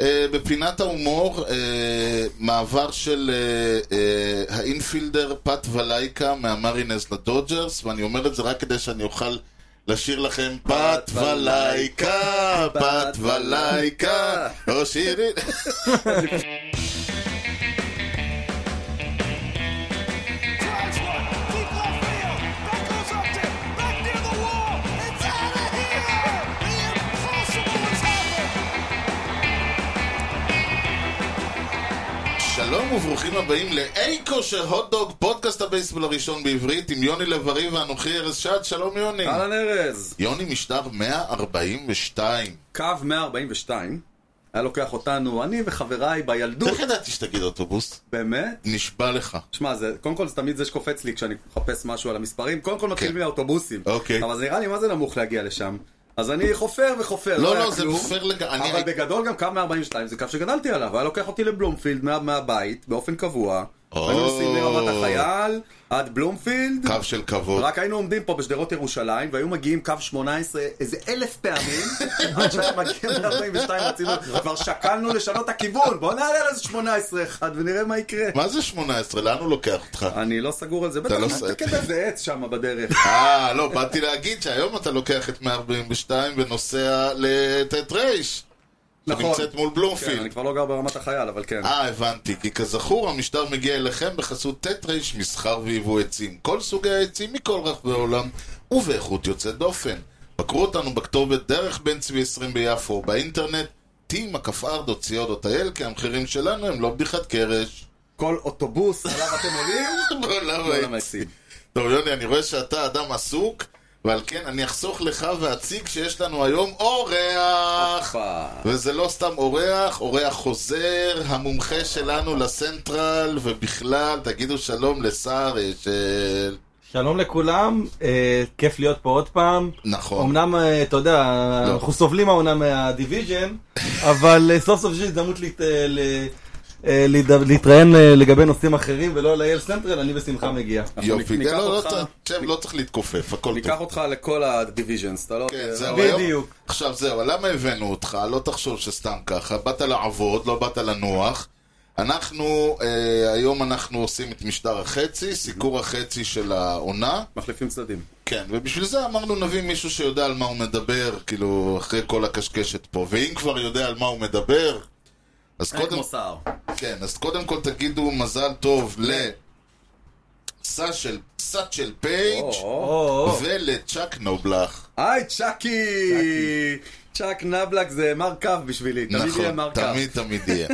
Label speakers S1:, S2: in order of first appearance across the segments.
S1: אה, בפינת ההומור, אה, מעבר של אה, אה, האינפילדר פת ולייקה מהמרינז לדודג'רס, ואני אומר את זה רק כדי שאני אוכל לשיר לכם פת ולייקה, פת ולייקה, או שירי...
S2: Drives one. Deep left field. That goes up to back near the wall. It's out of here. The impossible has happened.
S1: שלום וברוכים הבאים לאי כושר הוטדוג, פודקאסט הבייסבול הראשון בעברית עם יוני לב-ארי ואנוכי ארז שעד, שלום יוני.
S3: אהלן ארז,
S1: יוני משדר 142.
S3: קו 142, היה לוקח אותנו, אני וחבריי בילדות,
S1: איך ידעתי שתגיד אוטובוס?
S3: באמת?
S1: נשבע לך.
S3: שמע, זה, קודם כל זה תמיד זה שקופץ לי כשאני מחפש משהו על המספרים, קודם כל מתחיל
S1: כן.
S3: מהאוטובוסים,
S1: אוקיי.
S3: אבל זה נראה לי מה זה נמוך להגיע לשם, אז אני חופר וחופר,
S1: לא,
S3: היה
S1: לא, זה
S3: כלום.
S1: מפר לגמרי.
S3: אבל בגדול גם קו 142 זה קו שגדלתי עליו, היה לוקח אותי לבלומפילד מה- מהבית באופן קבוע,
S1: או.
S3: היינו נוסעים מרמת החייל עד בלומפילד,
S1: קו של כבוד.
S3: רק היינו עומדים פה בשדרות ירושלים, והיו מגיעים קו 18 איזה אלף פעמים, עד שהיה מגיע 142 רצינו, כבר שקלנו לשנות את הכיוון, בוא נעלה על איזה 18 אחד ונראה מה יקרה.
S1: מה זה 18? לאן הוא לוקח אותך?
S3: אני לא סגור על זה,
S1: לא
S3: בטח
S1: ס-
S3: תקטע איזה עץ שם בדרך. כן,
S1: אה, לא, באתי להגיד שהיום אתה לוקח את 142 ונוסע לט' ר'.
S3: נכון.
S1: שנמצאת מול
S3: כן, אני
S1: בלומפילד.
S3: כבר לא גר ברמת החייל, אבל כן.
S1: אה, הבנתי. כי כזכור, המשדר מגיע אליכם בחסות ט' ר' מסחר ויבוא עצים. כל סוגי העצים מכל רחבי העולם, ובאיכות יוצאת דופן. בקרו אותנו בכתובת דרך בן צבי 20 ביפו, או באינטרנט, t.כפר.co.il, כי המחירים שלנו הם לא בדיחת קרש.
S3: כל אוטובוס עליו אתם עולים, לא
S1: בעולם
S3: כל
S1: העצים.
S3: המעשים.
S1: טוב, יוני, אני רואה שאתה אדם עסוק, ועל כן אני אחסוך לך ואציג שיש לנו היום אורח!
S3: הופה.
S1: וזה לא סתם אורח, אורח חוזר, המומחה שלנו לסנטרל, ובכלל, תגידו שלום לסער אה, של...
S4: שלום לכולם, אה, כיף להיות פה עוד פעם.
S1: נכון.
S4: אמנם, אה, אתה יודע,
S1: לא.
S4: אנחנו סובלים העונה מהדיוויז'ן, אבל אה, סוף סוף יש הזדמנות להת- אה, ל- אה, להיד- להתראיין אה, לגבי נושאים אחרים ולא על האל סנטרל, אני בשמחה מגיע.
S3: אנחנו
S1: יופי.
S3: ניקח
S1: לא, לא
S3: אותך-
S1: צריך- שב, לא צריך להתכופף, הכל טוב.
S3: ניקח אותך לכל הדיוויז'נס, אתה לא...
S1: כן, זהו,
S4: בדיוק.
S1: היום- עכשיו זהו, למה הבאנו אותך? לא תחשוב שסתם ככה. באת לעבוד, לא באת לנוח. אנחנו, אה, היום אנחנו עושים את משדר החצי, סיקור החצי של העונה.
S3: מחליפים צדדים.
S1: כן, ובשביל זה אמרנו נביא מישהו שיודע על מה הוא מדבר, כאילו, אחרי כל הקשקשת פה. ואם כבר יודע על מה הוא מדבר, אז קודם,
S3: אה, כמו סער.
S1: כן, אז קודם כל תגידו מזל טוב ל... סע של- סאט של פייג'
S3: או, או.
S4: או, או,
S1: ולצ'אק נובלך.
S3: היי צ'אקי! צ'אק נבלק זה מר קו בשבילי, תמיד יהיה מר
S1: נכון,
S3: קו.
S1: תמיד תמיד יהיה.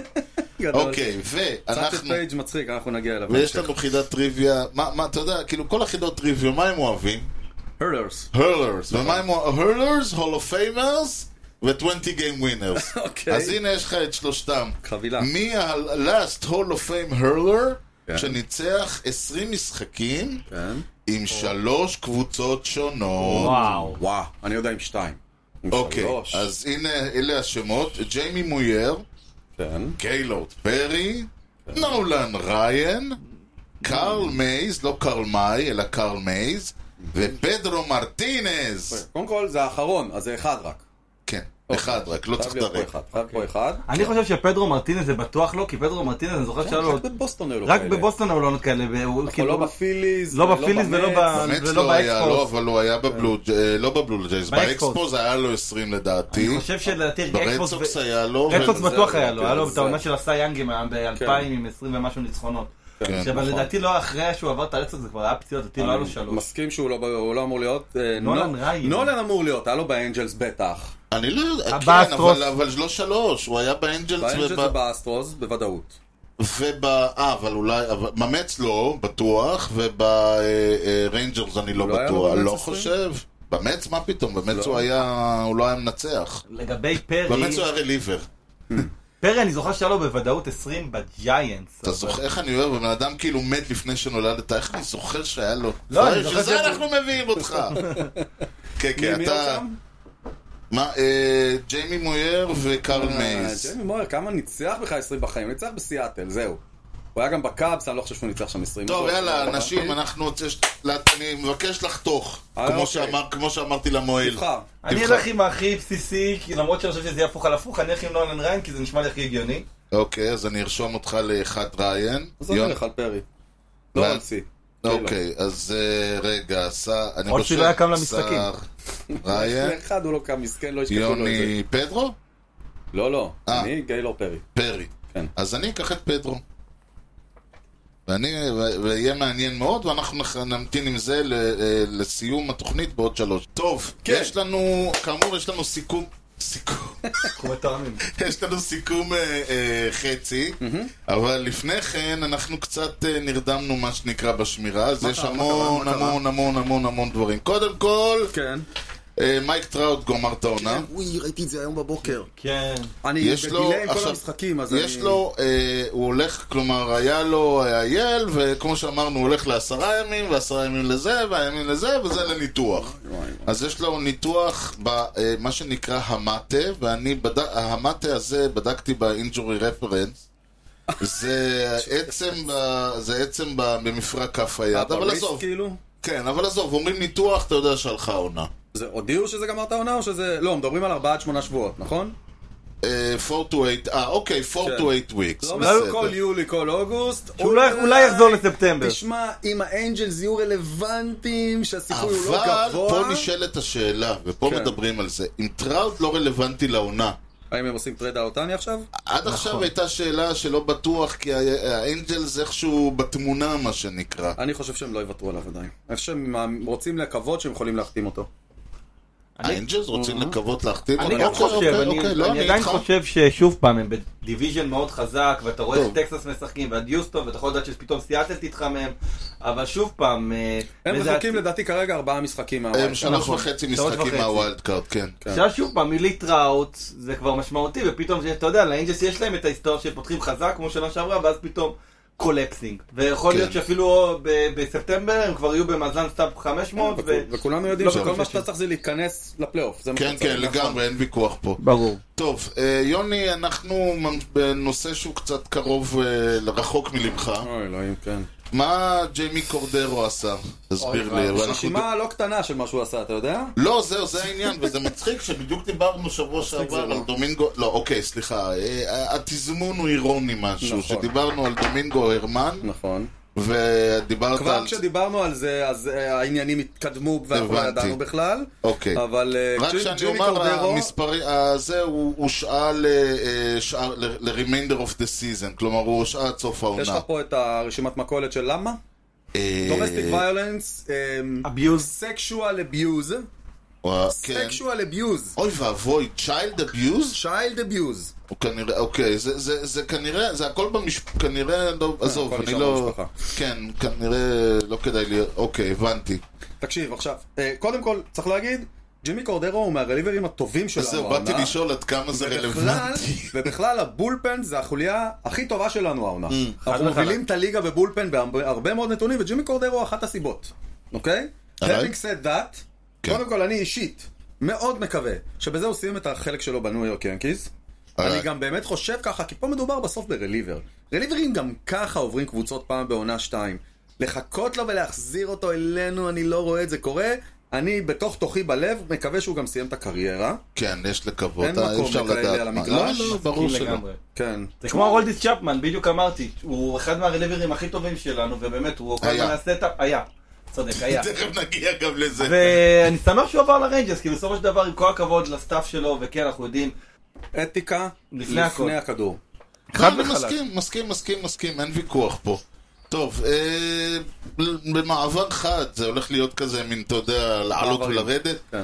S3: גדול.
S1: אוקיי,
S3: צ'אקי
S1: ואנחנו...
S3: פייג' מצחיק, אנחנו נגיע אליו.
S1: ויש לנו חידת טריוויה, מה, מה, אתה יודע, כאילו כל החידות טריוויה, מה הם אוהבים?
S3: הרלרס.
S1: הרלרס,
S3: נכון.
S1: ומה הם אוהבים? הרלרס, הולו פיימרס ו-20 גיים ווינרס.
S3: אוקיי.
S1: אז הנה יש לך את שלושתם.
S3: חבילה.
S1: מי ה-last הול אוף פיים הרלר
S3: כן.
S1: שניצח 20 משחקים
S3: כן.
S1: עם שלוש קבוצות שונות.
S4: וואו.
S3: וואו, אני יודע עם שתיים. עם
S1: אוקיי,
S3: שלוש.
S1: אז הנה, אלה השמות. ג'יימי מוייר,
S3: כן.
S1: גיילורד פרי, נולן ריין,
S3: Mm.
S1: קרל מייז, לא קרל מאי, אלא קרל מייז, ופדרו מרטינז.
S3: קודם כל זה האחרון, אז זה אחד רק.
S1: כן, אחד רק, לא צריך
S3: אוקיי. חייב להיות פה
S1: לדרג.
S3: אחד. חייב פה אחד.
S4: אני חושב שפדרו מרטינז זה בטוח לא, כי פדרו מרטינז, אני זוכר שהיה לו...
S3: רק בבוסטון היו לו
S4: רק
S3: כן, לא כאלה.
S4: בבוסטון היו לו כאלה, והוא
S3: אבל לא
S4: כאילו...
S3: בפיליז.
S4: לא בפיליז ולא
S3: במץ.
S4: ב-
S1: באמת
S4: ולא
S1: לא היה
S4: באקספו.
S1: לו, אבל הוא
S3: כן.
S1: היה בבלו, אה, לא בבלו ג'ייז,
S4: באקספו.
S1: באקספו זה היה לו 20 לדעתי,
S4: אני חושב שלדעתי אקספוס
S1: ברדסוקס היה לו,
S4: רדסוקס
S1: ו-
S3: כן, זה-
S4: בטוח
S3: זה-
S4: היה לו, היה לו
S3: זה-
S4: את העונה של הסי יאנגים ב-2000
S3: כן.
S4: עם 20 ומשהו ניצחונות.
S1: כן,
S4: אבל
S3: נכון.
S4: לדעתי לא אחרי שהוא עבר את הרצח זה כבר היה פציעות, לדעתי לא היה לו
S3: אני
S4: שלוש.
S3: מסכים שהוא לא ב- הוא לא אמור להיות. אה,
S4: נולן
S3: נו-
S4: ריין.
S3: נולן אמור להיות, היה לו באנג'לס בטח.
S1: אני לא יודע, כן,
S4: הבאסטרוס.
S1: אבל אבל לא שלוש, הוא היה באנג'לס
S3: באנג'לס
S1: וב-
S3: ובאסטרוס, בוודאות.
S1: וב... אה, אבל אולי... אבל- במץ לא, בטוח, ובריינג'רס אני לא
S3: לא היה לו
S1: בטוח.
S3: במץ
S1: לא
S3: עשרים?
S1: חושב. במץ, מה פתאום? במץ
S3: לא.
S1: הוא היה... הוא לא היה מנצח.
S4: לגבי פרי,
S1: במץ הוא היה רליבר.
S4: פרי אני זוכר שהיה לו בוודאות 20 בג'יינטס.
S3: נכון.
S1: אתה זוכר איך אני אוהב? הבן אדם כאילו מת לפני שנולדת. איך אני זוכר שהיה לו...
S4: לא, אני זוכר
S1: שזה...
S4: שזה-
S1: אנחנו מביאים אותך. כן, כן,
S3: מי- מי עוד
S1: אתה...
S3: שם?
S1: מה, אה, ג'יימי מויר וקרל
S3: אה,
S1: מייס.
S3: ג'יימי מויר, כמה ניצח בכלל 20 בחיים? ניצח בסיאטל, זהו. הוא היה גם בקאבס, אני לא חושב שהוא ניצח שם 20
S1: טוב,
S3: גול.
S1: יאללה,
S3: אבל-
S1: אנשים, אנחנו... רוצים- אני מבקש לחתוך,
S3: אוקיי. אה,
S1: כמו
S3: אוקיי.
S1: שאמר- כמו שאמרתי למוהל.
S3: תבחר.
S4: אני
S1: תבחר.
S4: אלך עם הכי בסיסי, כי למרות שאני חושב שזה יהיה הפוך על הפוך, אני אלך עם נולן ריין, כי זה נשמע לי הכי הגיוני.
S1: אוקיי, אז אני ארשום אותך לאחד ריין.
S3: אז אני
S1: יונ-
S3: הולך על פרי. לא
S1: מה?
S3: על סי.
S1: אוקיי, אז אה, רגע, שר... אני
S4: עוד
S1: חושב...
S4: שלא היה קם
S1: שר-
S4: למשחקים.
S1: ריין,
S3: אחד הוא לא קם מסכן, לא ישכחו לו את זה.
S1: יוני פדרו?
S3: לא, לא.
S1: אה.
S3: אני גיילור פרי.
S1: פרי.
S3: כן.
S1: אז אני אקח את פדרו. ואני, ו- ויהיה מעניין מאוד, ואנחנו נח- נמתין עם זה ל- אה, לסיום התוכנית בעוד שלוש. טוב,
S3: כן.
S1: יש לנו, כאמור, יש לנו סיכום, סיכום,
S4: אנחנו מתואמים.
S1: יש לנו סיכום אה, אה, חצי, אבל לפני כן אנחנו קצת אה, נרדמנו, מה שנקרא, בשמירה, אז יש
S3: קרה? מה
S1: המון
S3: קרה? מה קרה?
S1: המון המון המון המון דברים. קודם כל,
S3: כן.
S1: אה, מייק טראוט גומר את העונה.
S3: אוי, ראיתי את זה היום בבוקר.
S4: כן.
S3: אני
S1: יש לו,
S3: בדיליי עם כל
S1: עכשיו,
S3: המשחקים, אז
S1: יש
S3: אני...
S1: לו, אה, הוא הולך, כלומר, היה לו אייל, וכמו שאמרנו, הוא הולך לעשרה ימים, ועשרה ימים לזה, והימים לזה, וזה לניתוח.
S3: וואי,
S1: אז יש לו ניתוח במה שנקרא המטה, ואני, בד... המטה הזה, בדקתי באינג'ורי רפרנס. זה עצם, ב... זה עצם ב... במפרק כף היד, אבל
S3: הפריס,
S1: עזוב,
S3: כאילו?
S1: כן, אבל עזוב, אומרים ניתוח, אתה יודע שהלכה עונה.
S3: זה הודיעו שזה גמר את העונה או שזה... לא, מדברים על 4-8 שבועות, נכון?
S1: 4 to 8, אה, אוקיי, 4
S3: כן.
S1: to 8 weeks. בסדר.
S3: לא
S1: לא-
S3: אומר כל יולי, כל אוגוסט.
S4: שאולי אולי יחזור לספטמבר.
S3: תשמע, אם האנג'לס יהיו רלוונטיים, שהסיכוי הוא לא גבוה...
S1: אבל פה נשאלת השאלה, ופה
S3: כן.
S1: מדברים על זה. אם טראוט לא רלוונטי לעונה,
S3: האם הם עושים טרייד על אותני עכשיו?
S1: עד
S3: נכון.
S1: עכשיו הייתה שאלה שלא בטוח, כי ה- האנג'לס איכשהו בתמונה, מה שנקרא.
S3: אני חושב שהם לא יוותרו עליו עדיין. אני חושב שהם רוצים לקוות שהם יכולים להחתים אותו.
S1: האנג'לס רוצים לקוות להחתים
S4: אני
S1: אותו?
S4: גם
S1: אוקיי,
S4: חושב,
S1: אוקיי,
S4: אני-
S1: אוקיי, לא,
S4: אני עדיין
S1: איתך.
S4: חושב ששוב פעם, הם בדיוויז'ן מאוד חזק, ואתה רואה
S1: טוב.
S4: את טקסס משחקים, ועד יוסטון, ואתה יכול לדעת שפתאום סיאטל תתחמם, אבל שוב פעם... אה,
S3: הם
S4: וזה
S3: מחכים
S4: הצ-
S3: לדעתי כרגע ארבעה משחקים
S1: הם
S3: מהווייט.
S1: אה, שלוש
S4: נכון.
S1: וחצי
S4: שלוש
S1: משחקים
S4: וחצי.
S1: מהווילד קארד, כן.
S4: עכשיו שוב פעם, מילי טראוט זה כבר משמעותי, ופתאום, זה- אתה יודע, לאנג'לס יש להם את ההיסטוריה שפותחים חזק כמו שנה שעברה, ואז פתאום קולפסינג. ויכול
S1: כן.
S4: להיות שאפילו ב- בספטמבר הם כבר יהיו במאזן סתם 500, ו...
S3: וכולנו יודעים
S4: לא
S3: שכל
S4: בטוח
S3: מה
S4: שיש
S3: שאתה צריך זה להיכנס לפלייאוף. זה מה
S1: כן,
S3: שאתה
S1: כן,
S4: נכון.
S3: צריך. נכון?
S1: לגמרי, אין ויכוח פה.
S4: ברור.
S1: טוב, אה, יוני, אנחנו ממ- בנושא שהוא קצת קרוב, אה, רחוק מלבך.
S3: אוי, אלוהים, כן.
S1: מה ג'יימי קורדרו עשה? תסביר לי. אבל אנחנו
S3: רשימה לא קטנה של מה שהוא עשה, אתה יודע?
S1: לא, זהו, זה העניין, וזה מצחיק שבדיוק דיברנו שבוע שעבר
S3: זה לא.
S1: על דומינגו... לא, אוקיי, סליחה. אה, התזמון הוא אירוני משהו,
S3: נכון.
S1: שדיברנו על דומינגו הרמן,
S3: נכון.
S1: ודיברת
S3: כבר
S1: על...
S3: כשדיברנו על זה, אז אה, העניינים התקדמו ואנחנו לא
S1: הבנתי.
S3: ידענו בכלל.
S1: אוקיי.
S3: אבל אה,
S1: רק
S3: ג'י-
S1: שאני
S3: ג'ימי
S1: אומר,
S3: קורדרו-
S1: המספר... אה, זה, הוא הושעה ל- אה, שאר- ל- ל-remainder of the season, כלומר, הוא הושעה עד סוף
S3: יש
S1: העונה.
S3: לך פה את הרשימת מכולת של למה? אמ,
S1: אה,
S3: דומסטיק ויולנס,
S4: אביוז.
S3: סקשואל אביוז,
S1: אה, כן.
S3: סקשואל אביוז,
S1: אוי ואבוי, child abuse?
S3: צ'יילד אביוז.
S1: הוא כנראה, אוקיי, זה, זה, זה כנראה, זה הכל במשפחה, כנראה, לא, עזוב,
S3: כן, הכל
S1: אני
S3: נשאר
S1: לא,
S3: במשפחה.
S1: כן, כנראה לא כדאי לי, אוקיי, הבנתי.
S3: תקשיב, עכשיו, אה, קודם כל, צריך להגיד, ג'ימי קורדרו הוא מהרליברים הטובים שלנו.
S1: אז זהו, באתי
S3: העונה.
S1: לשאול עד כמה זה
S3: ובכלל,
S1: רלוונטי.
S3: ובכלל הבולפן זה החוליה הכי טובה שלנו העונה.
S4: חד
S3: אנחנו
S4: וחלק.
S3: מובילים את הליגה בבולפן בהרבה הרבה מאוד נתונים, וג'ימי קורדרו הוא אחת הסיבות, אוקיי?
S1: עליי?
S3: Having said that,
S1: כן.
S3: קודם כל אני אישית מאוד מקווה שבזה הוא סיים את החלק שלו בניו יורק ינקיז.
S1: עליי.
S3: אני גם באמת חושב ככה, כי פה מדובר בסוף ברליבר. רליברים גם ככה עוברים קבוצות פעם בעונה שתיים. לחכות לו ולהחזיר אותו אלינו, אני לא רואה את זה קורה. אני בתוך תוכי בלב מקווה שהוא גם סיים את הקריירה.
S1: כן, יש לקוות,
S3: אין
S1: אה,
S3: מקום
S1: אי אפשר
S3: לכאלה
S1: לדעת.
S3: על
S1: מה.
S3: המגרש.
S1: לא, לא, ברור
S4: מסכים
S1: שלא.
S4: לגמרי.
S3: כן.
S4: זה כמו הרולדיס צ'פמן, בדיוק אמרתי, הוא אחד מהרליברים הכי טובים שלנו, ובאמת, הוא כל
S1: היה.
S4: הזמן הסטאפ, היה, צודק, היה.
S1: תכף נגיע גם לזה.
S4: ואני שמח שהוא עבר לריינג'רס, כי בסופו של דבר, עם כל הכבוד לסטאפ שלו, וכן, אנחנו יודעים,
S3: אתיקה
S4: לפני
S3: לפני,
S4: הכל.
S3: הכדור.
S1: לא,
S4: חד
S1: אני
S4: וחלק.
S1: מסכים, מסכים, מסכים, מסכים, אין ויכוח פה. טוב, אה, במעבר חד, זה הולך להיות כזה מין, אתה יודע, לעלות
S3: מעברים.
S1: ולרדת.
S3: כן.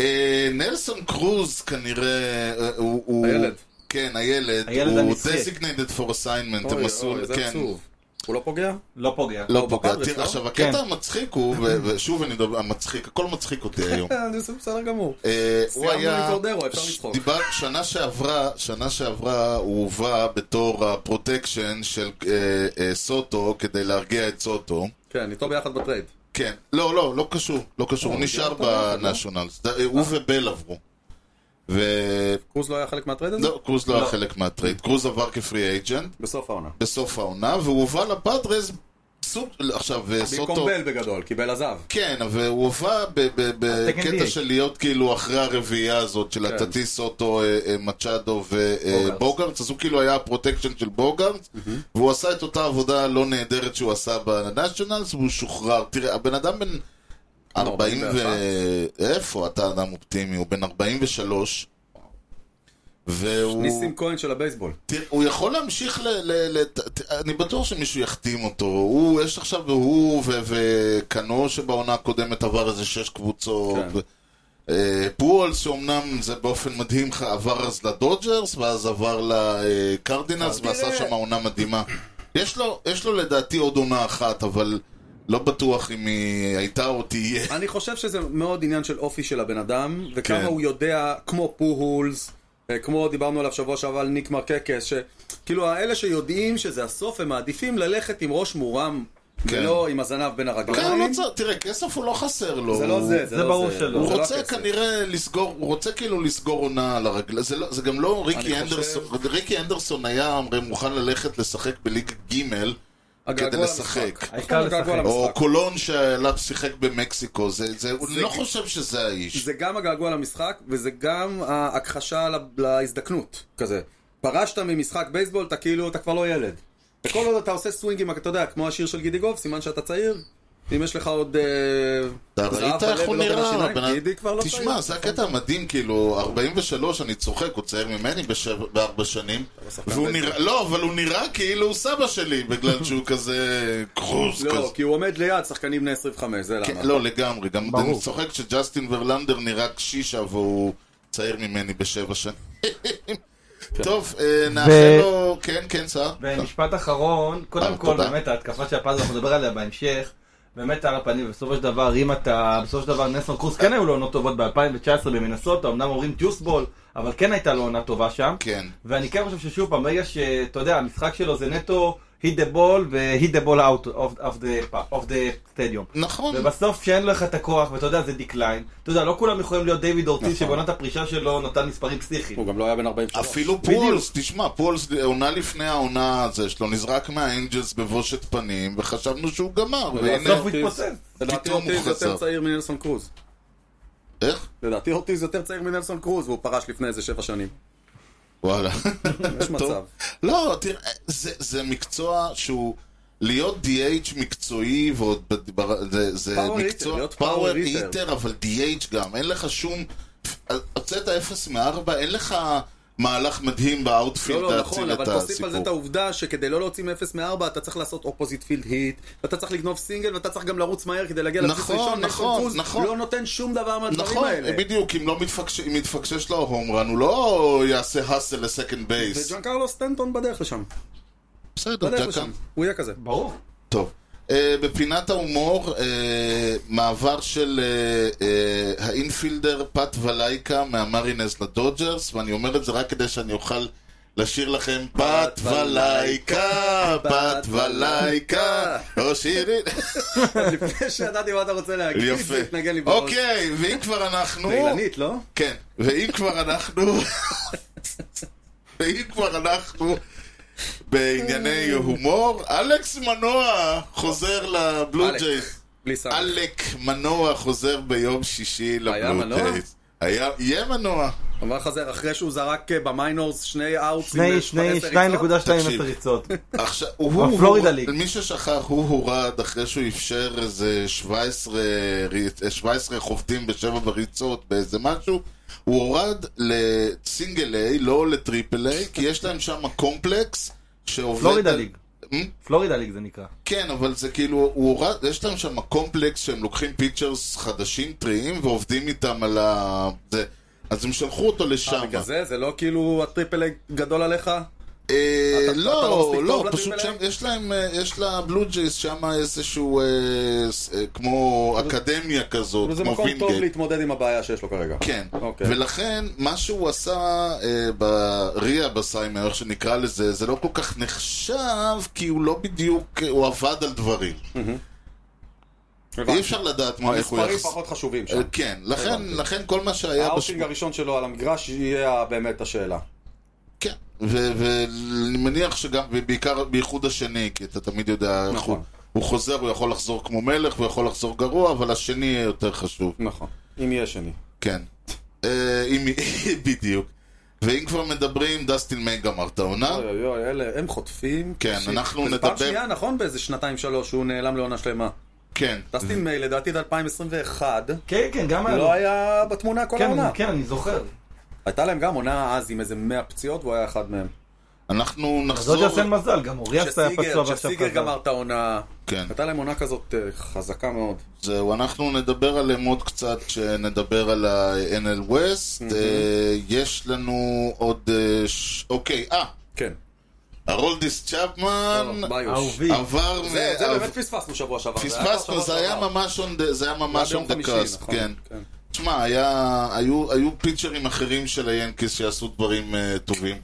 S1: אה, נלסון קרוז כנראה, אה, הוא... הוא-
S3: הילד.
S1: כן, הילד.
S4: הילד
S1: הוא
S4: הנצחי.
S1: designated for assignment,
S3: אוי,
S1: הם עשו,
S3: אוי, זה
S1: כן.
S3: עצוב. הוא לא פוגע?
S4: לא פוגע.
S1: לא
S3: הוא
S1: פוגע.
S3: בפרדס,
S1: תראה,
S3: לא?
S1: עכשיו,
S4: כן.
S1: הקטע המצחיק הוא, ו- ושוב אני מדבר, המצחיק, הכל מצחיק אותי היום.
S3: זה בסדר גמור.
S1: אה, הוא
S3: סיימנו עם
S1: היה...
S3: קורדרו, אפשר
S1: ש-
S3: לצחוק.
S1: דיבר, שנה שעברה, שנה שעברה הוא הובא בתור הפרוטקשן של אה, אה, סוטו כדי להרגיע את סוטו.
S3: כן, איתו ביחד בטרייד.
S1: כן.
S3: אה,
S1: לא, לא, לא קשור, לא קשור. הוא נשאר
S3: אותו ביחד, לא?
S1: בנשיונלס. הוא ובל עברו. ולא,
S3: קרוז לא היה חלק מהטרייד הזה?
S1: קרוז לא היה
S4: לא.
S1: חלק מהטרייד. קרוז עבר כפרי אייג'נט
S3: בסוף העונה.
S1: בסוף העונה, והוא הובא לפאדרס סוג... עכשיו, אה, סוטו...
S3: במקום בל בגדול, קיבל עזב.
S1: כן, אבל הוא הובא ב- ב-
S4: תגיד
S1: בקטע
S4: לי.
S1: של להיות כאילו אחרי הרביעייה הזאת של
S3: כן.
S1: הטטיס אוטו, אה, אה, מצ'אדו
S4: בוגרטס.
S1: ובוגרץ, אז הוא כאילו היה הפרוטקשן של בוגרץ, והוא עשה את אותה עבודה לא נהדרת שהוא עשה בנשיונלס, והוא שוחרר. תראה, הבן אדם בן 40 ו... איפה אתה אדם אופטימי? הוא בן 43. והוא...
S3: ניסים כהן של הבייסבול.
S1: תראה, הוא יכול להמשיך ל... ל, ל ת, אני בטוח שמישהו יחתים אותו. הוא, יש עכשיו, הוא ו- וקנו שבעונה הקודמת עבר איזה שש קבוצות.
S3: כן.
S1: אה, פואל, שאומנם זה באופן מדהים, לך, עבר אז לדודג'רס, ואז עבר לקרדינלס, ועשה
S3: תראה.
S1: שם עונה מדהימה. יש לו, יש לו לדעתי עוד עונה אחת, אבל לא בטוח אם היא הייתה או תהיה.
S3: אני חושב שזה מאוד עניין של אופי של הבן אדם, וכמה
S1: כן.
S3: הוא יודע, כמו פוהולס, אה, כמו דיברנו עליו שבוע שעבר על ניק מרקקס, שכאילו האלה שיודעים שזה הסוף, הם מעדיפים ללכת עם ראש מורם,
S1: כן.
S3: ולא עם הזנב בין
S1: כן, הוא לא
S3: הרגליים.
S1: צריך, תראה, כסף הוא לא חסר לו.
S3: זה לא
S1: הוא-
S3: זה, זה
S4: זה
S3: לא
S4: ברור
S3: זה.
S4: שלא.
S1: הוא
S3: זה לא
S1: רוצה
S3: הכסף.
S1: כנראה לסגור, הוא רוצה כאילו לסגור עונה על הרגל, זה, לא, זה גם לא ריקי
S3: אני
S1: אנדרסון, ריקי אנדרסון היה הרי מוכן ללכת לשחק בליגה ג'
S3: הגעגוע
S1: כדי לשחק.
S3: למשחק.
S4: העיקר
S3: הגעגוע
S4: לשחק.
S3: למשחק.
S1: או קולון שעליו שיחק במקסיקו, זה, זה, הוא
S3: זה-
S1: לא חושב שזה האיש.
S3: זה גם הגעגוע למשחק, וזה גם ההכחשה לה- להזדקנות, כזה. פרשת ממשחק בייסבול, אתה כאילו, אתה כבר לא ילד. וכל עוד אתה עושה סווינגים, אתה יודע, כמו השיר של גידיגוב, סימן שאתה צעיר. אם יש לך עוד... אה,
S1: אתה
S3: זהב
S1: ראית
S3: בלב
S1: איך הוא
S3: ולא בין
S1: נראה?
S3: השיניים,
S1: הבן אדם-
S3: לא גידי כבר לא צעיר.
S1: תשמע, זה הקטע המדהים, כאילו, 43, אני צוחק, הוא צעיר ממני בשבע- בארבע שנים.
S3: שחקן
S1: והוא
S3: בייסבול.
S1: נראה, לא, אבל הוא נראה כאילו הוא סבא שלי, בגלל שהוא כזה כרוז כזה.
S3: לא, כי הוא עומד ליד שחקנים בני 25, זה
S1: כן,
S3: למה.
S1: לא, לגמרי. גם
S4: ברור.
S1: אני צוחק שג'סטין ורלנדר נראה קשישה והוא צעיר ממני בשבע שנים. טוב, אה, נאחל
S4: ו-
S1: לו... כן, כן, סער.
S4: ומשפט אחרון, קודם
S1: אה,
S4: כל
S1: תודה.
S4: באמת ההתקפה של הפאז, אנחנו נדבר עליה בהמשך, באמת על הפנים, בסופו של דבר אם אתה, בסופו של דבר נסון קרוס
S1: אה.
S4: כן היו לו עונות טובות ב-2019 במנסוטה, אמנם אומרים ג'וסבול, אבל כן הייתה לו עונה טובה שם,
S1: כן.
S4: ואני כן חושב ששוב פעם, ברגע שאתה יודע, המשחק שלו זה נטו hit the ball ו-hit the ball out of, of, the, of the stadium.
S1: נכון.
S4: ובסוף כשאין לך את הכוח, ואתה יודע, זה דקליין. אתה יודע, לא כולם יכולים להיות דיוויד אורטיס, שבעונת הפרישה שלו נתן מספרים פסיכיים.
S3: הוא גם לא היה בן 43.
S1: אפילו
S4: בדיוק.
S1: פולס, תשמע, פולס עונה לפני העונה הזה שלו, נזרק מהאנג'לס בבושת פנים, וחשבנו שהוא גמר, והנה,
S4: בסוף הוא התפוצץ.
S3: לדעתי
S1: פתאום הוא
S3: אותי זה יותר
S1: חזר.
S3: צעיר מנלסון קרוז.
S1: איך?
S3: לדעתי אותי זה יותר צעיר מנלסון קרוז, והוא פרש לפני איזה שבע שנים.
S1: וואלה.
S3: יש
S1: טוב.
S3: מצב.
S1: לא, תראה, זה, זה מקצוע שהוא... להיות DH מקצועי, ועוד ב- ב- זה, זה
S3: Power hitter,
S1: מקצוע...
S3: להיות power hitter.
S1: היטר, אבל DH גם, אין לך שום... הוצאת 0 מ-4, אין לך מהלך מדהים באאוטפילד
S3: לא, לא, נכון,
S1: להציל את
S3: אבל תוסיף על זה את
S1: הסיפור.
S3: העובדה שכדי לא להוציא מ-0 מ-4 אתה צריך לעשות אופוזיט פילד היט, ואתה צריך לגנוב סינגל, ואתה צריך גם לרוץ מהר כדי להגיע לבסיס
S1: נכון,
S3: ראשון,
S1: נכון,
S3: נלסון קרוז
S1: נכון.
S3: לא נותן שום דבר מהדברים
S1: נכון,
S3: האלה.
S1: בדיוק, אם לא מתפקש, אם מתפקשש לו ההומרן, הוא לא יעשה האסל לסקנד בייס.
S3: וג'אן קרלו סטנטון בדרך לשם,
S1: בסדר,
S3: בדרך
S1: ג'קה.
S3: לשם, הוא יהיה כזה.
S4: ברור.
S1: טוב. אה, בפינת ההומור, אה, מעבר של אה, אה, האינפילדר פט ולייקה מהמרינז לדודג'רס, ואני אומר את זה רק כדי שאני אוכל לשיר לכם פט ולייקה, פט ולייקה, או שירי...
S3: אז לפני שידעתי מה אתה רוצה להגיד,
S1: יפה.
S3: זה התנגן לי בראש.
S1: אוקיי, ואם כבר אנחנו...
S3: זה אילנית, לא?
S1: כן, ואם כבר אנחנו... ואם כבר אנחנו בענייני הומור, אלכס מנוע חוזר לבלו
S3: אלק.
S1: ג'ייס.
S3: בלי סאונד.
S1: עלק מנוע חוזר ביום שישי
S3: היה
S1: לבלו
S3: מנוע?
S1: ג'ייז. היה יהיה מנוע.
S3: אבל חזר, אחרי שהוא זרק אה, במיינורס שני אאוטס עם
S4: שני,
S3: אה,
S4: שני,
S3: 17 ריצות,
S4: 2.2
S1: תקשיב.
S4: ריצות.
S1: עכשיו, הוא,
S4: הפלורידה
S1: הוא,
S4: ליג.
S1: מי ששכח, הוא הורד אחרי שהוא אפשר איזה 17, ריצ- 17 חובטים בשבע בריצות באיזה משהו, הוא הורד לסינגל איי, לא לטריפל איי, כי יש להם שם קומפלקס שעובד...
S4: פלורידה
S1: על-
S4: ליג.
S1: Hmm?
S4: פלורידה ליג זה נקרא.
S1: כן, אבל זה כאילו, הוא הורד, יש להם שם קומפלקס שהם לוקחים פיצ'רס חדשים טריים ועובדים איתם על ה... זה. אז הם שלחו אותו
S4: אה,
S1: לשם.
S3: בגלל זה, זה לא כאילו הטריפל איי גדול עליך?
S1: אה,
S3: אתה- אתה לא
S1: לא,
S3: מספיק
S1: לא,
S3: טוב
S1: פשוט שם,
S3: לטריפל איי?
S1: יש להם, אה, יש לבלו ג'ייס שם איזשהו, אה, ס- אה, כמו אקדמיה כזאת,
S3: זה
S1: כמו
S3: מקום טוב
S1: וינגייט.
S3: להתמודד עם הבעיה שיש לו כרגע.
S1: כן,
S3: אוקיי.
S1: ולכן מה שהוא עשה אה, בריה בסיימר, איך שנקרא לזה, זה לא כל כך אה, נחשב, כי הוא לא בדיוק, הוא עבד על דברים. אי אפשר לדעת מה, איך הוא
S3: מספרים
S1: יחס...
S3: פחות חשובים
S1: אה,
S3: שם.
S1: כן, לכן,
S3: הבנתי.
S1: לכן כל מה שהיה...
S3: האאוטינג
S1: בשבוע-
S3: הראשון שלו על המגרש יהיה באמת השאלה.
S1: כן, ו- ואני מניח שגם, ובעיקר בייחוד השני, כי אתה תמיד יודע איך
S3: נכון.
S1: הוא... הוא חוזר, הוא יכול לחזור כמו מלך, הוא יכול לחזור גרוע, אבל השני יהיה יותר חשוב.
S3: נכון. אם יהיה שני.
S1: כן. אה, אם... בדיוק. ואם כבר מדברים, דסטין מיי גמר את העונה.
S3: אוי אוי אוי, אלה, הם חוטפים.
S1: כן, אנחנו
S3: וזה
S1: נדבר-
S3: פעם שנייה, נכון, באיזה שנתיים שלוש, הוא נעלם לעונה שלמה.
S1: כן.
S3: דסטין מיי, לדעתי עד 2021,
S4: כן, כן, גם היה לו.
S3: לא היה בתמונה כל
S4: כן,
S3: העונה.
S4: אני- כן, אני זוכר.
S3: הייתה להם גם עונה אז עם איזה 100 פציעות, והוא היה אחד מהם.
S1: אנחנו
S4: אז עוד
S1: נחזור...
S4: יעשה מזל, גם אוריאס היה פצוע
S3: כשסיגר,
S4: ועכשיו
S3: כשסיגר
S4: חזר.
S3: גמר את העונה.
S1: כן.
S3: הייתה להם עונה כזאת אה, חזקה מאוד.
S1: זהו, אנחנו נדבר עליהם עוד קצת כשנדבר על ה-NL West. אה, יש לנו עוד... אה, ש- אוקיי, אה,
S3: כן.
S1: הרולדיס צ'פמן
S3: לא, ביוש.
S4: אהובי.
S1: עבר...
S3: זה זה
S1: מעב-
S3: באמת פספסנו שבוע שעבר. זה היה כבר
S1: פספסנו,
S3: שבוע
S1: זה היה
S3: שעבר.
S1: ממש on the- זה היה ממש
S3: לא, ביום
S1: on the
S3: חמישי,
S1: cusp,
S3: נכון,
S1: כן. תשמע, היה- היו היו פיצ'רים אחרים של היאנקיס שעשו דברים אה, טובים.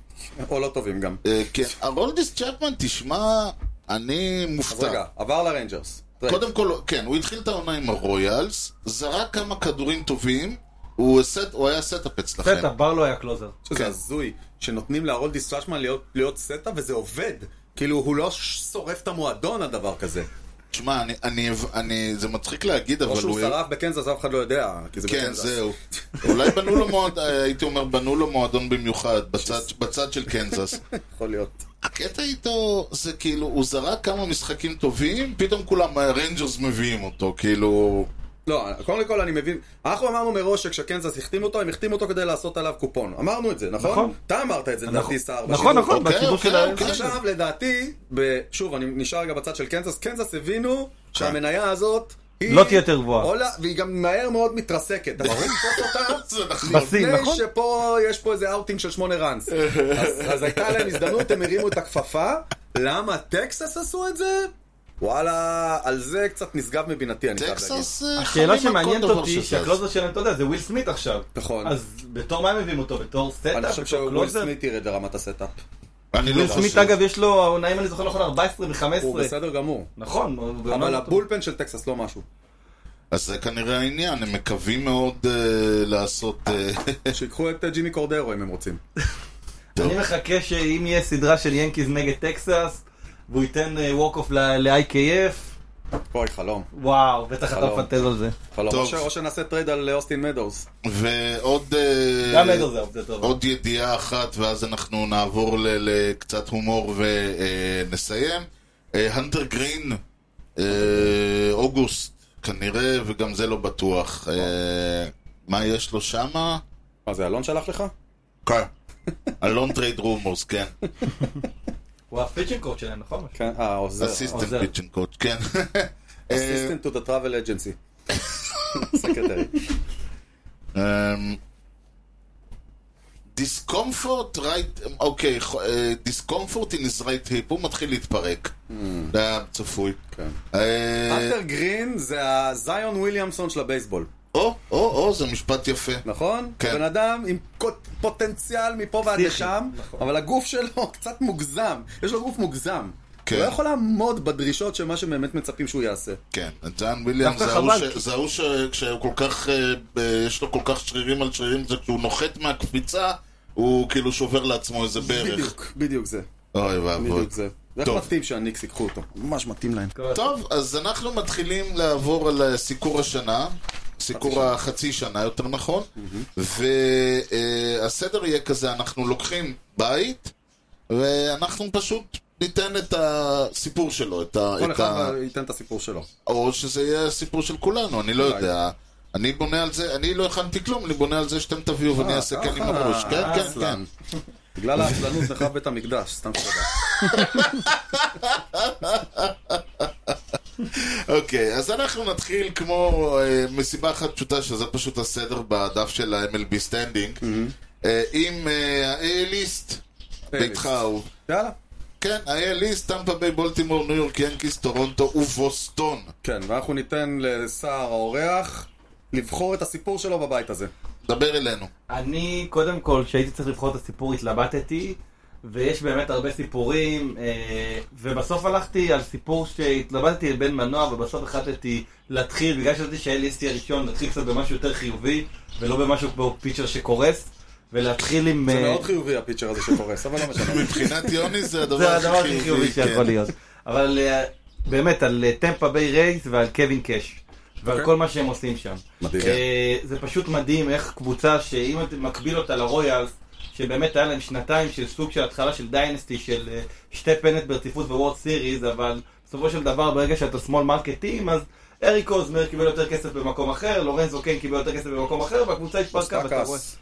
S3: או לא טובים גם.
S1: אה, כן, הרולדיס צ'פמן, תשמע, אני
S3: אז רגע,
S1: מופתע.
S3: עבר לריינג'רס.
S1: קודם כל, כן, הוא התחיל את העונה עם הרויאלס, זרק כמה כדורים טובים, הוא הסט- הוא היה סטאפ אצלכם.
S4: סטאפ, בר לא היה קלוזר.
S3: שזה
S1: כן.
S3: הזוי, שנותנים להרולדיס צ'אשמן להיות- להיות סטה וזה עובד. כאילו, הוא לא ש- שורף את המועדון על דבר כזה.
S1: תשמע, אני- אני- אני- זה מצחיק להגיד,
S3: או
S1: אבל
S3: לא שהוא
S1: הוא...
S3: שרף בקנזס, אף אחד לא יודע, כי זה
S1: כן,
S3: בקנזס.
S1: זהו. אולי בנו לו מועדון, הייתי אומר, בנו לו מועדון במיוחד, בצד- בצד של קנזס.
S3: יכול להיות.
S1: הקטע איתו זה כאילו, הוא זרק כמה משחקים טובים, פתאום כולם הרנג'רס מביאים אותו, כאילו...
S3: לא, קודם כל אני מבין, אנחנו אמרנו מראש שכשקנזס החתים אותו, הם החתימו אותו כדי לעשות עליו קופון. אמרנו את זה, נכון?
S4: נכון.
S3: אתה אמרת את זה, לדעתי, סער.
S4: נכון,
S3: בשידור.
S4: נכון,
S1: אוקיי,
S4: בשידור
S1: אוקיי,
S4: של ה...
S1: אוקיי.
S3: עכשיו, לדעתי, ב- שוב, אני נשאר רגע בצד של קנזס, קנזס הבינו שהמניה הזאת... היא-
S4: לא תהיה יותר גבוהה.
S3: עולה, והיא גם מהר מאוד מתרסקת. ברור.
S1: זה נכון.
S4: בשיא,
S3: לפני
S4: נכון?
S3: שפה יש פה איזה אאוטינג של שמונה ראנס. אז- אז הייתה להם הזדמנות, הם הרימו את הכפפה. למה טקסס עשו את זה? וואלה, על זה קצת נשגב מבינתי, אני חייב להגיד.
S1: טקסס אה, חמים
S4: השאלה
S1: על כל
S4: שמעניינת
S1: דבר
S4: אותי,
S1: שזז.
S4: שהקלוזר שלהם, אתה יודע, זה וויל סמית עכשיו.
S3: נכון.
S4: אז בתור מה הם מביאים אותו? בתור סטאפ?
S3: אני חושב
S4: בתור
S3: שוויל
S4: קלוזר?
S3: סמית ירד לרמת הסטאפ.
S1: אני לא
S4: וויל סמית,
S1: חושב.
S4: אגב, יש לו, העונה, אם אני זוכר נכון, 14 ו-15.
S3: הוא בסדר גמור.
S4: נכון. הוא בעונה
S3: אבל
S4: לא
S3: הבולפן של טקסס לא משהו.
S1: אז זה כנראה העניין, הם מקווים מאוד אה, לעשות... אה,
S3: שיקחו את אה, ג'ימי קורדרו אם הם רוצים.
S4: טוב. אני מחכה שאם יהיה סדרה של ינקיז נגד טקסס, והוא ייתן אה, ווק אוף ל-IKF,
S3: אוי, חלום.
S4: וואו, בטח אתה
S3: חלום.
S4: מפנטז על זה.
S3: חלום.
S1: טוב.
S3: או ש- או שנעשה טרייד על אה, אוסטין מדורס.
S1: ועוד... אה,
S4: גם נגד זה עובדה טובה.
S1: עוד ידיעה אחת, ואז אנחנו נעבור ל- לקצת הומור ונסיים. הנטר גרין, אה, אוגוסט, כנראה, וגם זה לא בטוח. אה, מה יש לו שמה?
S3: מה זה, אלון שלח לך?
S1: כן. אלון טרייד רומורס, כן.
S4: הוא הפיצ'ינג קורט שלהם, נכון?
S3: כן, אה, עוזר.
S1: אסיסטנט
S4: עוזר.
S1: פיצ'ן קוד, כן. אה,
S3: אסיסטנט to the travel agency. סקרטרי.
S1: אמ, discomfort right, אוקיי, ח- אה, discomfort in his right hip, הוא מתחיל להתפרק. זה היה צפוי.
S3: כן.
S1: אה,
S3: אנטר גרין זה הזיון וויליאמסון של הבייסבול,
S1: או, או, או, זה משפט יפה.
S3: נכון?
S1: כן.
S3: בן אדם עם קוט- פוטנציאל מפה ועד
S4: פסיכי,
S3: לשם,
S4: נכון.
S3: אבל הגוף שלו קצת מוגזם. יש לו גוף מוגזם.
S1: כן.
S3: הוא לא יכול לעמוד בדרישות של מה שבאמת מצפים שהוא יעשה.
S1: כן, ג'אן וויליאמס
S4: דווקא
S1: זה ההוא
S4: חבל,
S1: ש-
S4: כי-
S1: זה ההוא שכשהוא כל כך, אה, ב- יש לו כל כך שרירים על שרירים, זה כשהוא נוחת מהקפיצה, הוא כאילו שובר לעצמו איזה ברך.
S3: בדיוק, בדיוק זה.
S1: אוי ואבוי.
S3: בדיוק זה. ואיך
S1: טוב.
S3: מתאים שהניקס ייקחו אותו? ממש מתאים להם.
S1: טוב, אז אנחנו מתחילים לעבור על אה, סיקור השנה, סיקור החצי שנה יותר נכון, והסדר יהיה כזה, אנחנו לוקחים בית, ואנחנו פשוט ניתן את הסיפור שלו, את ה...
S3: כל
S1: את ה...
S3: אחד ייתן את הסיפור שלו.
S1: או שזה יהיה הסיפור של כולנו, אני לא
S3: אולי.
S1: יודע. אני בונה על זה, אני לא הכנתי כלום, אני בונה על זה שאתם תביאו
S3: אה,
S1: ואני אעשה כן עם
S3: ככה,
S1: הראש. כן, כן, כן.
S3: אסלן. בגלל העצלנות נחרב בית המקדש, סתם שאלה.
S1: אוקיי, אז אנחנו נתחיל כמו אה, מסיבה אחת פשוטה, שזה פשוט הסדר בדף של ה-MLB סטנדינג, אה, עם אה, ה-A-ליסט, ביתך ההוא.
S3: יאללה.
S1: כן, ה-A-ליסט, טמפה ביי, בולטימור, ניו יורק, ינקיס, טורונטו ובוסטון.
S3: כן, ואנחנו ניתן לסער האורח לבחור את הסיפור שלו בבית הזה.
S1: דבר אלינו.
S4: אני, קודם כל, כשהייתי צריך לבחור את הסיפור, התלבטתי, ויש באמת הרבה סיפורים, אה, ובסוף הלכתי על סיפור שהתלבטתי בין מנוע, ובסוף החלטתי להתחיל, בגלל שחשבתי שה-LST הראשון, להתחיל קצת במשהו יותר חיובי, ולא במשהו כמו פיצ'ר שקורס, ולהתחיל עם...
S3: זה
S4: אה,
S3: מאוד חיובי הפיצ'ר הזה שקורס, אבל לא משנה.
S1: מבחינת יוני זה
S4: זה
S1: הדבר
S4: הדבר הכי חיובי
S1: כן.
S4: שיכול להיות. אבל אה, באמת, על אה, טמפה ביי רייס ועל קווין קאש. ועל
S3: אוקיי.
S4: כל מה שהם עושים שם.
S3: מדהים.
S4: אה, זה פשוט מדהים איך קבוצה שאם אתה מקביל אותה לרויאלס, שבאמת היה להם שנתיים של סוג של התחלה של דיינסטי, של אה, שתי פנט ברציפות וורד סיריז, אבל בסופו של דבר ברגע שאתה שמאל מרקטים, אז אריק אוזמר קיבל יותר כסף במקום אחר, לורנזו קיין קיבל יותר כסף במקום אחר, והקבוצה התפרקה, ואתה רואה...
S3: סטאקס.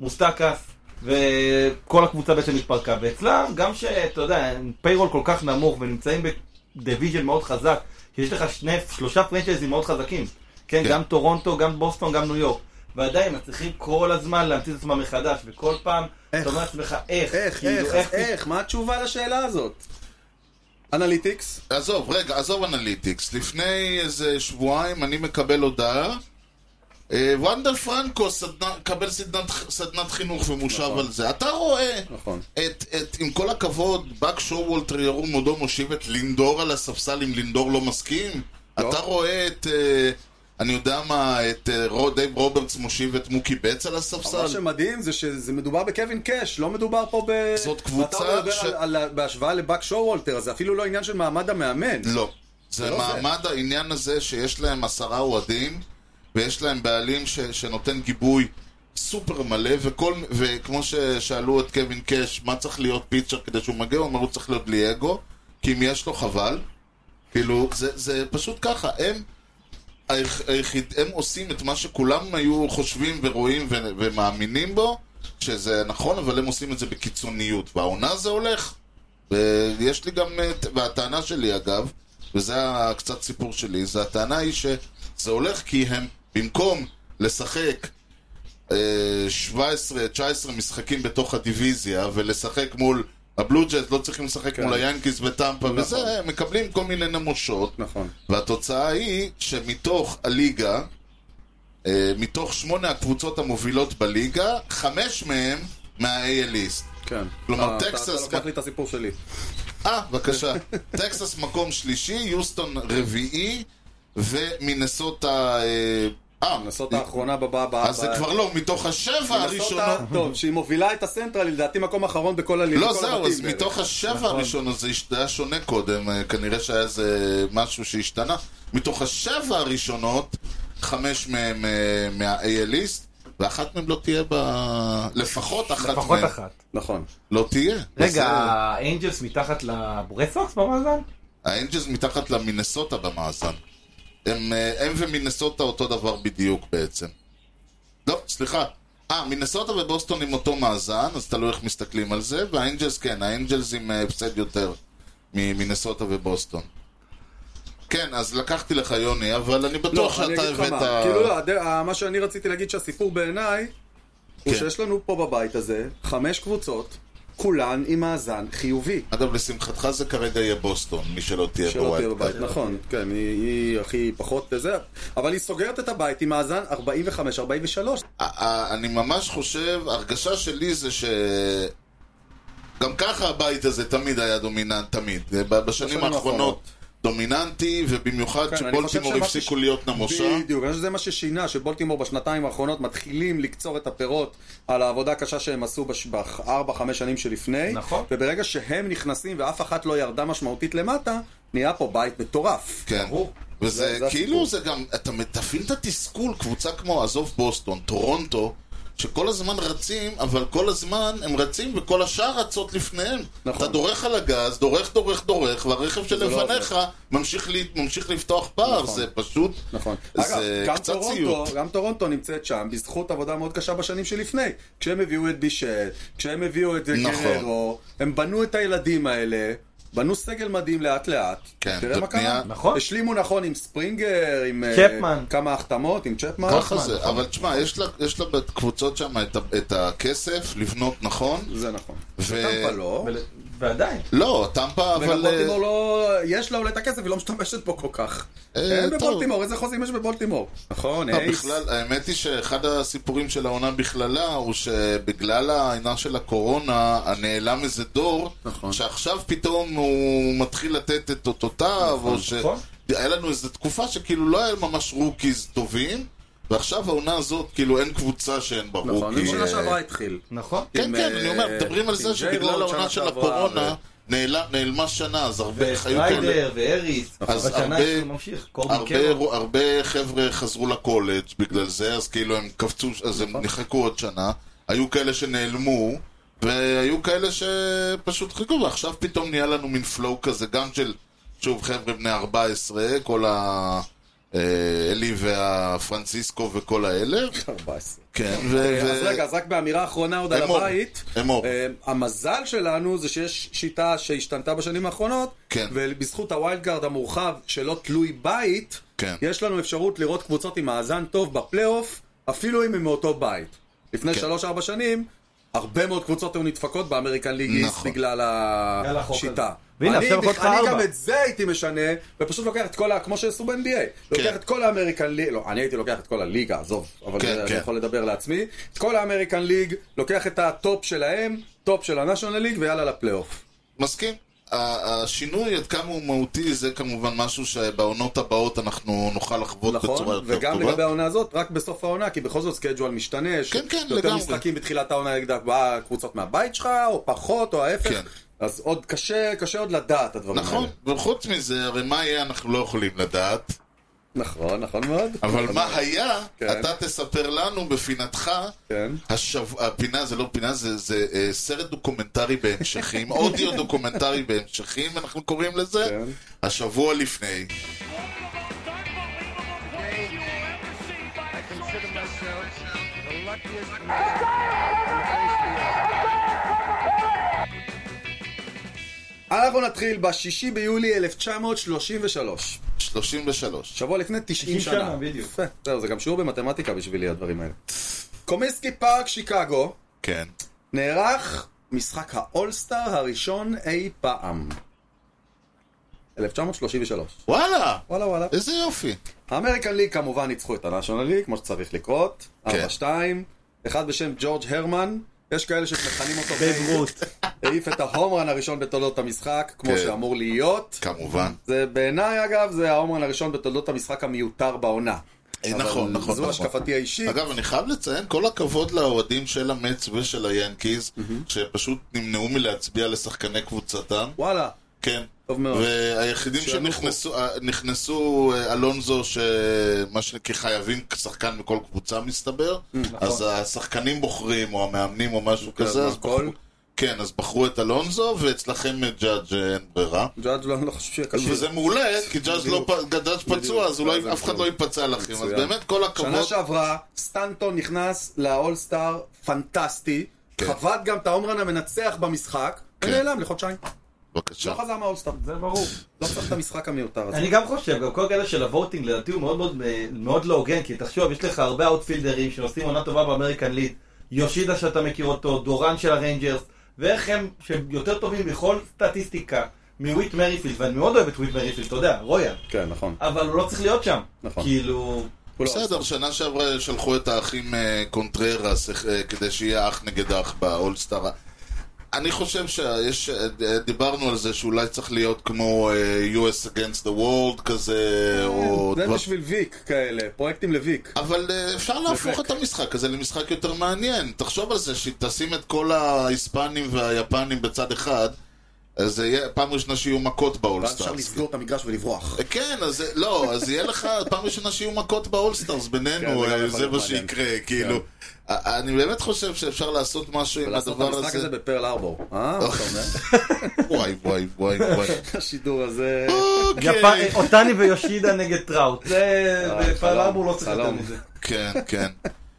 S4: מוסטקס, וכל הקבוצה בעצם התפרקה. ואצלם, גם שאתה יודע, פיירול כל כך נמוך ונמצאים בדיוויז'ן מאוד חזק, שיש לך שני, שלושה פרנצ'ייזים מאוד חזקים. כן,
S1: כן.
S4: גם טורונטו, גם בוסטון, גם ניו יורק. ועדיין מצליחים כל הזמן להמציא את עצמם מחדש, וכל פעם,
S3: איך?
S4: אתה אומר לעצמך, איך,
S3: איך,
S4: כאילו,
S3: איך, אז איך, מה התשובה לשאלה הזאת? אנליטיקס?
S1: עזוב, רגע, עזוב אנליטיקס. לפני איזה שבועיים אני מקבל הודעה. אה, וונדר פרנקו סדנה- קבל סדנת, סדנת חינוך ומושב על זה. אתה רואה
S3: נכון.
S1: את, את, עם כל הכבוד, באק שורוולטר ירום מודו מושיב את לינדור על הספסל אם לינדור לא מסכים?
S3: לא.
S1: אתה רואה את, אה, אני יודע מה, את אה, רו- דייב רוברטס מושיב את מוקי בץ על
S3: מה
S1: הספסל?
S3: שמדהים זה שזה מדובר בקווין קאש, לא מדובר פה ב...
S1: זאת קבוצה
S3: ואתה מדבר
S1: ש-
S3: על- על ה- בהשוואה לבאק שואוולטר, אז זה אפילו לא עניין של מעמד המאמן.
S1: לא. זה
S3: לא זה.
S1: מעמד העניין הזה שיש להם עשרה אוהדים, ויש להם בעלים ש, שנותן גיבוי סופר מלא, וכל, וכמו ששאלו את קווין קאש, מה צריך להיות פיצ'ר כדי שהוא מגיע, הוא אמר, הוא צריך להיות בלי אגו, כי אם יש לו חבל. כאילו, זה, זה פשוט ככה, הם, היח, היחיד, הם עושים את מה שכולם היו חושבים ורואים ו, ומאמינים בו, שזה נכון, אבל הם עושים את זה בקיצוניות. והעונה זה הולך. ויש לי גם, את- והטענה שלי אגב, וזה ה- קצת סיפור שלי, זה הטענה היא שזה הולך כי הם, במקום לשחק אה, 17-19 משחקים בתוך הדיוויזיה ולשחק מול הבלו ג'אט, לא צריכים לשחק
S3: כן.
S1: מול היאנקיס וטמפה
S3: נכון.
S1: וזה, הם מקבלים כל מיני נמושות.
S3: נכון.
S1: והתוצאה היא שמתוך הליגה, אה, מתוך שמונה הקבוצות המובילות בליגה, חמש מהן מה-AL East.
S3: כן.
S1: כלומר,
S3: אה, אתה-
S1: טקסס- כן.
S3: אתה לוקח לי את הסיפור שלי.
S1: אה, בבקשה. טקסס מקום שלישי, יוסטון רביעי, ומינסוטה... אה, אה,
S3: לנסות האחרונה בבאה הבאה.
S1: אז זה כבר לא, מתוך השבע הראשונות...
S3: טוב, שהיא מובילה את הסנטרל, היא לדעתי מקום אחרון בכל הליגה.
S1: לא,
S3: בכל
S1: זהו,
S3: הבתים
S1: אז
S3: בערך.
S1: מתוך
S4: נכון.
S1: השבע הראשונות זה הש- היה שונה קודם, אה, כנראה שהיה איזה משהו שהשתנה. מתוך השבע הראשונות, חמש מהם אה, מה-ALיסט, ואחת מהם לא תהיה ב... לפחות אחת
S4: לפחות
S1: מהם
S4: אחת.
S3: נכון.
S1: לא תהיה.
S4: רגע,
S1: בסדר.
S4: האנג'לס מתחת לברדסוקס במאזן?
S1: האנג'לס מתחת למינסוטה במאזן. הם, אה, הם ומינסוטה אותו דבר בדיוק בעצם. לא, סליחה. אה, מינסוטה ובוסטון עם אותו מאזן, אז תלוי איך מסתכלים על זה, והאנג'לס כן, האנג'לס עם אה, הפסד יותר ממינסוטה ובוסטון. כן, אז לקחתי לך יוני, אבל אני
S3: לא,
S1: בטוח
S3: אני
S1: שאתה
S3: אגיד לך
S1: הבאת...
S3: מה, כאילו לא, הד- ה- מה שאני רציתי להגיד שהסיפור בעיניי, הוא
S1: כן.
S3: שיש לנו פה בבית הזה חמש קבוצות, כולן עם מאזן חיובי.
S1: אגב, לשמחתך זה כרגע יהיה בוסטון, מי שלא תהיה
S3: שלא תהיה
S1: בווייד
S3: בבית,
S1: קארד.
S3: נכון, כן, היא- היא הכי פחות זה, אבל היא סוגרת את הבית עם מאזן 45-43.
S1: ה- ה- אני ממש חושב, הרגשה שלי זה ש... גם ככה הבית הזה תמיד היה דומיננט, תמיד. ב- בשנים
S3: בשנים
S1: האחרונות
S3: האחרונות.
S1: דומיננטי, ובמיוחד
S3: כן, אני חושב
S1: שבולטימור
S3: שמה
S1: הפסיקו
S3: שש-
S1: להיות נמושה.
S3: בדיוק, אני חושב שזה מה ששינה, שבולטימור בשנתיים האחרונות מתחילים לקצור את הפירות על העבודה הקשה שהם עשו בש- בארבע, חמש שנים שלפני.
S4: נכון.
S3: וברגע שהם נכנסים ואף אחת לא ירדה משמעותית למטה, נהיה פה בית מטורף.
S1: כן.
S4: ברור.
S1: וזה
S3: זה- זה
S1: כאילו
S3: הסיפור.
S1: זה גם, אתה מתפעיל את התסכול, קבוצה כמו עזוב בוסטון, טורונטו, שכל הזמן רצים, אבל כל הזמן הם רצים וכל השאר רצות לפניהם.
S3: נכון. לא
S1: אתה דורך על הגז, דורך, דורך, דורך, והרכב שלפניך
S3: עובד.
S1: ממשיך ל- ממשיך לפתוח פער,
S3: נכון.
S1: זה פשוט...
S3: נכון. אגב,
S1: זה
S3: גם
S1: קצת
S3: טורונטו,
S1: ציוט.
S3: גם טורונטו נמצאת שם בזכות עבודה מאוד קשה בשנים שלפני. כשהם הביאו את בישט, כשהם הביאו את
S1: נכון.
S3: גררו, הם בנו את הילדים האלה, בנו סגל מדהים לאט לאט.
S1: כן,
S3: תראה
S1: זו
S3: מה
S1: בנייה-
S3: קרה.
S4: נכון.
S3: השלימו נכון עם ספרינגר, עם אה,
S4: צ'פמן.
S3: כמה החתמות, עם צ'פמן.
S1: ככה
S4: נכון,
S1: זה,
S4: נכון.
S1: אבל תשמע, יש לה- יש לה בקבוצות שם את ה- את הכסף לבנות נכון,
S3: זה נכון.
S1: ו-
S3: וטמפה לא.
S4: ול- ועדיין.
S1: לא, טמפה,
S3: וגם
S1: אבל...
S3: בולטימור לא... יש לה אולי את הכסף, היא לא משתמשת בו כל כך.
S1: אה,
S3: אין
S1: טוב.
S3: בבולטימור, איזה חוזים יש בבולטימור? נכון,
S1: אה,
S3: אייס.
S1: בכלל, האמת היא שאחד הסיפורים של העונה בכללה הוא שבגלל העניין של הקורונה נעלם איזה דור
S3: נכון.
S1: שעכשיו פתאום הוא מתחיל לתת את אותותיו או ש...
S4: נכון.
S1: היה לנו איזו תקופה שכאילו לא היה ממש רוקיז טובים ועכשיו העונה הזאת כאילו אין קבוצה שאין בה
S3: נכון,
S1: רוקי.
S3: בשנה
S1: אה,
S3: שעברה התחיל.
S4: נכון.
S1: כן,
S3: עם,
S1: כן, אני אומר,
S3: אה,
S1: מדברים על זה
S3: עם לא,
S1: שבגלל
S3: ג'יי-רוד
S1: העונה
S3: שנה
S1: של
S3: שעברה,
S1: הקורונה
S3: ו-
S1: נעלה- נעלמה שנה, אז הרבה היו כאלה.
S4: וסטריידר והריס.
S1: אז
S4: בשנה
S1: הרבה-
S4: יש לנו ממשיך. קורבן
S3: כן.
S1: הרבה,
S4: קרן.
S1: רוא- הרבה חבר'ה חזרו לקולג' בגלל זה, אז כאילו הם קפצו, אז
S3: נכון.
S1: הם נחקו עוד שנה. היו כאלה שנעלמו, והיו כאלה שפשוט חיכו, ועכשיו פתאום נהיה לנו מין פלואו כזה, גם של, שוב, חבר'ה בני 14, כל ה... אה, אלי והפרנסיסקו וכל האלה,
S3: 14.
S1: כן,
S3: אוקיי, אז רגע, אז רק באמירה האחרונה עוד על
S1: אמור,
S3: הבית.
S1: אמור.
S3: אה, המזל שלנו זה שיש שיטה שהשתנתה בשנים האחרונות,
S1: כן.
S3: ובזכות הווילד קארד המורחב שלא תלוי בית,
S1: כן.
S3: יש לנו אפשרות לראות קבוצות עם מאזן טוב בפלייאוף, אפילו אם הם מאותו בית. לפני
S1: כן.
S3: 3-4 שנים, הרבה מאוד קבוצות היו נדפקות באמריקן ליג איסט
S1: נכון.
S3: בגלל
S4: בגלל החוק
S3: השיטה.
S4: הזה. והנה,
S3: אני
S4: עכשיו יכול להיות לך
S3: אני
S4: ארבע.
S3: גם את זה הייתי משנה, ופשוט לוקח את כל ה... כמו שעשו ב-NBA.
S1: כן.
S3: לוקח את כל האמריקן ליג, לא, אני הייתי לוקח את כל הליגה, עזוב, אבל
S1: כן,
S3: זה- אני
S1: כן.
S3: יכול לדבר לעצמי. את כל האמריקן ליג, לוקח את הטופ שלהם, טופ של הנשיונל ליג, ויאללה לפלייאוף.
S1: מסכים. ה- השינוי, עד כמה הוא מהותי, זה כמובן משהו שבעונות הבאות אנחנו נוכל לחוות בצורה
S3: נכון?
S1: יותר טובה.
S3: וגם לגבי העונה הזאת, רק בסוף העונה, כי בכל זאת סקייג'ואל משתנה. יש
S1: כן, כן,
S3: יותר
S1: לגמרי.
S3: משחקים בתחילת העונה נגד הקבוצות מהבית שלך, או פחות, או ההפך.
S1: כן.
S3: אז עוד קשה, קשה עוד לדעת הדברים
S1: נכון,
S3: האלה.
S1: וחוץ מזה, הרי מה יהיה אנחנו לא יכולים לדעת,
S3: נכון, נכון מאוד.
S1: אבל מה היה,
S3: כן.
S1: אתה תספר לנו בפינתך,
S3: כן.
S1: השב- הפינה זה לא פינה, זה- זה אה, סרט דוקומנטרי בהמשכים, אודיו דוקומנטרי בהמשכים, אנחנו קוראים לזה,
S3: כן.
S1: השבוע לפני.
S5: I consider myself the luckiest man.
S3: אנחנו אה, נתחיל בשישי ביולי 1933.
S1: 33.
S3: שבוע לפני 90
S4: 90 שנה,
S3: שנה.
S4: בדיוק.
S3: יפה. זהו, זה גם שיעור במתמטיקה בשבילי הדברים האלה. קומיסקי פארק שיקגו
S1: כן.
S3: נערך משחק האולסטאר הראשון אי פעם. 1933.
S1: וואלה,
S3: וואלה וואלה.
S1: איזה יופי.
S3: האמריקן ליג כמובן ניצחו את הנשיונל ליג, כמו שצריך לקרות.
S1: כן.
S3: 4-2. אחד בשם ג'ורג' הרמן. יש כאלה שמכנים אותו
S4: בייב רות.
S3: העיף את ההומרן הראשון בתולדות המשחק, כמו
S1: כן.
S3: שאמור להיות.
S1: כמובן.
S3: זה בעיניי אגב, זה ההומרן הראשון בתולדות המשחק המיותר בעונה.
S1: אה,
S3: אבל
S1: נכון, נכון,
S3: זו
S1: נכון.
S3: השקפתי האישית.
S1: אגב, אני חייב לציין, כל הכבוד לאוהדים של המץ ושל היאנקיז, שפשוט נמנעו מלהצביע לשחקני קבוצתם.
S3: וואלה,
S1: כן.
S3: טוב מאוד.
S1: והיחידים
S3: שינוחו.
S1: שנכנסו, אה, נכנסו אה, אלונזו, שמה שנקרא חייבים שחקן מכל קבוצה מסתבר,
S3: נכון.
S1: אז השחקנים בוחרים, או המאמנים או משהו כזה, אז
S3: אוקיי, הכל.
S1: בחרו, כן, אז בחרו את אלונזו, ואצלכם אה, ג'אדג' אה, אין ברירה.
S3: ג'אדג' לא, אני לא חושב שיהיה
S1: וזה
S3: קשור.
S1: מעולה, כי ג'אדג' לא
S3: בדיוק.
S1: פ- ג'אדג' פצוע, אז
S3: בדיוק.
S1: אולי
S3: זה
S1: אף אחד
S3: נכון.
S1: לא ייפצע לכם, אז
S3: מצוין.
S1: באמת כל
S3: שנה
S1: הכבוד.
S3: שעברה, סטנטון נכנס לאולסטאר, פנטסטי,
S1: כן.
S3: חבט גם את ההומרן המנצח במשחק,
S1: כן.
S3: ונעלם לחודשיים.
S1: בבקשה.
S3: לא חזר מהאולסטאר.
S4: זה ברור.
S3: לא צריך את המשחק המיותר הזה.
S4: אני גם חושב, גם כל הקטע של הווטינג לדעתי הוא מאוד מאוד מאוד לא הוגן, כי תחשוב, יש לך הרבה אאוטפילדרים שעושים עונה טובה באמריקן ליד, יושידה שאתה מכיר אותו, דורן של הריינג'רס, ואיך הם, שהם יותר טובים בכל סטטיסטיקה מוויט מריפילד, ואני מאוד אוהב את וויט מריפילד, אתה יודע, רויאל,
S3: כן, נכון.
S4: אבל הוא לא צריך להיות שם.
S3: נכון.
S4: כאילו,
S3: הוא לא-
S1: בסדר, שנה שעברה שלחו את האחים אה, קונטררס אה, כדי שיהיה אח נגד אח באולסטאר. אני חושב שיש, אה, אה, דיברנו על זה שאולי צריך להיות כמו אה, US against the world כזה, או...
S3: זה
S1: דבר-
S3: בשביל ויק כאלה, פרויקטים לוויק.
S1: אבל אה, אפשר להפוך את המשחק הזה למשחק יותר מעניין. תחשוב על זה, שתשים את כל ההיספנים והיפנים בצד אחד, אז זה יהיה פעם ראשונה שיהיו מכות
S3: ואז אפשר
S1: באולסטאר.
S3: לסגור את המגרש ולברוח.
S1: כן, אז זה- לא, אז יהיה לך פעם ראשונה שיהיו מכות באולסטארס בינינו,
S3: כן, זה גם
S1: אה,
S3: יכול
S1: זה
S3: להיות
S1: מה
S3: מעניין.
S1: שיקרה, כאילו. א- אני באמת חושב שאפשר לעשות משהו עם
S3: לעשות את
S1: אה, הדבר
S3: המשחק
S1: הזה.
S3: הזה בפרל ארבור. אה, מה אתה אומר?
S1: וואי, וואי, וואי, וואי.
S3: השידור הזה...
S1: אוקיי.
S4: אה, אותני ויושידה נגד טראוט, זה,
S3: לא- אה, חלום,
S4: בפלאבו לא צריך יותר
S3: חלום.
S4: מזה.
S1: כן, כן.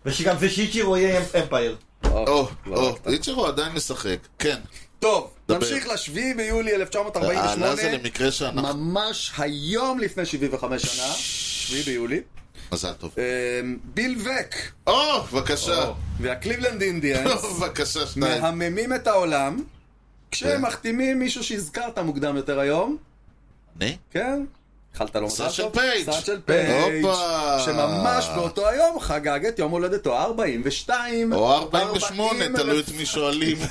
S4: ושגם ושיצ'ירו יהיה אמפייר.
S1: או,
S3: לא
S1: או,
S3: רק.
S1: איצ'רו עדיין משחק. כן.
S3: טוב,
S1: דבר. אה,
S3: נמשיך לשביעי ביולי
S1: העלה
S3: 1948,
S1: זה למקרה שאנחנו...
S3: ממש היום לפני 75 שנה, שביעי ביולי,
S1: מזל טוב.
S3: אמ, ביל וק
S1: או, בבקשה.
S3: והקליבלנד אינדיאנס
S1: או, בבקשה, שניים.
S3: מהממים את העולם כשהם מחתימים מישהו שהזכרת מוקדם יותר היום,
S1: אני?
S3: כן? אכלת לא מזל
S1: סאצ'ל
S3: טוב?
S1: פייג'.
S3: סאצ'ל פייג'.
S1: הופה.
S3: שממש באותו היום חגג את יום הולדתו 42.
S1: או 48,
S3: 40,
S1: תלוי את מי שואלים.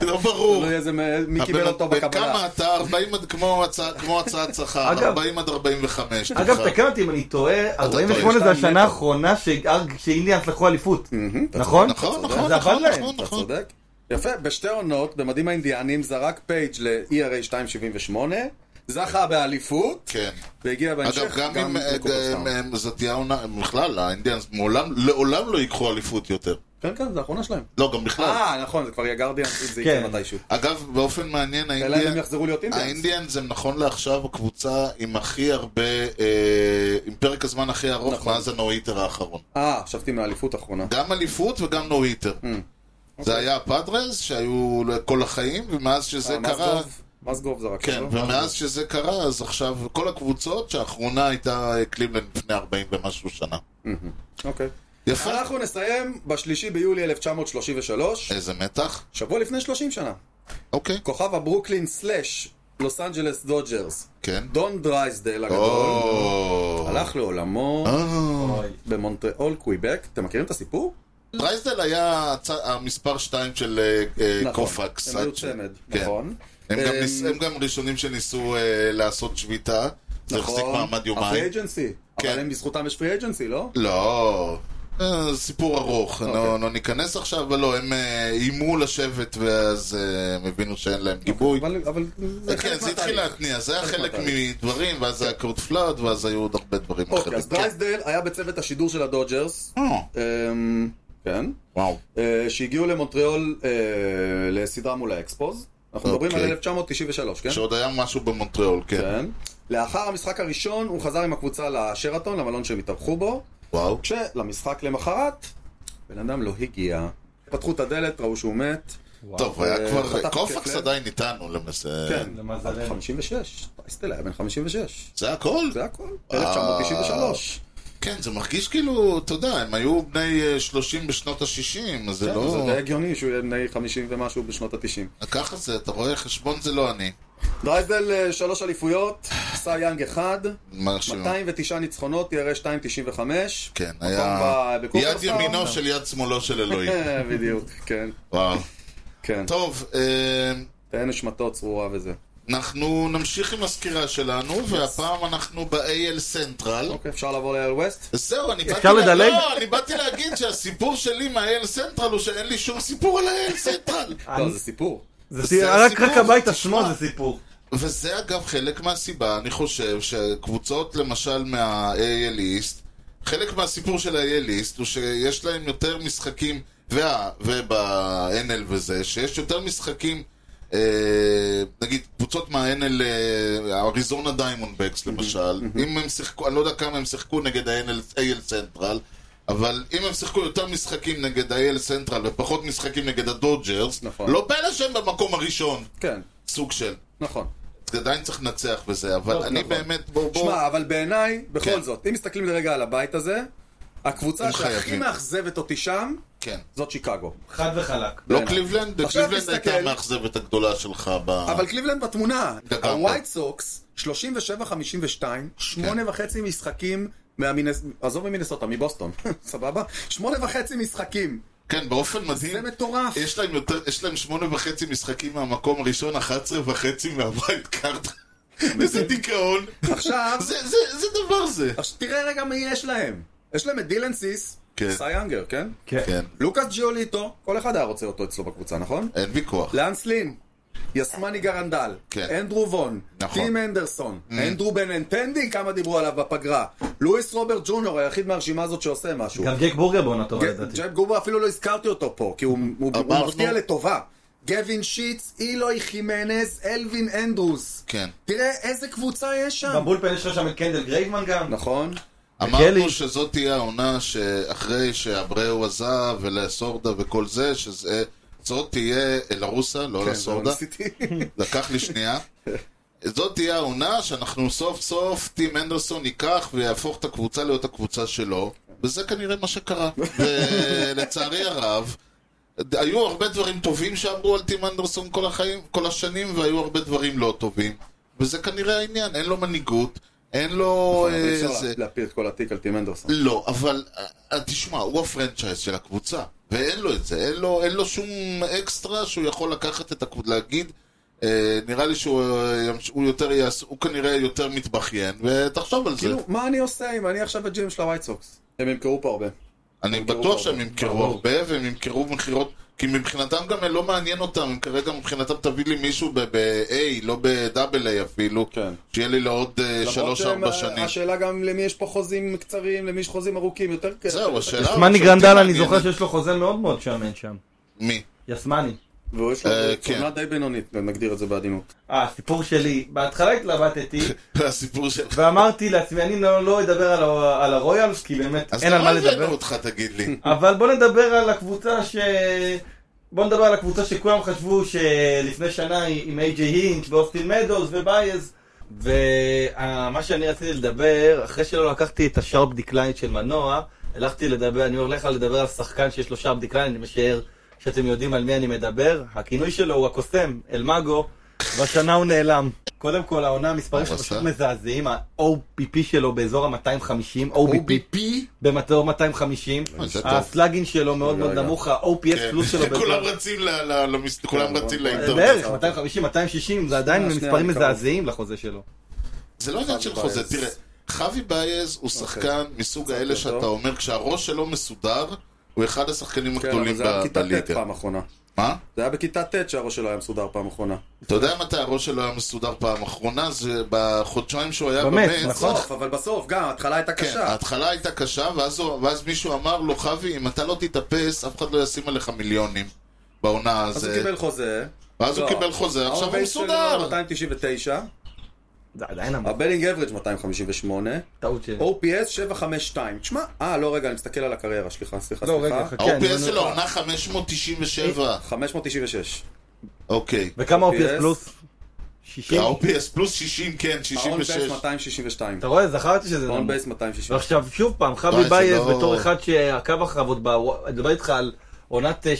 S1: לא ברור.
S3: תלוי איזה מ- מי קיבל
S1: הבן-
S3: אותו בקבלה.
S1: בכמה אתה? 40 עד כמו הצע- כמו הצעת שכר,
S4: אגב-
S1: 40 עד 45.
S4: אגב,
S1: תבחר.
S4: תקן אותי אם אני טועה, 48 זה
S3: שתיים
S4: השנה
S3: נטו.
S4: האחרונה שהארג- שאינדיאנס לקחו אליפות, נכון?
S1: נכון,
S3: אתה
S1: נכון,
S4: צודק.
S1: נכון,
S4: זה עבד
S1: נכון,
S3: אתה
S1: נכון.
S3: צודק. יפה, בשתי עונות, במדים האינדיאנים, זרק פייג' ל-ERA 278, זכה באליפות,
S1: כן.
S3: והגיע בהמשך
S1: אגב, גם אם אה,
S3: לקופרסטאון.
S1: גם אם זאת תהיה עונה, בכלל, האינדיאנס מעולם, לעולם לא ייקחו אליפות יותר.
S3: כן, כן, זה האחרונה שלהם.
S1: לא, גם בכלל.
S3: אה, נכון, זה כבר יהיה גרדיאנס, זה
S4: כן.
S3: יקרה מתישהו.
S1: אגב, באופן מעניין,
S3: אלא אם
S1: האינדיאנס...
S3: הם יחזרו להיות אינדיאנס.
S1: האינדיאנס הם נכון לעכשיו הקבוצה עם הכי הרבה, אה, עם פרק הזמן הכי ארוך
S3: נכון.
S1: מאז הנואיטר האחרון.
S3: אה, חשבתי מהאליפות האחרונה.
S1: גם אליפות וגם נואיטר.
S3: אה. אוקיי.
S1: זה היה הפאדרס שהיו כל החיים, ומאז שזה
S3: אה,
S1: קרה...
S3: מזגוב? מזגוב זה רק
S1: כן,
S3: שלו.
S1: ומאז שזה קרה, אז עכשיו כל הקבוצות, שהאחרונה הייתה אה, קליבלנד לפני 40 ומשהו שנה.
S3: אוקיי.
S1: יפה.
S3: אנחנו נסיים בשלישי ביולי 1933,
S1: איזה מתח.
S3: שבוע לפני 30 שנה.
S1: אוקיי,
S3: כוכב הברוקלין סלאש לוס אנג'לס דודג'רס.
S1: כן.
S3: דון דרייסדל הגדול
S1: או...
S3: הלך לעולמו
S1: אה.
S4: אוי.
S3: במונטריאול קוויבק. אתם מכירים את הסיפור?
S1: דרייסדל היה הצ- המספר 2 של אה, אה, קופקס.
S3: נכון. הם היו
S1: עד ש-
S3: צמד,
S1: כן.
S3: נכון.
S1: הם גם
S3: אה,
S1: ניס- הם גם ראשונים שניסו אה, לעשות שביתה. זה
S3: נכון.
S1: החזיק מעמד
S3: הפרי
S1: יומיים.
S3: אג'נסי.
S1: כן.
S3: אבל הם בזכותם יש פרי אג'נסי, לא?
S1: לא, אה, סיפור ארוך,
S3: אוקיי.
S1: לא לא ניכנס עכשיו, אבל לא, הם אה, איימו לשבת ואז אה, הם הבינו שאין להם גיבוי.
S3: אבל אבל זה
S1: כן,
S3: חלק
S1: זה התחיל
S3: מהתהליך.
S1: להתניע, זה היה
S3: חלק
S1: חלק
S3: מהתהליך.
S1: מדברים, ואז היה קורט פלאד, ואז היו עוד הרבה דברים
S3: אוקיי, אז
S1: אחרים. כן.
S3: דרייסדל היה בצוות השידור של הדודג'רס.
S1: אה,
S3: אמ, כן.
S1: וואו,
S3: אה, שהגיעו למונטריאול אה, לסדרה מול האקספוז. אנחנו מדברים על
S1: אוקיי.
S3: 1993, כן?
S1: שעוד היה משהו במונטריאול, כן.
S3: כן. לאחר המשחק הראשון הוא חזר עם הקבוצה לשרתון, למלון שהם התארחו בו,
S1: וואו.
S3: כשלמשחק למחרת, בן אדם לא הגיע. פתחו את הדלת, ראו שהוא מת.
S1: טוב, היה
S3: אה,
S1: כבר,
S3: חטף
S1: קופקס
S3: התקף לב.
S1: עדיין איתנו למעשה.
S3: כן,
S4: למזלנו.
S3: 56. טייסטל היה בן 56.
S1: זה הכל?
S3: זה הכל.
S1: אה.
S3: 1993.
S1: כן, זה מרגיש כאילו, אתה יודע, הם היו בני אה, 30 בשנות ה-60, אז זה
S3: כן, זה
S1: לא...
S3: די הגיוני שהוא יהיה בני 50 ומשהו בשנות ה-90.
S1: ככה זה, אתה רואה, חשבון זה לא אני.
S3: דרייזל אה, שלוש אליפויות, סי יאנג אחד,
S1: מרשים.
S3: 209 ניצחונות, TRA 295.
S1: כן,
S3: ב-
S1: היה
S3: בקופרסטאון.
S1: יד ימינו של יד שמאלו של אלוהים.
S3: אה, בדיוק, כן,
S1: וואו.
S3: כן.
S1: טוב, אה,
S3: תהא נשמתו צרורה וזה.
S1: אנחנו נמשיך עם הסקירה שלנו, והפעם אנחנו ב-AL סנטרל.
S3: אוקיי, אפשר לעבור ל-AL West?
S1: זהו, אני באתי,
S4: אפשר
S1: לה...
S4: לדלג?
S1: לא, אני באתי להגיד שהסיפור שלי מה-AL סנטרל הוא שאין לי שום סיפור על ה-AL סנטרל.
S3: לא, זה סיפור.
S4: זה
S1: זה
S4: סי- רק
S1: הסיפור,
S4: רק הבית
S1: תשמע.
S4: עצמו זה סיפור.
S1: וזה אגב חלק מהסיבה, אני חושב, שקבוצות למשל מה-AL East, חלק מהסיפור של ה-AL East הוא שיש להם יותר משחקים, וה, וב-NL וזה, שיש יותר משחקים, אה, נגיד קבוצות מה-NL, אה, אריזונה דיימונדבקס למשל, אם הם שיחקו, אני לא יודע כמה הם שיחקו נגד ה-AL סנטרל, אבל אם הם שיחקו יותר משחקים נגד ה-AL סנטרל ופחות משחקים נגד הדודג'רס,
S3: נכון.
S1: לא פלא שהם במקום הראשון,
S3: כן,
S1: סוג של.
S3: נכון.
S1: זה עדיין צריך לנצח בזה, אבל
S3: טוב,
S1: אני
S3: נכון.
S1: באמת, לא, בוא, בוא,
S3: שמע, אבל בעיניי,
S1: כן.
S3: בכל זאת, אם מסתכלים לרגע על הבית הזה, הקבוצה
S1: הם
S3: שהכי
S1: חייבים.
S3: מאכזבת אותי שם,
S1: כן.
S3: זאת שיקגו.
S4: חד וחלק.
S1: לא
S3: בעיניי.
S1: קליבלנד,
S3: כן, עכשיו
S1: קליבלנד
S3: תסתכל.
S1: הייתה המאכזבת הגדולה שלך ב...
S3: אבל קליבלנד בתמונה.
S1: לגמרי.
S3: הווייט סוקס, 37-52,
S1: כן.
S3: שמונה וחצי משחקים מהמינס... עזוב ממינסוטה, מבוסטון, סבבה? שמונה וחצי משחקים.
S1: כן, באופן
S3: זה
S1: מדהים,
S3: מטורף.
S1: יש להם יותר, יש להם שמונה וחצי משחקים מהמקום הראשון, 11 וחצי מהווייט קארט. איזה דיכאון.
S3: עכשיו,
S1: זה, זה, זה דבר זה.
S3: עכשיו תראה רגע מי יש להם. יש להם את דילן סיס,
S1: כן.
S3: סייאנגר, כן?
S1: כן,
S3: לוקאס ג'יוליטו, כל אחד היה רוצה אותו אצלו בקבוצה, נכון?
S1: אין ויכוח.
S3: לאנס לין, יסמני גרנדל,
S1: כן.
S3: אנדרו וון,
S1: נכון.
S3: טים אנדרסון, אנדרו בן אנטנדי, כמה דיברו עליו בפגרה, לואיס רוברט ג'וניור, היחיד מהרשימה הזאת שעושה משהו.
S4: גם ג'ק בורגר בעונה טובה
S3: ג-
S4: לדעתי.
S3: ג'ק גובר כן, אפילו לא הזכרתי אותו פה, כי הוא הוא- הוא
S1: אמרנו-
S3: מפתיע לטובה. גווין שיטס, אילוי חימנס, אלווין אנדרוס.
S1: כן.
S3: תראה איזה קבוצה יש שם.
S4: בבולפן יש לך שם את קנדל גרייבמן גם.
S3: נכון.
S1: אמרנו
S4: וגלי.
S1: שזאת תהיה העונה שאחרי שאבראו עזב ולסורדה וכל זה, שזה... זאת תהיה אלרוסה, לא
S3: כן, זה
S1: לסורדה.
S3: ניסיתי.
S1: לקח לי שנייה. זאת תהיה העונה שאנחנו סוף סוף, טים הנדרסון ייקח ויהפוך את הקבוצה להיות הקבוצה שלו, וזה כנראה מה שקרה. ולצערי הרב, היו הרבה דברים טובים שאמרו על טים אנדרסון כל החיים, כל השנים, והיו הרבה דברים לא טובים. וזה כנראה העניין, אין לו מנהיגות, אין לו...
S3: נכון, אבל אי
S1: אה,
S3: אפשר
S1: זה...
S3: להפיל את כל התיק על טים אנדרסון.
S1: לא, אבל אה, אה, תשמע, הוא הפרנצ'ייז של הקבוצה, ואין לו את זה, אין לו, אין לו שום אקסטרה שהוא יכול לקחת את הקבוצה, להגיד, אה, נראה לי שהוא אה, ימש- הוא יותר יעש, הוא כנראה יותר מתבכיין, ותחשוב על זה.
S3: כאילו, מה אני עושה אם אני עכשיו הג'ים של הווייט סוקס? הם ימכרו פה הרבה.
S1: אני
S3: ימכרו
S1: בטוח
S3: הרבה.
S1: שהם ימכרו
S3: כאילו, ברור.
S1: הרבה, והם ימכרו מכירות, כי מבחינתם גם לא מעניין אותם, הם כרגע מבחינתם תביא לי מישהו ב-A, לא ב-AA אפילו,
S3: כן.
S1: שיהיה לי לעוד
S3: למרות
S1: 3-4
S3: שהם- אה,
S1: שנים.
S3: השאלה גם למי יש פה חוזים קצרים, למי יש חוזים ארוכים, יותר כאלה.
S1: זהו, השאלה...
S4: יסמני
S1: שאותי
S4: גרנדל, אני
S1: מעניינת-
S4: זוכר שיש לו חוזה מאוד מאוד שמן שם.
S1: מי?
S4: יסמני.
S3: והוא יש לו
S1: אה, כן.
S3: תמונה די בינונית, נגדיר את זה בעדינות.
S4: אה, הסיפור שלי, בהתחלה התלבטתי,
S1: הסיפור של...
S4: ואמרתי לעצמי, אני לא לא אדבר על ה- על הרויאלס, כי באמת
S1: אז
S4: אין על
S1: למה
S4: מה
S1: הבאנו
S4: לדבר.
S1: אותך, תגיד לי?
S4: אבל בוא נדבר על הקבוצה ש... בוא נדבר על הקבוצה שכולם חשבו שלפני שנה היא עם איי-ג'יי הינץ' ואוסטין מדוז ובייז. ומה שאני רציתי לדבר, אחרי שלא לקחתי את השארפ דקליין של מנוע, הלכתי לדבר, אני הולך לדבר על שחקן שיש לו שארפ דקליין, אני משער שאתם יודעים על מי אני מדבר. הכינוי שלו הוא הקוסם, אלמגו, והשנה הוא נעלם. קודם כל העונה המספרים שלו
S1: הוא
S4: פשוט
S1: עשה?
S4: מזעזעים, ה-OPP שלו באזור ה-250, OPP במטור 250,
S1: אה, זה טוב. כן.
S4: הסלאגין שלו מאוד מאוד
S3: רגע.
S4: נמוך, ה-OPS פלוס שלו
S1: כולם
S4: באזור...
S1: רצים ל- ל-
S3: כן,
S1: למס- כולם רצים לאינטרנט.
S4: בערך 250, 260, זה עדיין
S3: אה, שנייה,
S4: מספרים
S3: אני קרוב.
S4: מזעזעים לחוזה שלו.
S1: זה לא עניין של
S3: חווי
S1: חוזה,
S3: בייז.
S1: תראה, חווי בייז הוא שחקן מסוג האלה
S3: יותר
S1: שאתה
S3: אוקיי. טוב.
S1: אומר, כשהראש שלו מסודר, הוא אחד השחקנים
S3: כן, אבל
S1: הגדולים
S3: זה היה
S1: ב-
S3: בכיתה ט'
S1: בליגה.
S3: פעם אחרונה.
S1: מה?
S3: זה היה בכיתה ט' שהראש שלו היה מסודר פעם אחרונה.
S1: אתה יודע מתי הראש שלו היה מסודר פעם אחרונה? זה בחודשיים שהוא היה
S4: באמת,
S1: במץ.
S4: נכון.
S3: בסוף, אבל בסוף, גם, ההתחלה הייתה
S1: כן,
S3: קשה.
S1: ההתחלה הייתה קשה, ואז הוא- ואז מישהו אמר לו, חווי, אם אתה לא תתאפס, אף אחד לא ישים עליך מיליונים בעונה
S3: אז הוא
S1: הזאת.
S3: קיבל חוזה.
S1: ואז הוא
S3: לא.
S1: קיבל חוזה, עכשיו הוא
S3: ה-on-base שלו לא-
S1: מסודר.
S3: 299,
S4: זה עדיין המ-
S3: הבלינג אברג' 258,
S4: טעות שלי.
S3: OPS 752. תשמע, אה, לא, רגע, אני מסתכל על הקריירה, סליחה, סליחה,
S4: לא, רגע,
S3: סליחה.
S4: חכה. כן, אני
S1: ה-OPS
S4: לא
S1: שלו
S4: נורא.
S1: עונה 597.
S3: 596.
S1: אוקיי.
S4: וכמה OPS
S3: OPS?
S4: פלוס? 60.
S1: אה, ה-OPS פלוס 60, כן,
S3: ה-on-base
S1: 66.
S3: 262.
S4: אתה רואה? זכרתי שזה נמוך.
S3: ה-on-base 260.
S4: ועכשיו שוב פעם,
S1: די,
S4: חבי
S1: זה
S4: בייז
S1: לא-
S4: בתור אחד שעקב אחריו עוד ב... אני מדבר איתך על עונת אה,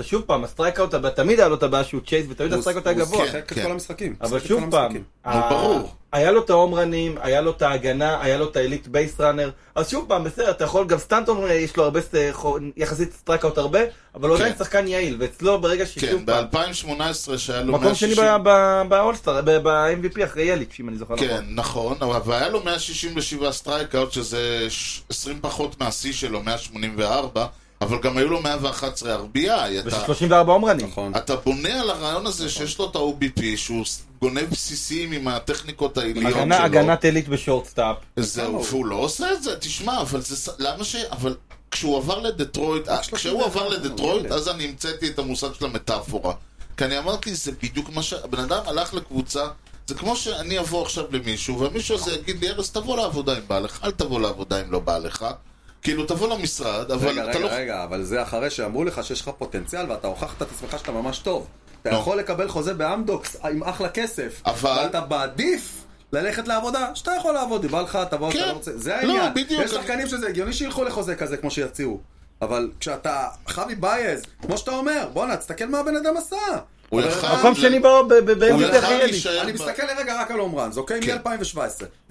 S4: 18-19, שוב פעם, הסטרייקאוט, הבא- תמיד היה לו את הבעיה שהוא צ'ייס, ותמיד הסטרייקאוט היה גבוה.
S3: הוא שיחק את
S1: כן.
S3: כל המשחקים.
S4: אבל
S3: שיחק את כל
S4: שוב פעם,
S3: המשחקים.
S1: נו,
S4: ה-
S1: ברור.
S4: היה לו את ההומרנים, היה לו את ההגנה, היה לו את האליט בייס ראנר, אז שוב פעם, בסדר, אתה יכול, גם סטנטון אה, יש לו הרבה, ס- חו- יחסית סטרקאוט הרבה, אבל הוא
S1: כן.
S4: עדיין שחקן יעיל, ואצלו ברגע ששוב
S1: כן,
S4: פעם,
S1: ב-2018 שהיה לו
S4: מקום שני
S1: 160...
S4: ב- ב- באולסטאר, ב- ב-MVP אחרי יליץ', אם אני זוכר נכון.
S1: כן, נכון, אבל אבל היה לו 167 סטרייקאוט, שזה ש- 20 פחות מהשיא שלו, 184, אבל גם היו לו 111 RBI. אתה-
S4: ו-34 הומרנים.
S3: נכון.
S1: אתה בונה על הרעיון הזה שיש לו את ה-OBP, שהוא ס- גונב בסיסים עם הטכניקות העיליות שלו.
S4: הגנה- הגנת עילית בשורטסטאפ.
S1: זהו, והוא לא עושה את זה, תשמע, אבל זה... ס- למה ש... אבל כשהוא עבר לדטרויט, אה, כשהוא
S3: 31,
S1: עבר לדטרויט,
S3: ילד.
S1: אז אני המצאתי את המושג של המטאפורה. כי אני אמרתי, זה בדיוק מה ש... הבן אדם הלך לקבוצה, זה כמו שאני אבוא עכשיו למישהו, והמישהו הזה יגיד לי, ארז, תבוא לעבודה אם בא לך, אל תבוא לעבודה אם לא בא לך. כאילו, תבוא למשרד, אבל
S3: רגע,
S1: אתה לא...
S3: רגע, רגע, אבל זה אחרי שאמרו לך שיש לך פוטנציאל ואתה הוכחת את עצמך שאתה ממש טוב. אתה
S1: נו.
S3: יכול לקבל חוזה באמדוקס עם אחלה כסף,
S1: לא. אבל-
S3: אתה מעדיף ללכת לעבודה שאתה יכול לעבוד, אם בא לך, תבוא,
S1: כן.
S3: אתה לא רוצה, זה
S1: לא,
S3: העניין.
S1: בדיוק.
S3: יש שחקנים שזה הגיוני שילכו לחוזה כזה כמו שיציעו. אבל כשאתה חבי בייז, כמו שאתה אומר, בואנה, תסתכל מה הבן אדם עשה.
S1: הוא
S3: הבן
S1: יכל-
S3: אדם-
S4: מקום שני ב-MVP
S1: אה, יכל
S4: אחרי יליץ'.
S1: להישאר-
S3: אני
S1: ב-
S3: מסתכל לרגע רק על עומרנז, אוקיי?
S1: כן.
S3: מ-2017,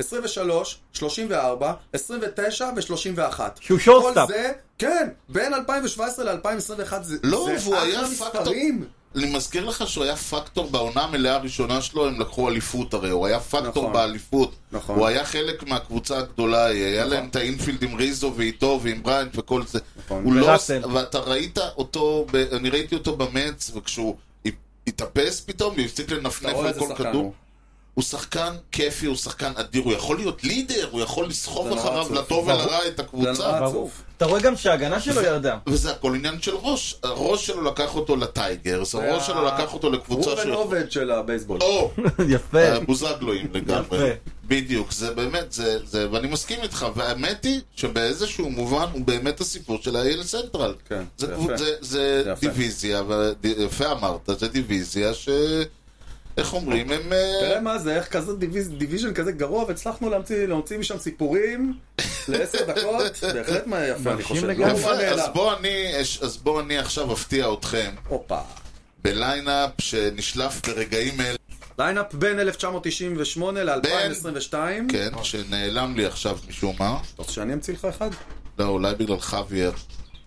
S3: 23, 34, 29 ו-31.
S4: שהוא שורטסטאפ.
S3: כל זה, כן, בין 2017 ל-2021 זה
S1: לא,
S3: זה
S1: והוא
S3: אחלה
S1: היה פקטור.
S3: מספרים.
S1: אני מזכיר לך שהוא היה פקטור בעונה המלאה הראשונה שלו, הם לקחו אליפות הרי, הוא היה פקטור נכון.
S3: נכון.
S1: באליפות.
S3: נכון.
S1: הוא היה חלק מהקבוצה הגדולה, ההיא, היה להם את האינפילד עם ריזו ואיתו ועם בריינט וכל זה.
S3: נכון.
S1: הוא לא...
S4: וראסל.
S1: ואתה ראית אותו, ב... אני ראיתי אותו במץ, וכשהוא התאפס פתאום, הוא הפסיק
S3: אתה
S1: לנפנף
S3: רואה
S1: על
S3: איזה
S1: כל
S3: שחקן
S1: כדור.
S3: הוא.
S1: הוא שחקן כיפי, הוא שחקן אדיר, הוא יכול להיות לידר, הוא יכול
S3: זה
S1: לסחוב
S3: נורא
S1: אחריו
S3: עצוב.
S1: לטוב
S4: ברור.
S1: ולרע את
S3: זה
S1: הקבוצה.
S3: נורא
S4: ברור.
S3: עצוב.
S4: אתה רואה גם שההגנה שלו ירדה.
S1: וזה הכל עניין של ראש, הראש שלו לקח אותו לטייגרס, הראש שלו לקח אותו לקבוצה
S3: ראובן
S1: שהוא-
S3: עובד של הבייסבול.
S1: או, אה,
S4: יפה.
S1: בוזגלויים לגמרי.
S4: יפה.
S1: בדיוק, זה באמת, זה, זה, ואני מסכים איתך, והאמת היא שבאיזשהו מובן הוא באמת הסיפור של ה-AL סנטרל.
S3: כן,
S1: זה,
S3: זה
S1: קבוצ-
S3: יפה.
S1: זה, זה,
S3: זה יפה.
S1: דיוויזיה, ו- ד- יפה אמרת, זה דיוויזיה ש... איך אומרים, הם... אה,
S3: תראה מה זה, איך כזה דיוויז- דיוויז'ן כזה גרוע, והצלחנו להמציא- להוציא משם סיפורים לעשר דקות, בהחלט מה- יפה, אני
S6: מרשים
S3: חושב. לא
S6: לגמרי.
S3: מובן
S1: יפה, אז
S3: מאליו.
S1: בוא אני- אז בוא אני עכשיו אפתיע אתכם
S3: הופה.
S1: בליינאפ שנשלף ברגעים אלה,
S3: ליינאפ בין 1998 ל-2022.
S1: כן,
S3: נכון.
S1: שנעלם לי עכשיו משום מה.
S3: אתה רוצה שאני אמציא לך אחד?
S1: לא, אולי בגלל חוויאר.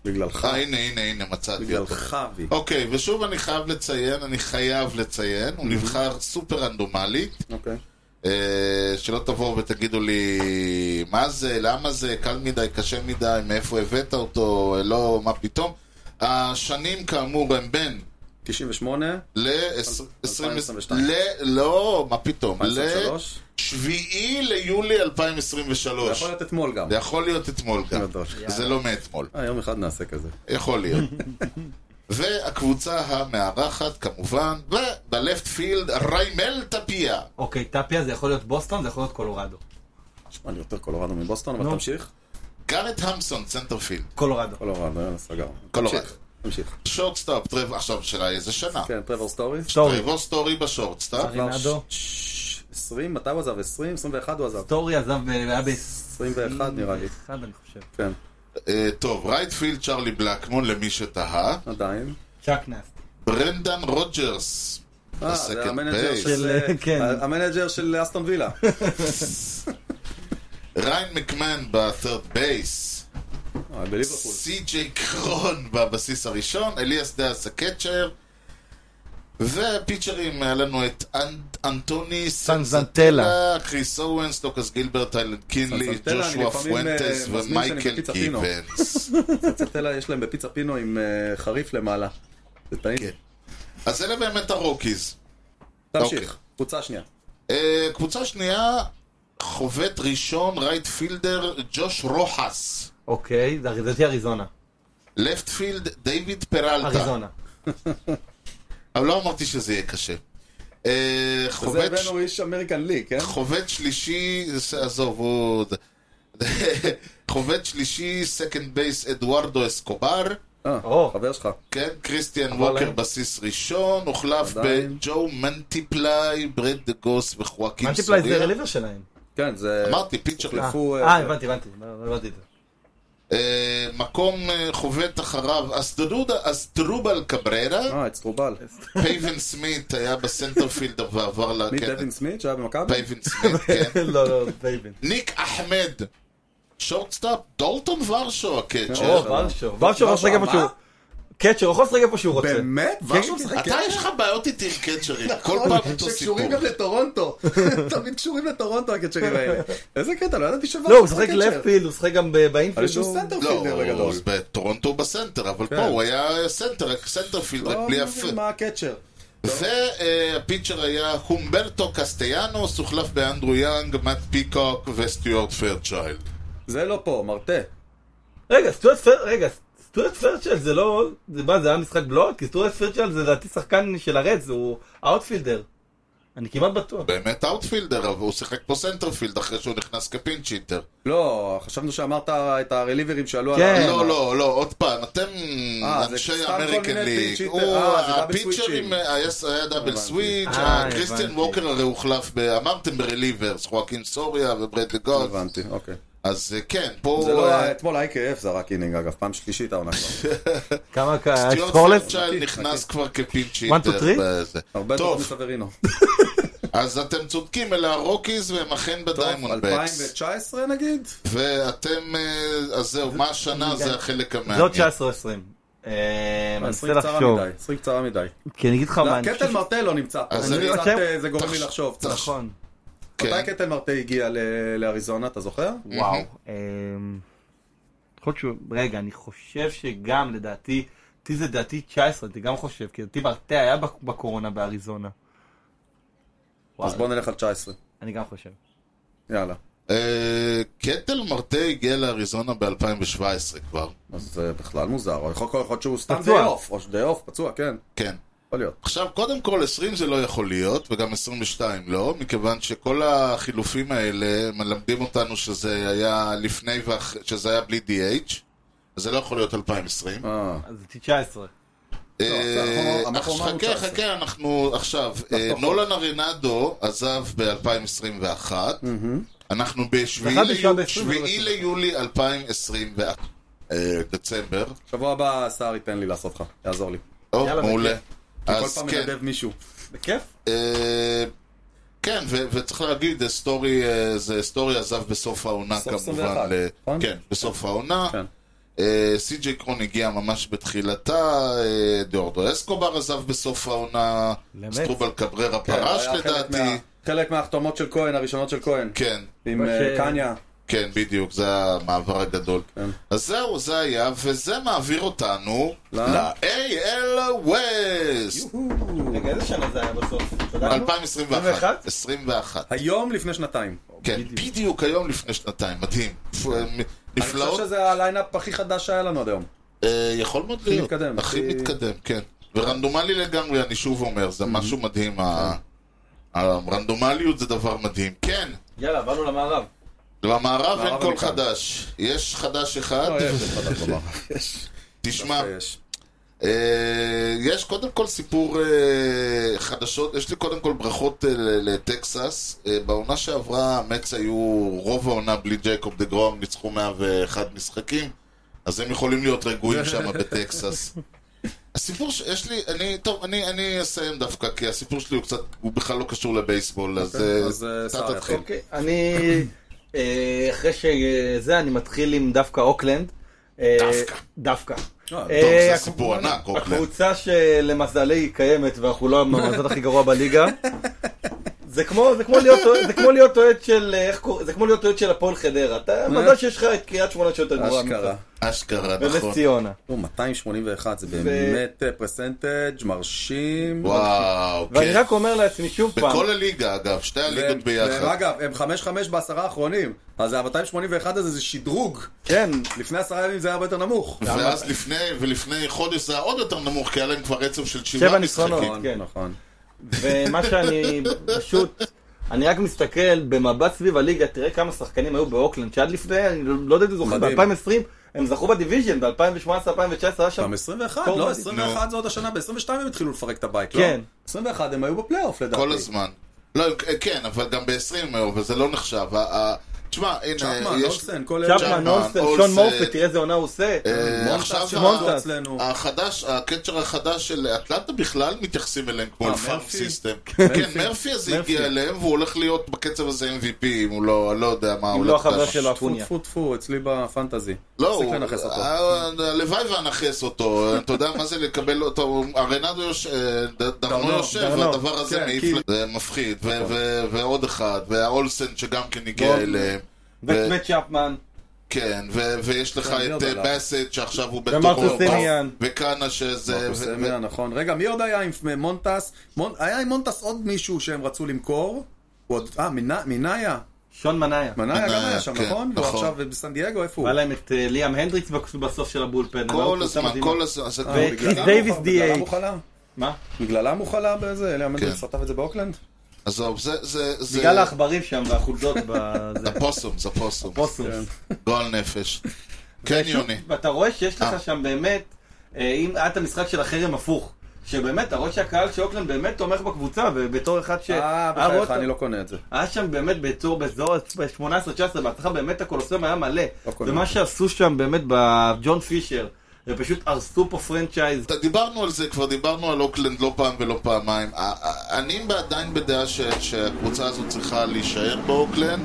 S3: בגללך.
S1: אה, הנה, הנה, הנה, מצאתי אותו.
S3: בגללך, אבי.
S1: אוקיי, ושוב אני חייב לציין, אני חייב לציין,
S3: Mhm.
S1: הוא נבחר סופר רנדומלית.
S3: אוקיי.
S1: אה, שלא תבואו ותגידו לי מה זה, למה זה, קל מדי, קשה מדי, מאיפה הבאת אותו, לא, מה פתאום. השנים כאמור הם בין
S3: 98,
S1: ל...
S3: 2022.
S1: ל... לא, מה פתאום. ל...
S3: 2003.
S1: 7 ליולי
S3: זה
S1: 2023.
S3: יכול להיות אתמול גם.
S1: זה יכול להיות אתמול גם.
S3: גדול.
S1: זה לא מאתמול.
S3: אה, יום אחד נעשה כזה.
S1: יכול להיות. והקבוצה המארחת כמובן, ובלפט פילד ריימל טפיה.
S4: אוקיי, טפיה זה יכול להיות בוסטון, זה יכול להיות קולורדו.
S3: נשמע לי יותר קולורדו מבוסטון, אבל
S4: נו.
S3: תמשיך.
S1: גארט המסון, צנטרפילד.
S4: קולורדו.
S3: קולורדו, יאללה, סגר.
S1: קולורדו. אה.
S3: תמשיך, תמשיך.
S1: שורטסטאפ, טרב, עכשיו שאלה איזה שנה.
S3: כן, טרוור סטוריס.
S4: סטורי.
S1: טרבור סטורי בשורטסטאפ.
S4: כבר רינאדו.
S3: 20, מתי הוא עזב? 20? 21 הוא עזב.
S4: סטורי עזב, ב- היה ב-21
S3: 21 נראה לי.
S4: אני חושב.
S3: כן,
S1: אה, טוב, רייטפילד צ'רלי בלקמון למי שתהה.
S3: עדיין.
S4: צ'אק נאסט.
S1: ברנדן רוג'רס.
S3: אה,
S1: בסקנד
S3: זה המנג'ר
S1: בייס.
S3: של... אה,
S4: של- כן.
S3: המנג'ר של אסטון וילה. אה,
S1: ריין מקמן בת'רד בייס.
S3: אה, בליברפול.
S1: סי.ג'יי קרון בבסיס הראשון. אליאס דאס הקצ'ר. ופיצ'רים, היה לנו את אנ- אנטוני
S6: סנזנטלה.
S1: קריס אורנס, טוקאס גילברט, איילנד קינלי,
S3: סנזנטלה, אני
S1: ג'ושוע
S3: לפעמים, אה,
S1: פואנטס
S3: מזמין שאני
S1: ומייקל
S3: בפיצה פינו.
S1: גיבנס.
S3: סטלה יש להם בפיצה פינו עם אה, חריף למעלה. זה טעים.
S1: כן. אז אלה באמת הרוקיז. אוקיי.
S3: תמשיך, קבוצה שנייה.
S1: אה, קבוצה שנייה, חובט ראשון, רייט פילדר, ג'וש רוחס.
S4: אוקיי, זה לדעתי אריזונה.
S1: לפט פילד, דיוויד פרלטה.
S4: אריזונה.
S1: אבל לא אמרתי שזה יהיה קשה. אה,
S3: זה
S1: חובט ש-
S3: הבאנו איש אמריקן ליג, כן?
S1: חובט שלישי, זה- עזוב, הוא... חובט שלישי, סקנד בייס, אדוארדו אסקובר.
S3: אה,
S4: או.
S3: חבר שלך.
S1: כן, כריסטיאן
S4: אבל
S1: ווקר
S4: אין.
S1: בסיס ראשון, הוחלף
S3: עדיין.
S1: בג'ו מנטיפליי, ברד דה גוס וחואקים
S4: מנטיפליי זה
S1: סוריה.
S4: רליבר שלהם.
S3: כן, זה...
S1: אמרתי, פיצ'ר
S4: אה,
S3: הלכו, אה,
S4: אה, הבנתי, הבנתי. לא- לא הבנתי את זה.
S1: אה, מקום אה, חובט אחריו אסטרודה אסטרובל קבררה,
S3: אה, את סטרובל.
S1: פייבן סמית היה בסנטרפילד ועבר ל...
S3: מי
S1: כן,
S3: דווין סמית שהיה במכבי?
S1: פייבן סמית, כן.
S4: לא, לא, בייבן.
S1: ניק אחמד, שורטסטאפ, דולטון כן, ורשו
S4: או,
S1: הקצ'ר.
S3: אה,
S4: ורשו. ורשו יכול לשחק איפה
S3: מה?
S4: שהוא... קצ'ר יכול לשחק איפה שהוא רוצה.
S3: באמת?
S4: כן,
S3: ורשו
S4: כן.
S3: משחק נכון,
S1: אתה יש לך בעיות איתי עם קצ'רים, כל פעם לא, אותו סיפור.
S3: שקשורים גם לטורונטו. תמיד קשורים לטורונטו הקצ'רים האלה. איזה קטע, לא ידעתי שוורשו
S4: לא, הוא משחק לפילד, הוא משחק גם ב-
S3: אבל
S4: באינפילד.
S3: שהוא
S4: הוא-
S3: סנטר
S1: לא,
S3: פילדר בגדול.
S1: אז בטורונטו הוא בסנטר, אבל
S4: כן.
S1: פה הוא היה סנטר, רק סנטרפילד, רק
S3: לא
S1: בלי
S3: מבין
S1: הפ...
S3: מה לא. הקצ'ר.
S1: והפיצ'ר היה הומברטו קסטיאנוס, הוחלף באנדרו יאנג, מאט פיקוק וסטיוארט פרצ'יילד.
S3: זה לא פה, מרטה.
S4: רגע, סטוארט פר... רגע, סטוארט פרצ'ל זה לא... זה מה, זה היה משחק בלוק? כי סטוארט פרצ'ל זה לדעתי שחקן של הרדס, הוא האוטפילדר. אני כמעט בטוח.
S1: באמת אאוטפילדר, אבל הוא שיחק פה סנטרפילד אחרי שהוא נכנס כפינצ'יטר.
S3: לא, חשבנו שאמרת את הרליברים שעלו על...
S4: כן.
S3: ה-
S1: לא, לא, לא, עוד פעם, אתם
S3: אה, זה
S1: אנשי
S3: סתם כל
S1: אמריקן
S3: מיני
S1: ליג.
S3: פינצ'יטר.
S1: הוא-
S3: אה, זה דאבל
S1: הפיצ'רים
S3: סוויצ'ים.
S1: היה היה דאבל סוויץ',
S4: אה,
S1: הקריסטיאן
S4: הבנתי.
S1: ווקר הרי הוחלף, ב- אמרתם ברליברס, חואקין סוריה וברדלי גולף.
S3: הבנתי, אוקיי.
S1: אז אה, כן, פה...
S3: זה לא
S1: אה,
S3: היה, אתמול IKF זרק אינינג אגב, פעם שלישית העונה כבר.
S4: כמה
S1: סטיוארט
S4: סקורלס?
S1: פרצ'יילד נכנס כבר
S4: One,
S1: כפינצ'יטר.
S4: two, three?
S1: בזה.
S3: הרבה טוב
S1: טוב,
S3: מסוורino.
S1: אז אתם צודקים, אלה הרוקיז והם אכן בדיימונד בקס.
S3: 2019 נגיד?
S1: ואתם, אה, אז זהו, מה השנה זה החלק
S4: זה עוד
S1: המעניין.
S4: 19 או 20. אה, אני מנסה
S3: 20 קצרה
S4: לחשוב.
S3: מדי, 20 קצרה מדי.
S4: כי אני אגיד לך מה, אני
S3: קטל
S4: חושב...
S3: מרטה לא נמצא פה,
S1: אז
S3: זה
S1: אני-
S3: קצת,
S4: אתם-
S3: אה, זה גורם לי
S1: תחש-
S3: לחשוב.
S1: תחש-
S4: נכון.
S1: כן.
S3: מתי קטל מרטה הגיע ל- לאריזונה, אתה זוכר?
S4: וואו. אמ, יכול להיות שהוא... רגע, אני חושב שגם לדעתי... אותי זה דעתי 19, אני גם חושב, כי לדעתי מרטה היה בק- בקורונה באריזונה.
S3: אז
S4: וואלה.
S3: בוא נלך על 19.
S4: אני גם חושב.
S3: יאללה.
S1: אה, קטל מרטה הגיע לאריזונה ב-2017 כבר,
S3: אז זה בכלל מוזר, או יכול יכול להיות שהוא סתם
S4: פצוע.
S3: די אוף, או די אוף, פצוע, כן,
S1: כן.
S3: יכול להיות.
S1: עכשיו, קודם כל, 20 זה לא יכול להיות, וגם 22 לא, מכיוון שכל החילופים האלה מלמדים אותנו שזה היה לפני ואחרי, שזה היה בלי DH, אז זה לא יכול להיות 2020.
S3: אה,
S4: אז זה 19.
S1: אה,
S6: אנחנו
S1: אך-
S6: אמרנו
S1: חכה,
S6: 19.
S1: חכה, אנחנו עכשיו. אה,
S6: פחות.
S1: נולן ארנדו עזב ב-2021. אנחנו
S4: ואחד
S1: בשביעי
S4: נשאר
S1: ליו-
S4: ב- 20,
S1: שביעי
S4: אבל-
S1: ליולי 2021. אה, דצמבר.
S3: שבוע הבא סער ייתן לי לאסוף לך, יעזור לי.
S1: טוב,
S4: יאללה,
S1: מעולה.
S4: בכיף.
S3: כל
S1: אז
S3: פעם
S1: כן.
S3: מנדב מישהו.
S4: בכיף.
S1: אה, כן, ו- וצריך להגיד, אה, סטורי, אה, זה סטורי עזב בסוף העונה
S3: סוף
S1: כמובן.
S3: 21,
S1: ל-
S3: נכון?
S1: כן, בסוף העונה.
S3: כן.
S1: אה, סי.ג'יי קרון הגיע ממש בתחילתה, אה, דאורדו אסקובר עזב בסוף העונה,
S4: באמת?
S1: סטרובל קבררה
S3: כן,
S1: פרש
S3: היה חלק
S1: לדעתי.
S3: מה- חלק מההחתמות של כהן, הראשונות של כהן.
S1: כן,
S3: עם אה,
S4: ש-
S3: קניה.
S1: כן, בדיוק, זה המעבר הגדול.
S3: כן.
S1: אז זהו, זה היה, וזה מעביר אותנו
S3: ל-
S1: ל-AL West!
S4: רגע, איזה שנה זה היה בסוף? אתה יודע?
S1: 2021.
S4: 21?
S1: 21.
S3: היום לפני שנתיים.
S1: כן, בדיוק היום לפני שנתיים, מדהים. פו, הם
S3: כן. אני חושב
S1: נפלאות,
S3: שזה הליינאפ הכי חדש שהיה לנו עד היום.
S1: אה, יכול מאוד להיות.
S3: מתקדם.
S1: הכי
S3: הכי-
S1: מתקדם, כן. ורנדומלי לגמרי, אני שוב אומר,
S3: Mm-hmm.
S1: זה משהו מדהים. ה-
S3: כן.
S1: הרנדומליות זה דבר מדהים. כן,
S4: יאללה, באנו למערב.
S1: במערב אין קול
S3: מכאן.
S1: חדש. יש חדש אחד,
S3: לא, יש, יש חדש לומר. יש.
S1: תשמע,
S3: יש.
S1: אה, יש קודם כל סיפור אה, חדשות, יש לי קודם כל ברכות אה, ל- לטקסס. אה, בעונה שעברה המץ היו רוב העונה בלי ג'ייקוב דה גרום, ניצחו 101 משחקים, אז הם יכולים להיות רגועים שם בטקסס. הסיפור שיש לי, אני, טוב, אני, אני אסיים דווקא, כי הסיפור שלי הוא קצת, הוא בכלל לא קשור לבייסבול, אז, אה,
S3: אז, אה,
S1: אתה
S3: סער
S1: תתחיל.
S4: אוקיי, אני... אה, אחרי שזה, אני מתחיל עם דווקא אוקלנד. אה,
S1: דווקא.
S4: דווקא.
S3: אה,
S4: אה,
S1: טוב, זה
S4: הקב-
S1: סיפור ענק, אוקלנד.
S4: הקבוצה שלמזלי היא קיימת ואנחנו לא במזל הכי גרוע בליגה. זה כמו, זה כמו להיות אוהד- זה כמו להיות אוהד של, אה, איך קורא- זה כמו להיות אוהד של הפועל חדרה. אתה, מזל שיש לך את קריית שמונה שיותר גרועה. ממך.
S3: אשכרה.
S1: אה? אשכרה,
S4: ונס
S1: נכון.
S4: ציונה.
S3: הוא 281, זה באמת אה, פרסנטג' מרשים.
S1: וואו,
S4: ואני
S1: כן.
S4: רק אומר לעצמי שוב פעם,
S1: בכל הליגה, אגב, שתי הליגות ביחד.
S3: אגב, הם 5-5 בעשרה האחרונים, אז ה-281 הזה זה שדרוג.
S4: כן,
S3: לפני עשרה ימים זה היה הרבה יותר נמוך.
S1: ואז לפני, ולפני חודש זה היה עוד יותר נמוך, כי היה להם כבר רצף של שבעה
S4: שבע
S1: משחקים.
S4: ניצחונות.
S3: נכון,
S4: כן.
S3: נכון.
S4: ומה שאני פשוט, אני רק מסתכל במבט סביב הליגה, תראה כמה שחקנים היו באוקלנד, שעד לפני, אני לא יודע אם אתם זוכרים,
S3: מדהים.
S4: ב-2020, הם זכו בדיוויז'ן, ב-2018-2019 היה שם,
S3: גם 21,
S4: טוב,
S3: לא,
S4: נו.
S3: 21 זה עוד השנה, ב-22 הם התחילו לפרק את הבית, לא?
S4: כן.
S3: 21 הם היו בפלייאוף לדעתי.
S1: כל הזמן. לא, כן, אבל גם ב-20 אבל זה לא נחשב. ה- ה- תשמע, הנה,
S3: צ'פמן,
S1: אה, יש...
S3: אולסן, כל אלה.
S1: צ'פמן,
S4: צ'פמן, אולסן,
S1: אולסן.
S4: שון מורפי, תראה איזה עונה הוא עושה.
S1: אה, עכשיו
S3: מונטס,
S1: ה-
S3: שמונטס אצלנו.
S1: החדש, הקצ'ר החדש של אטלנטה בכלל מתייחסים אליהם כמו
S3: אה,
S1: אל פארם
S3: מרפי?
S1: סיסטם. כן, מרפי הזה הגיע אליהם, והוא הולך להיות בקצב הזה MVP, אם הוא לא, אני לא יודע מה הוא
S4: אם לא
S1: הולך
S4: החבר
S1: לעשות.
S4: שלו,
S3: טפו
S4: אפוניה.
S3: טפו טפו, אצלי בפנטזי.
S1: לא,
S3: תפסיק
S1: הוא-
S3: לנכס אותו.
S1: ה- הלוואי ואנכס אותו, אתה יודע מה זה לקבל אותו, ארנדו יושב, דרנו יושב,
S4: דרנו,
S1: והדבר הזה
S3: כן,
S1: מעיף,
S3: כי-
S1: ל- זה מפחיד, ו- ו- ועוד אחד, והאולסן שגם כן הגיע
S4: ועוד-
S1: אליהם, ו-
S4: וצ'פמן,
S1: כן, ו- ויש לך
S3: כן, מי
S1: את
S3: עוד
S1: אה,
S3: עלה?
S1: באסט שעכשיו הוא
S4: ומרקוס
S1: בתורו,
S4: סמיאן.
S1: וקאנה שזה, ו- ו-
S3: סמיה, נכון. רגע, מי עוד היה עם מונטס? מונ- היה עם מונטס עוד מישהו שהם רצו למכור? הוא עוד- אה, מנ- מניה?
S4: שון מנאיה.
S3: מניה גם היה שם,
S1: כן,
S3: נכון? והוא
S1: נכון.
S3: עכשיו בסן דייגו, איפה הוא?
S4: היה להם את אה, ליאם הנדריקס בסוף של הבולפן. אבל
S1: כל
S4: הוא קבוצה
S1: הזמן,
S4: מדהימה.
S1: כל הזמן, זה
S3: אה,
S1: כבר-
S4: וקריס
S3: בגללם
S4: דייוויס
S3: הוא- בגללם
S4: DH.
S3: הוא חלה?
S4: מה?
S3: בגללם הוא חלה באיזה? אלה המנדל
S1: כן.
S3: סטף את זה באוקלנד?
S1: עזוב, זה, זה, זה,
S4: בגלל העכברים שם והחולדות בזה.
S1: הפוסום, זה פוסום,
S4: פוסוס.
S1: גועל נפש. כן, יוני.
S4: ואתה רואה שיש
S1: אה.
S4: לך שם באמת, אה, אם היה את המשחק של החרם הפוך, שבאמת, אתה רואה שהקהל של אוקלנד באמת תומך בקבוצה, ובתור אחד ש...
S3: אה,
S4: היה רואה
S3: בחייך,
S4: אותו-
S3: אני לא קונה את זה.
S4: היה שם באמת באזור, באזור ה-18-19, בהצלחה באמת הקולוסיאום היה מלא.
S3: לא קונה.
S4: ומה שעשו שם באמת בג'ון פישר, זה פשוט הרסו פה פרנצ'ייז.
S1: אתה- דיברנו על זה, כבר דיברנו על אוקלנד לא פעם ולא פעמיים. ה- ה- אני עדיין בדעה ש- שהקבוצה הזאת צריכה להישאר באוקלנד.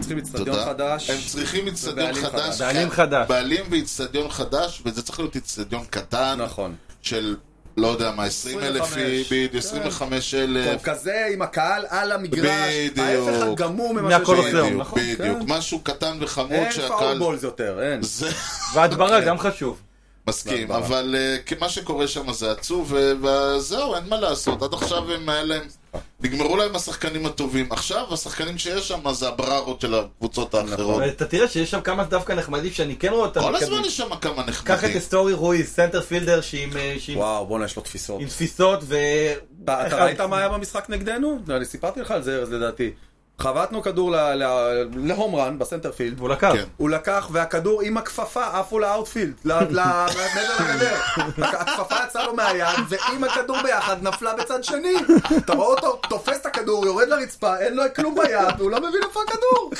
S3: צריכים אצטדיון
S1: תודה.
S3: חדש.
S1: הם צריכים איצטדיון
S3: ובעלים
S1: חדש.
S3: חדש.
S4: בעלים
S1: כן,
S4: חדש.
S1: בעלים ואיצטדיון חדש, וזה צריך להיות איצטדיון קטן.
S3: נכון.
S1: של, לא יודע מה, 20 אלף
S3: 25.
S1: איש,
S3: כן.
S1: 25 אלף.
S3: טוב, כזה עם הקהל על המגרש,
S1: כן. בדיוק.
S3: ההפך הגמור ממה שיש
S4: מהקולוסיאום,
S3: היום.
S1: בדיוק,
S4: נכון,
S1: בדיוק.
S3: כן.
S1: משהו קטן וחמוד
S3: אין
S1: שהקהל...
S3: פאובולס יותר, אין.
S1: זה...
S4: והדברה גם חשוב.
S1: מסכים,
S3: לא,
S1: אבל אה, כי מה שקורה שם זה עצוב, ו- וזהו, אין מה לעשות. עד עכשיו הם היה להם... נגמרו להם השחקנים הטובים. עכשיו השחקנים שיש שם זה הבררות של הקבוצות האחרות.
S4: ואתה תראה שיש שם כמה דווקא נחמדים שאני כן רואה אותם.
S1: כל
S4: מתקדמים.
S1: הזמן יש שם כמה
S4: קח את
S1: נחמדים.
S4: סטורי רויז, סנטר פילדר, שעם אה, שעם-
S3: וואו, בואנה, יש לו תפיסות.
S4: עם תפיסות ו...
S3: לא, אתה אתה ראית מה היה במשחק נגדנו? אני סיפרתי לך על זה, ארז, לדעתי. חבטנו כדור ל- ל- להום רן בסנטרפילד,
S4: והוא לקח.
S1: כן.
S3: הוא לקח, והכדור עם הכפפה עפו לאאוטפילד, ל- ל- מעבר לגדר. הכפפה יצאה לו מהיד, ועם הכדור ביחד נפלה בצד שני. אתה רואה אותו תופס את הכדור, יורד לרצפה, אין לו כלום ביד, הוא לא מבין איפה הכדור.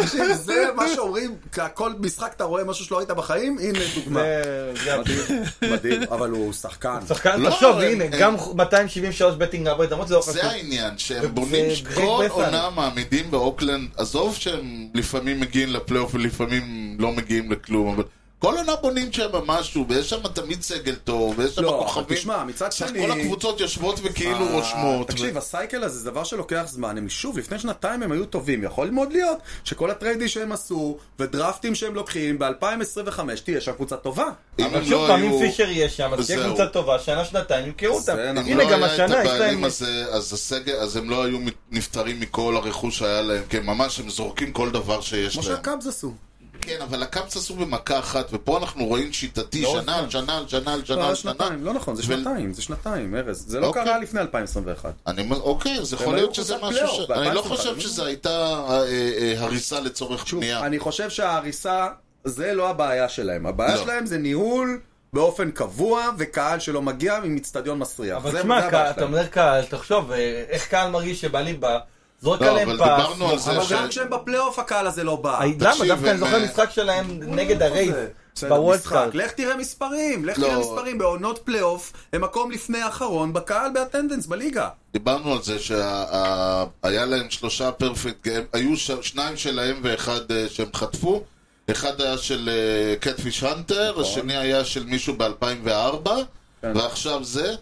S3: תקשיב, זה מה שאומרים, כל משחק אתה רואה משהו שלא ראית בחיים, הנה דוגמה.
S4: זה- זה-
S3: מדהים, מדהים, אבל הוא שחקן.
S4: שחקן,
S1: לא,
S4: תחשוב,
S1: הם-
S4: הנה,
S1: הם-
S4: גם 273 בטינג הברית, למרות שזה לא חשוב.
S1: זה העניין, שהם בונים,
S4: גרג
S1: כל
S4: בסן.
S1: עונה מעמידים באוקלנד, עזוב שהם לפעמים מגיעים לפלייאוף ולפעמים לא מגיעים לכלום, אבל כל עונה בונים שם משהו, ויש שם תמיד סגל טוב, ויש שם
S3: לא, אבל
S1: כוכבים.
S3: תשמע, מצד
S1: סך
S3: שני-
S1: כל הקבוצות יושבות וכאילו
S3: אה,
S1: רושמות.
S3: תקשיב,
S1: ו-
S3: הסייקל הזה זה דבר שלוקח זמן. הם שוב, לפני שנתיים הם היו טובים. יכול מאוד להיות שכל הטריידים שהם עשו, ודרפטים שהם לוקחים, ב-2025 תהיה שם קבוצה טובה.
S1: אם
S4: אבל
S1: הם
S4: שוב
S1: לא
S4: פעם,
S1: היו-
S4: אם פישר יהיה שם, אז תהיה
S1: זהו.
S4: קבוצה טובה, שנה, שנתיים, ימכרו אותם.
S3: זה נכון.
S1: אם לא
S4: הנה, גם
S1: היה את
S4: השנה, יש להם...
S1: הבעלים הזה, אז הסגל, אז הם לא היו מת- נפטרים מכל הרכוש שהיה להם, כן, ממש, הם זורקים כל דבר שיש
S3: כמו
S1: להם.
S3: שהקאבס עשו.
S1: כן, אבל הקאפס עשו במכה אחת, ופה אנחנו רואים שיטתי,
S4: לא
S1: שנה על שנה על שנה על שנה
S3: לא,
S1: על שנה.
S3: שנתיים, לא נכון, זה
S1: ו-
S3: שנתיים, זה שנתיים, ארז. זה לא
S1: אוקיי.
S3: קרה לפני 2021.
S1: אני אומר, אוקיי, אז
S3: הם
S1: יכול
S3: לא היו
S1: להיות שזה
S3: קבוצת
S1: משהו ש...
S3: פלייאוף,
S1: אני לא
S3: ב- 2021.
S1: חושב שזה הייתה אה, אה, אה, הריסה לצורך
S3: שוב,
S1: בנייה.
S3: אני חושב שההריסה, זה לא הבעיה שלהם. הבעיה
S1: לא.
S3: שלהם זה ניהול באופן קבוע, וקהל שלא מגיע עם אצטדיון מסריח.
S4: אבל
S3: זה-
S4: תשמע,
S3: זה
S4: קהל-
S3: הבעיה
S4: אתה
S3: שלהם.
S4: אומר קהל, תחשוב, אה, איך קהל מרגיש שבעלים בא, זורק
S1: לא,
S4: עליהם
S1: אבל
S4: פס.
S1: דיברנו על זה
S3: אבל
S1: ש-
S3: גם כשהם בפלייאוף הקהל הזה לא בא.
S4: היי, למה?
S1: תקשיב,
S4: דווקא אני
S1: הם,
S4: זוכר
S1: אה,
S4: משחק
S3: לא,
S4: שלהם נגד הרייב,
S3: בסדר,
S4: בוולד
S3: משחק.
S4: קארט.
S3: לך תראה מספרים, לך
S1: לא.
S3: תראה מספרים. בעונות פלייאוף, הם מקום לפני האחרון בקהל באטנדנס, בליגה.
S1: דיברנו על זה שהיה להם שלושה פרפקט גיים, היו ש- שניים שלהם ואחד אה, שהם חטפו. אחד היה של קטפיש הנטר,
S3: נכון.
S1: השני היה של מישהו ב-2004,
S3: כן.
S1: ועכשיו זה.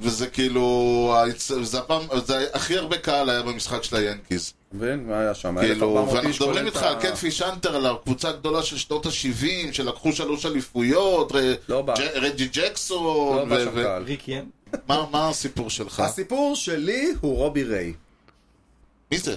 S1: וזה כאילו, ה- זה הפעם, זה הכי הרבה קהל היה במשחק של היאנקיז.
S3: אתה מבין? מה היה שם?
S1: כאילו,
S3: 1400
S1: ואנחנו
S3: איש,
S1: מדברים
S3: כולל
S1: איתך
S3: את
S1: על
S3: ה- לא,
S1: קטפיש אנטר, על הקבוצה הגדולה של שנות ה-70, שלקחו שלוש אליפויות, ר-
S3: לא בא.
S1: ג'- רג'י
S3: לא
S1: ג'קסון,
S3: בא
S1: ו-
S3: שם
S1: ו-
S3: קהל.
S4: ריקי, אה?
S1: מה מה הסיפור שלך?
S3: הסיפור שלי הוא רובי ריי.
S1: מי זה?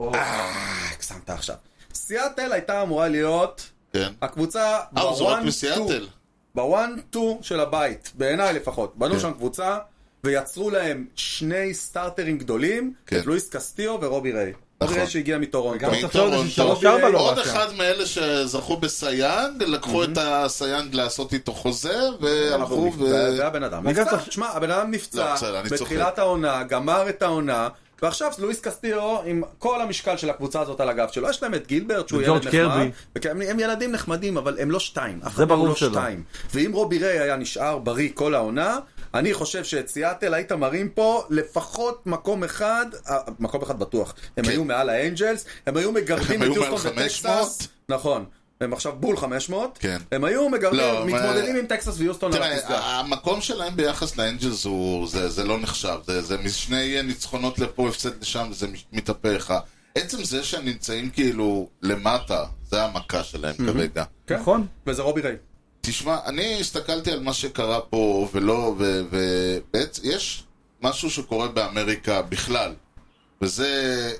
S3: אה, הקסמת עכשיו. סיאטל הייתה אמורה להיות
S1: כן.
S3: הקבוצה
S1: אה, הוא זורק
S3: ב-one-two.
S1: מסיאטל.
S3: בוואן-טו של הבית, בעיניי לפחות. בנו שם קבוצה, ויצרו להם שני סטארטרים גדולים,
S1: כן.
S3: את לואיס קסטיו ורובי ריי. רובי ריי שהגיע מטורונטו.
S4: גם
S1: מי
S4: תחשוב על
S1: טורונטו?
S4: זה ששלוש ארבע לא
S1: עוד
S4: רק
S1: אחד מאלה שזכו בסייאנג, לקחו את הסייאנג לעשות איתו חוזה, והלכו ו...
S3: זה היה בן אדם נפצע.
S4: אגב,
S3: תשמע, הבן אדם
S1: לא,
S3: נפצע
S1: בסדר, אני צוחק.
S3: בתחילת העונה, גמר את העונה, ועכשיו לואיס קסטיו עם כל המשקל של הקבוצה הזאת על הגב שלו. יש להם את גילברט שהוא ילד
S4: וג'ורג'
S3: נחמד.
S4: קרבי.
S3: וכן, הם- הם ילדים נחמדים, אבל הם לא שתיים. אף
S4: זה
S3: אחד מהם
S4: ברור
S3: לא
S4: שלא.
S3: שתיים. ואם רובי ריי היה נשאר בריא כל העונה, אני חושב שאת סיאטל היית מרים פה לפחות מקום אחד, אה, מקום אחד בטוח. הם היו מעל האנג'לס, הם היו מגרדים
S1: כן. הם
S3: את
S1: היו מעל
S3: יוסטון
S1: 500?
S3: וטקסס. נכון. הם עכשיו בול 500.
S1: כן.
S3: הם היו
S1: לא,
S3: מגרדים,
S1: אבל-
S3: מתמודדים עם טקסס ויוסטון על הפסגה.
S1: תראה, אה, המקום שלהם ביחס לאנג'לס הוא, זה, זה לא נחשב, זה, זה משני ניצחונות לפה, הפסד לשם, זה מש- מתהפך. עצם זה שהם נמצאים כאילו למטה, זה המכה שלהם כרגע.
S3: כן.
S4: נכון.
S3: וזה רובי ריי.
S1: תשמע, אני הסתכלתי על מה שקרה פה, ולא, ויש משהו שקורה באמריקה בכלל, וזה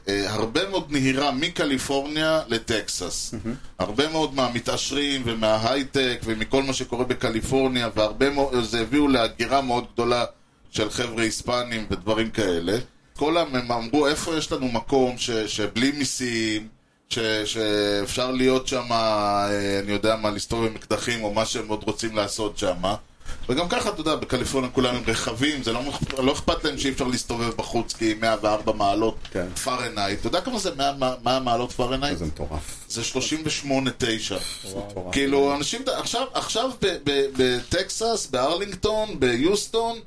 S1: אה, הרבה מאוד נהירה מקליפורניה לטקסס. הרבה מאוד מהמתעשרים ומההייטק ומכל מה שקורה בקליפורניה, והרבה מאוד, זה הביאו להגירה מאוד גדולה של חבר'ה היספנים ודברים כאלה. כל הם, הם אמרו, איפה יש לנו מקום ש, שבלי מיסים, ש, שאפשר להיות שם, אה, אני יודע מה, לסתובב עם אקדחים או מה שהם עוד רוצים לעשות שם. וגם ככה, אתה יודע, בקליפורניה כולם הם רחבים, זה לא, מוכ- לא אכפת להם שאי אפשר להסתובב בחוץ כי 104 מעלות
S3: כן.
S1: פארנייט. אתה יודע כמה זה 100, מה- 100 מעלות פארנייט?
S3: מטורף.
S1: זה 38.9. כאילו, אנשים, עכשיו, עכשיו ב- ב- בטקסס, בארלינגטון, ביוסטון,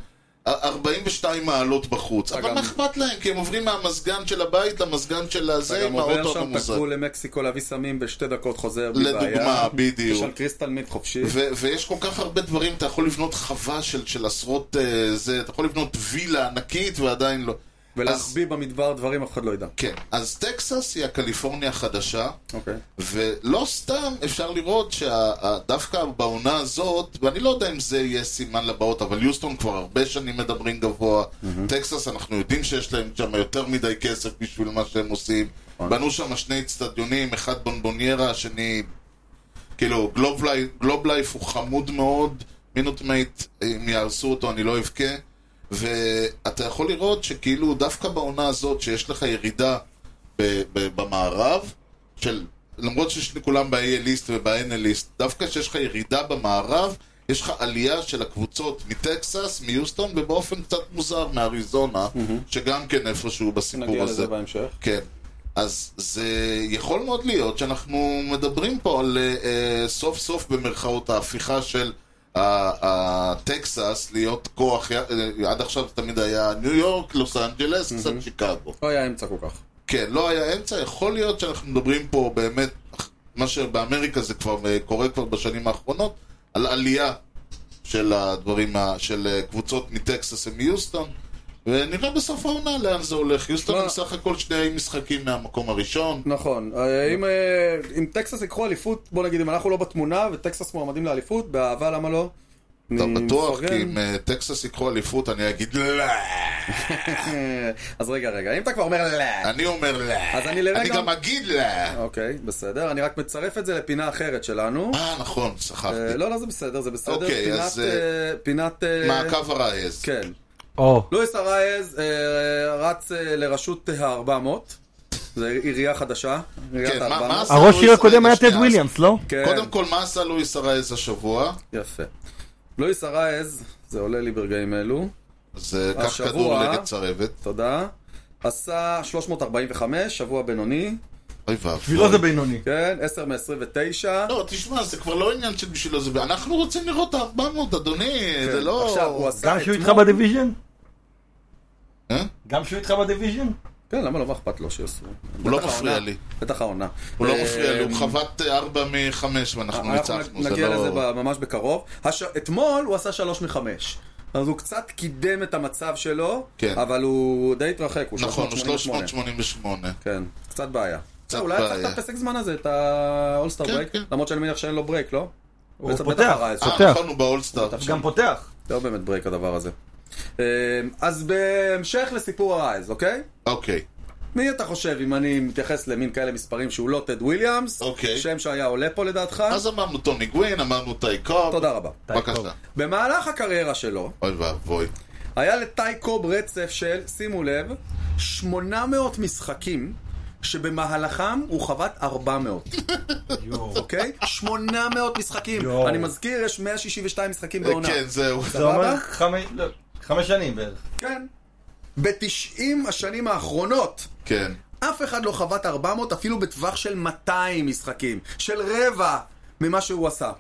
S1: א- 42 מעלות בחוץ. אבל
S3: גם-
S1: מה אכפת להם? כי הם עוברים מהמזגן של הבית למזגן של הזה
S3: אתה גם
S1: עם
S3: עובר
S1: האוטו
S3: שם,
S1: הממוזג.
S3: תקבו למקסיקו להביא סמים בשתי דקות חוזר, בלי בעיה.
S1: לדוגמה,
S3: יש
S1: בדיוק.
S3: על קריסטל מיט חופשי.
S1: ו- ויש כל כך הרבה דברים, אתה יכול לבנות חווה של, של עשרות אה, זה, אתה יכול לבנות וילה ענקית ועדיין לא. אז,
S3: ולהחביא במדבר דברים אף אחד לא ידע.
S1: כן, אז טקסס היא הקליפורניה החדשה,
S3: אוקיי.
S1: ולא סתם אפשר לראות שדווקא בעונה הזאת, ואני לא יודע אם זה יהיה סימן לבאות, אבל יוסטון כבר הרבה שנים מדברים גבוה. טקסס, אנחנו יודעים שיש להם שם יותר מדי כסף בשביל מה שהם עושים.
S3: נכון.
S1: בנו שם שני אצטדיונים, אחד בונבוניירה, השני... כאילו, גלוב לייף- גלוב לייף הוא חמוד מאוד, מינוטמייט, אם יהרסו אותו אני לא אבכה. ואתה יכול לראות שכאילו דווקא בעונה הזאת, שיש לך ירידה ב- ב- במערב, של, למרות שיש כולם ב-A-List וב-NL-List, דווקא כשיש לך ירידה במערב, יש לך עלייה של הקבוצות מטקסס, מיוסטון, ובאופן קצת מוזר מאריזונה, שגם כן איפשהו בסיפור
S3: נגיע
S1: הזה.
S3: לזה בהמשך.
S1: כן. אז זה יכול מאוד להיות שאנחנו מדברים פה על אה, אה, סוף סוף במרכאות ההפיכה של ה- ה- טקסס להיות כוח, אה, עד עכשיו זה תמיד היה ניו יורק, לוס אנג'לס, קצת שיקגו.
S3: לא היה אמצע כל כך.
S1: כן, לא היה אמצע, יכול להיות שאנחנו מדברים פה באמת, מה שבאמריקה זה כבר אה, קורה כבר בשנים האחרונות, על עלייה של הדברים, ה- של אה, קבוצות מטקסס ומיוסטון, ונראה בסוף העונה לאן זה הולך. יוסטון
S3: מה?
S1: הם סך הכל שני משחקים מהמקום הראשון.
S3: נכון, אה, אם, אה, אם טקסס יקחו אליפות, בוא נגיד אם אנחנו לא בתמונה וטקסס מועמדים לאליפות, באהבה למה לא?
S1: אתה
S3: אני
S1: בטוח,
S3: מפרגן.
S1: כי אם אה, טקסס יקחו אליפות אני אגיד לא,
S3: אה, אז רגע, רגע, אם אתה כבר אומר לא...
S1: אני אומר לא,
S3: אז אני לרגע-
S1: אני גם אגיד לא.
S3: אוקיי, בסדר, אני רק מצרף את זה לפינה אחרת שלנו.
S1: אה, נכון,
S3: אה,
S1: שכחתי.
S3: לא, לא, זה בסדר, זה בסדר.
S1: אוקיי,
S3: פינת,
S1: אז, אה,
S3: אה, פינת... אה,
S1: מעקב הרעז.
S3: כן.
S4: או.
S3: לואיס ארייז אה, רץ אה, לראשות ה-400. זו עירייה חדשה. עיריית
S1: כן, מה-
S3: ה-
S1: מה
S3: 400.
S1: עשה?
S4: הראש
S1: לואיס
S4: עיר הקודם היה
S1: שנייה,
S4: טד וויליאמס, לא?
S3: כן,
S1: קודם כל, מה עשה לואיס הרעז השבוע?
S3: יפה. לואיס ארייז, זה עולה לי ברגעים אלו.
S1: אז אה, קח
S3: השבוע-
S1: כדור נגד צרבת.
S3: תודה. עשה 345, שבוע בינוני,
S1: אוי ואבוי.
S4: בשבילו לא, זה בינוני.
S3: כן, 10 מ-29.
S1: לא, תשמע, זה כבר לא עניין של בשבילו זה, אנחנו רוצים לראות את ה-400, אדוני, זה לא...
S3: כן, עכשיו, הוא עשה
S4: גם שהוא
S3: אתמול...
S4: איתך בדיוויז'ן?
S1: אה?
S4: גם שהוא איתך בדיוויז'ן?
S3: כן, למה לא, מה אכפת לו שיעשו?
S1: הוא לא
S3: בטח
S1: מפריע
S3: העונה-
S1: לי.
S3: בטח העונה.
S1: הוא לא
S3: אה,
S1: מפריע לי, הוא חוות 4 מ-5 ואנחנו ניצחנו, זה
S3: נגיע לזה
S1: לא...
S3: ב- ממש בקרוב. הש... אתמול הוא עשה 3 מ-5. אז הוא קצת קידם את המצב שלו,
S1: כן.
S3: אבל הוא די התרחק, הוא
S1: נכון, הוא
S3: 388.
S1: 388.
S3: כן, קצת בעיה. בסדר, אולי
S1: בעיה.
S3: צריך את הפסק זמן הזה, את ה-all-star
S1: כן,
S3: break,
S1: כן.
S3: למרות שאני מניח שאין לו ברייק, לא?
S4: הוא
S3: בעצם
S4: פותח.
S3: בטח הראה את זה.
S1: אה,
S4: פותח.
S1: נכון, הוא באולסטארט.
S4: גם פותח.
S3: לא באמת ברייק הדבר הזה. אה, אז בהמשך לסיפור הרייז, אוקיי?
S1: אוקיי.
S3: מי אתה חושב, אם אני מתייחס למין כאלה מספרים שהוא לא טד וויליאמס?
S1: אוקיי.
S3: שם שהיה עולה פה לדעתך?
S1: אז אמרנו טוני גווין, אמרנו טייקוב.
S3: תודה רבה.
S1: בבקשה.
S3: במהלך הקריירה שלו,
S1: אוי ואבוי.
S3: היה לטי קוב רצף של, שימו לב, 800 משחקים, שבמהלכם הוא חבט 400,
S4: יואו.
S3: אוקיי? 800 משחקים.
S4: יואו.
S3: אני מזכיר, יש 162 משחקים
S1: אה,
S3: בעונה.
S1: כן, זהו.
S4: זה אומר חמש- לא, חמש שנים בערך.
S3: כן. ב-90 השנים האחרונות,
S1: כן.
S3: אף אחד לא חבט 400 אפילו בטווח של 200 משחקים, של רבע ממה שהוא עשה.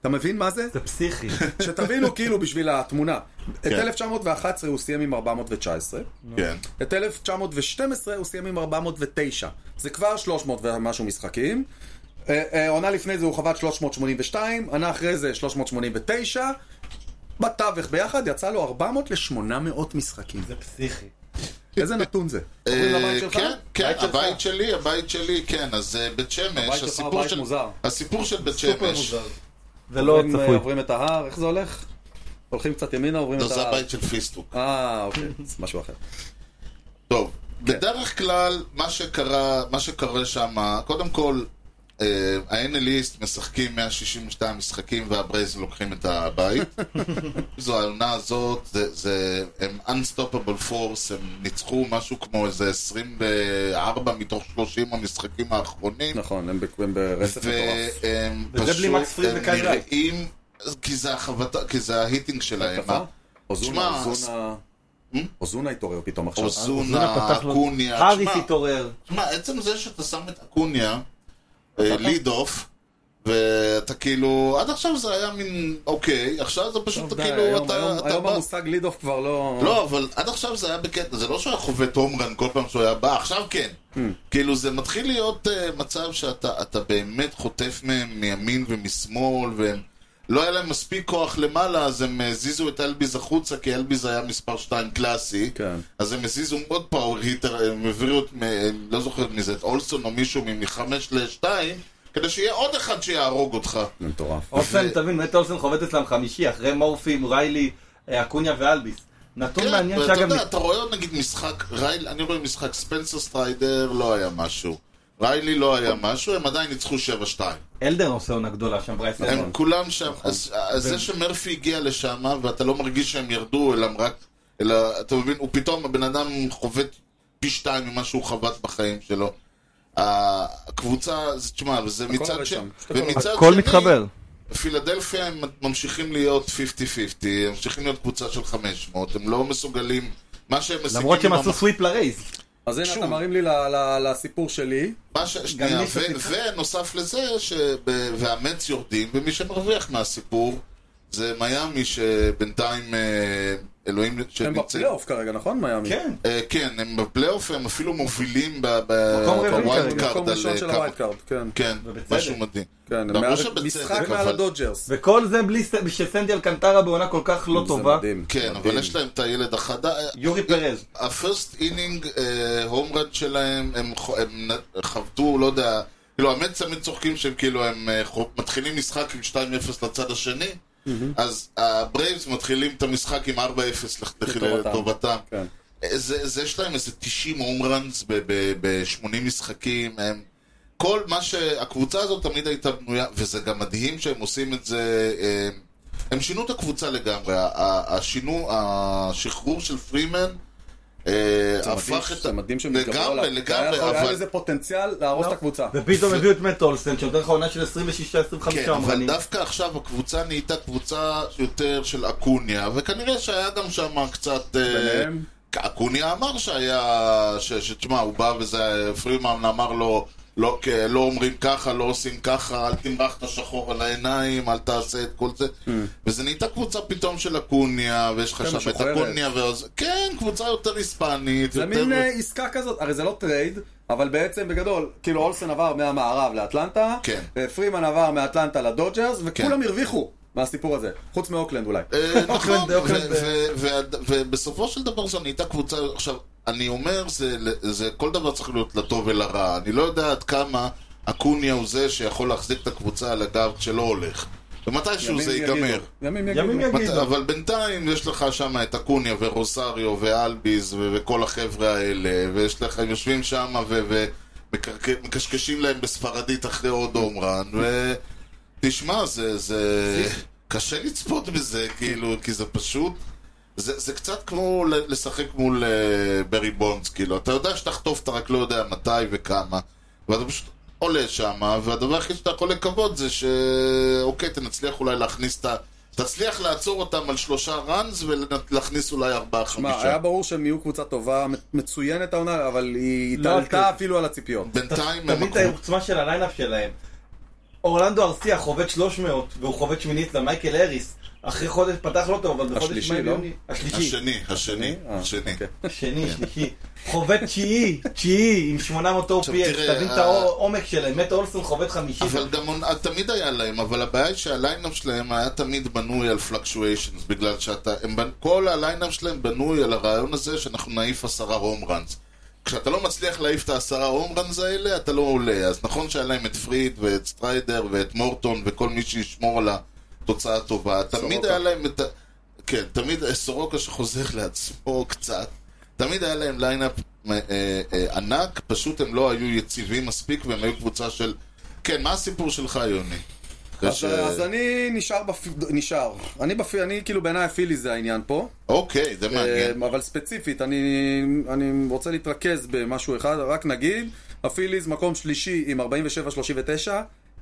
S3: אתה מבין מה זה?
S4: זה פסיכי.
S3: שתבינו כאילו בשביל התמונה. את
S1: כן.
S3: 1911 הוא סיים עם 419,
S1: כן.
S3: את 1912 הוא סיים עם 409. זה כבר 300 ומשהו משחקים. אה, אה, עונה לפני זה הוא חבט 382, עונה אחרי זה 389. בתווך ביחד יצא לו 400 ל-800 משחקים.
S4: זה פסיכי.
S3: איזה נתון זה? עוברים לבית שלך?
S1: כן, כן,
S4: הבית שלך.
S1: הבית שלי, הבית שלי, כן, אז אה, בית שמש,
S3: שלך,
S1: הסיפור
S3: הבית
S1: של-
S3: מוזר.
S1: הסיפור של בית
S4: סופר
S1: שמש,
S4: מוזר. זה לא
S3: עוברים, אה,
S4: צפוי.
S3: עוברים את ההר, איך זה הולך? הולכים קצת ימינה, עוברים
S1: לא,
S3: את
S1: זה
S3: ההר.
S1: הבית של פיסטוק.
S3: אה, אוקיי, זה משהו אחר.
S1: טוב, בדרך כלל, מה שקרה, מה שקורה שם, קודם כל, אה, האנליסט משחקים 162 משחקים והברייז לוקחים את הבית. זו העונה הזאת, זה, זה, הם Unstoppable Force, הם ניצחו משהו כמו איזה 24 מתוך 30 המשחקים האחרונים.
S3: נכון, הם ב- הם ברצף מטורף.
S1: והם
S4: וזה
S1: פשוט,
S4: בלי מקס פריד
S1: הם
S4: וקייל רייט.
S1: נראים, כי זה החבטה, כי זה ההיטינג שלהם.
S4: נכון.
S3: ככה? נכון? אוזונה,
S1: תשמע,
S3: אוזונה... אוזונה התעורר פתאום עכשיו.
S1: אוזונה,
S4: אה, פתח לו-
S1: אוקיי, אקוניה,
S4: האריס
S1: תשמע, אוקיי.
S4: התעורר.
S1: תשמע, עצם זה שאתה שם את אקוניה, אה, ליד אוף, ואתה כאילו, עד עכשיו זה היה מין, אוקיי, עכשיו זה פשוט
S3: טוב, די,
S1: כאילו,
S3: היום-
S1: אתה-
S3: היום-
S1: אתה
S3: היום
S1: בא-
S3: המושג ליד אוף כבר לא...
S1: לא, אבל עד עכשיו זה היה בקטע, זה לא שהוא היה חווה תומרן כל פעם שהוא היה בא, עכשיו כן. כאילו זה מתחיל להיות אה, מצב שאתה אתה באמת חוטף מהם מימין ומשמאל, והם... לא היה להם מספיק כוח למעלה, אז הם הזיזו את אלביז החוצה, כי אלביז היה מספר 2 קלאסי.
S3: כן.
S1: אז הם הזיזו עוד פאוור היטר, הם העבירו את, מ- הם לא זוכר מי זה, את אולסון או מישהו מ-5 ל-2, כדי שיהיה עוד אחד שיהרוג אותך.
S3: זה מטורף.
S4: אולסן, תבין, נטע אולסן חובט אצלם חמישי, אחרי מורפים, ריילי, אה, אקוניה ואלביס. נתון
S1: כן,
S4: מעניין
S1: ואתה
S4: שאגב...
S1: יודע, אתה רואה עוד נגיד משחק, רייל- אני רואה משחק ספנסר סטריידר, לא היה משהו. ריילי לא היה משהו, הם עדיין ניצחו 7-2.
S4: אלדן עושה עונה גדולה שם, ברייס
S1: הם
S4: אלדן.
S1: כולם שם, אז אז זה שמרפי הגיע לשם, ואתה לא מרגיש שהם ירדו, אלא הם רק, אלא, אתה מבין, הוא פתאום, הבן אדם חובט פי שתיים ממה שהוא חבט בחיים שלו. הקבוצה, זה- תשמע, וזה מצד
S3: עובד
S1: ש...
S3: שם. הכל
S1: ומצד שני...
S4: הכל מתחבר.
S1: פילדלפיה הם ממשיכים להיות 50-50, הם ממשיכים להיות קבוצה של 500, הם לא מסוגלים... מה שהם משיגים...
S4: למרות שהם
S1: עם
S4: עשו
S1: המח-
S4: סוויפ לרייז.
S3: אז הנה,
S1: שוב.
S3: אתה מרים לי ל- ל- לסיפור שלי.
S1: מה ש... שנייה,
S4: ניסו
S1: ו- ונוסף לזה, ש... והמץ יורדים, ומי שמרוויח מהסיפור זה מיאמי שבינתיים אה, אלוהים
S3: הם
S1: שנמצאים...
S3: בפלייאוף כרגע, נכון, מיאמי?
S4: כן.
S1: אה, כן, הם בפלייאוף, הם אפילו מובילים ב- ב-
S4: מקום רביעי
S1: בווילד
S4: כרגע,
S1: קארד
S3: כן, מקום
S1: על
S3: ראשון של
S1: אה, כמה...
S3: הווייד קארד, כן.
S1: כן,
S4: ובצדק.
S1: משהו מדהים.
S3: כן,
S1: לא,
S3: מעל-
S1: לא שבצדק,
S3: משחק
S1: אבל-
S3: מעל הדודג'רס.
S4: וכל זה בלי ס- שסנדי אלקנטרה בעונה כל כך לא טובה.
S3: זה מדהים.
S1: כן, אבל יש להם את הילד החדש.
S4: יורי פרז.
S1: הפרסט אינינג הום רן אה, שלהם, הם, חו- הם נ- חבטו, לא יודע, כאילו המץ תמיד צוחקים שהם כאילו הם אה, חו- מתחילים משחק עם 2-0 לצד השני, אז הברייבס מתחילים את המשחק עם 4-0 לח-
S3: לטובתם.
S1: לטובתם.
S3: כן.
S1: אה, זה, זה יש להם איזה 90 הום ראנס ב-80 משחקים, הם... כל מה שהקבוצה הזאת תמיד הייתה בנויה, וזה גם מדהים שהם עושים את זה, אה, הם שינו את הקבוצה לגמרי, ה- ה- השינו, השחרור של פרימן אה,
S3: זה מדהים-
S1: הפך את...
S3: זה מדהים שהם התגברו
S1: לגמרי,
S3: עליו. היה
S1: לגמרי,
S3: יכול- היה
S1: אבל... לא.
S3: לזה פוטנציאל להרוס את הקבוצה.
S4: ופתאום הביאו את מט אולסן, שנותן לך עונה של 26-25
S1: כן, אבל
S4: אמרנים.
S1: דווקא עכשיו הקבוצה נהייתה קבוצה יותר של אקוניה, וכנראה שהיה גם שם קצת... אה,
S3: ביניהם?
S1: אקוניה אמר שהיה... ש- שתשמע, הוא בא וזה... פרימן אמר לו, לא, כ- לא אומרים ככה, לא עושים ככה, אל תמרח את השחור על העיניים, אל תעשה את כל זה.
S3: Hmm.
S1: וזה נהייתה קבוצה פתאום של אקוניה, ויש לך
S3: כן,
S1: שם את
S3: משוחררת.
S1: אקוניה ואז... כן, קבוצה יותר היספנית.
S3: זה
S1: יותר-
S3: מין אה, עסקה כזאת, הרי זה לא טרייד, אבל בעצם בגדול, כאילו אולסן עבר מהמערב לאטלנטה, אה,
S1: כן.
S3: פרימן עבר מאטלנטה לדודג'רס, וכולם
S1: כן.
S3: הרוויחו מהסיפור הזה, חוץ מאוקלנד אולי.
S1: אה, נכון,
S4: אוקלנד, אוקלנד.
S1: ו- ו- וה- ובסופו של דבר זו נהייתה קבוצה, עכשיו, אני אומר, זה- זה כל דבר צריך להיות לטוב ולרע, אני לא יודע עד כמה אקוניה הוא זה שיכול להחזיק את הקבוצה על הגב כשלא הולך, ומתישהו
S3: ימים
S1: זה
S3: יגידו.
S1: ייגמר.
S3: ימים
S4: ימים
S3: יגידו.
S1: מת-
S4: יגידו.
S1: אבל בינתיים יש לך שם את אקוניה ורוסריו ואלביז ו- וכל החבר'ה האלה, ויש לך, הם יושבים שם ומקשקשים להם בספרדית אחרי עוד עומרן, ותשמע, זה, זה... קשה לצפות בזה, כאילו, כי זה פשוט... זה, זה קצת כמו ל- לשחק מול אה, ברי בונדס, כאילו, אתה יודע שתחטוף, אתה רק לא יודע מתי וכמה, ואתה פשוט עולה שם, והדבר היחיד שאתה יכול לקוות זה שאוקיי, תנצליח אולי להכניס את ה... תצליח לעצור אותם על שלושה ראנס ולהכניס אולי ארבעה
S3: מה,
S1: חמישה.
S3: היה ברור שהם יהיו קבוצה טובה, מצוינת העונה, אבל היא
S4: לא,
S3: התעלתה
S4: כן.
S3: אפילו על הציפיות.
S1: בינתיים הם...
S4: תבין את העוצמה של הליינאפ שלהם. אורלנדו ארסיה חובט 300, והוא חובט שמינית למייקל האריס. אחרי חודש פתח לא טוב, אבל בחודש
S3: השלישי,
S4: מאי
S3: לא?
S4: יוני... השלישי.
S1: השני, השני,
S3: אה,
S1: השני.
S3: אוקיי.
S4: שני, שלישי. חובט תשיעי, תשיעי, עם 800 OPS.
S1: תראה,
S4: תבין את
S1: ה-
S4: העומק שלהם. מת אולסון חובט חמישי.
S1: אבל גם עונ- תמיד היה להם, אבל הבעיה היא שהליינאפ שלהם היה תמיד בנוי על פלקשואיישנס, בגלל שאתה, הם, בנ- כל הליינאפ שלהם בנוי על הרעיון הזה שאנחנו נעיף עשרה הום ראנס. כשאתה לא מצליח להעיף את העשרה הום ראנס האלה, אתה לא עולה. אז נכון שהיה להם את פריד ואת סטריידר ואת מורטון וכל מי שישמור על התוצאה הטובה. תמיד
S3: סורוקה.
S1: היה להם את ה... כן, תמיד אה, סורוקה שחוזר לעצמו קצת. תמיד היה להם ליינאפ אה, אה, אה, ענק, פשוט הם לא היו יציבים מספיק והם היו קבוצה של... כן, מה הסיפור שלך, יוני? אחרי ש-
S3: אז אז אני נשאר, בפ- נשאר. אני בפי- אני כאילו בעיניי הפילי זה העניין פה.
S1: אוקיי, זה מעניין.
S3: אה, אבל ספציפית, אני, אני רוצה להתרכז במשהו אחד, רק נגיד, הפיליז מקום שלישי עם 47-39,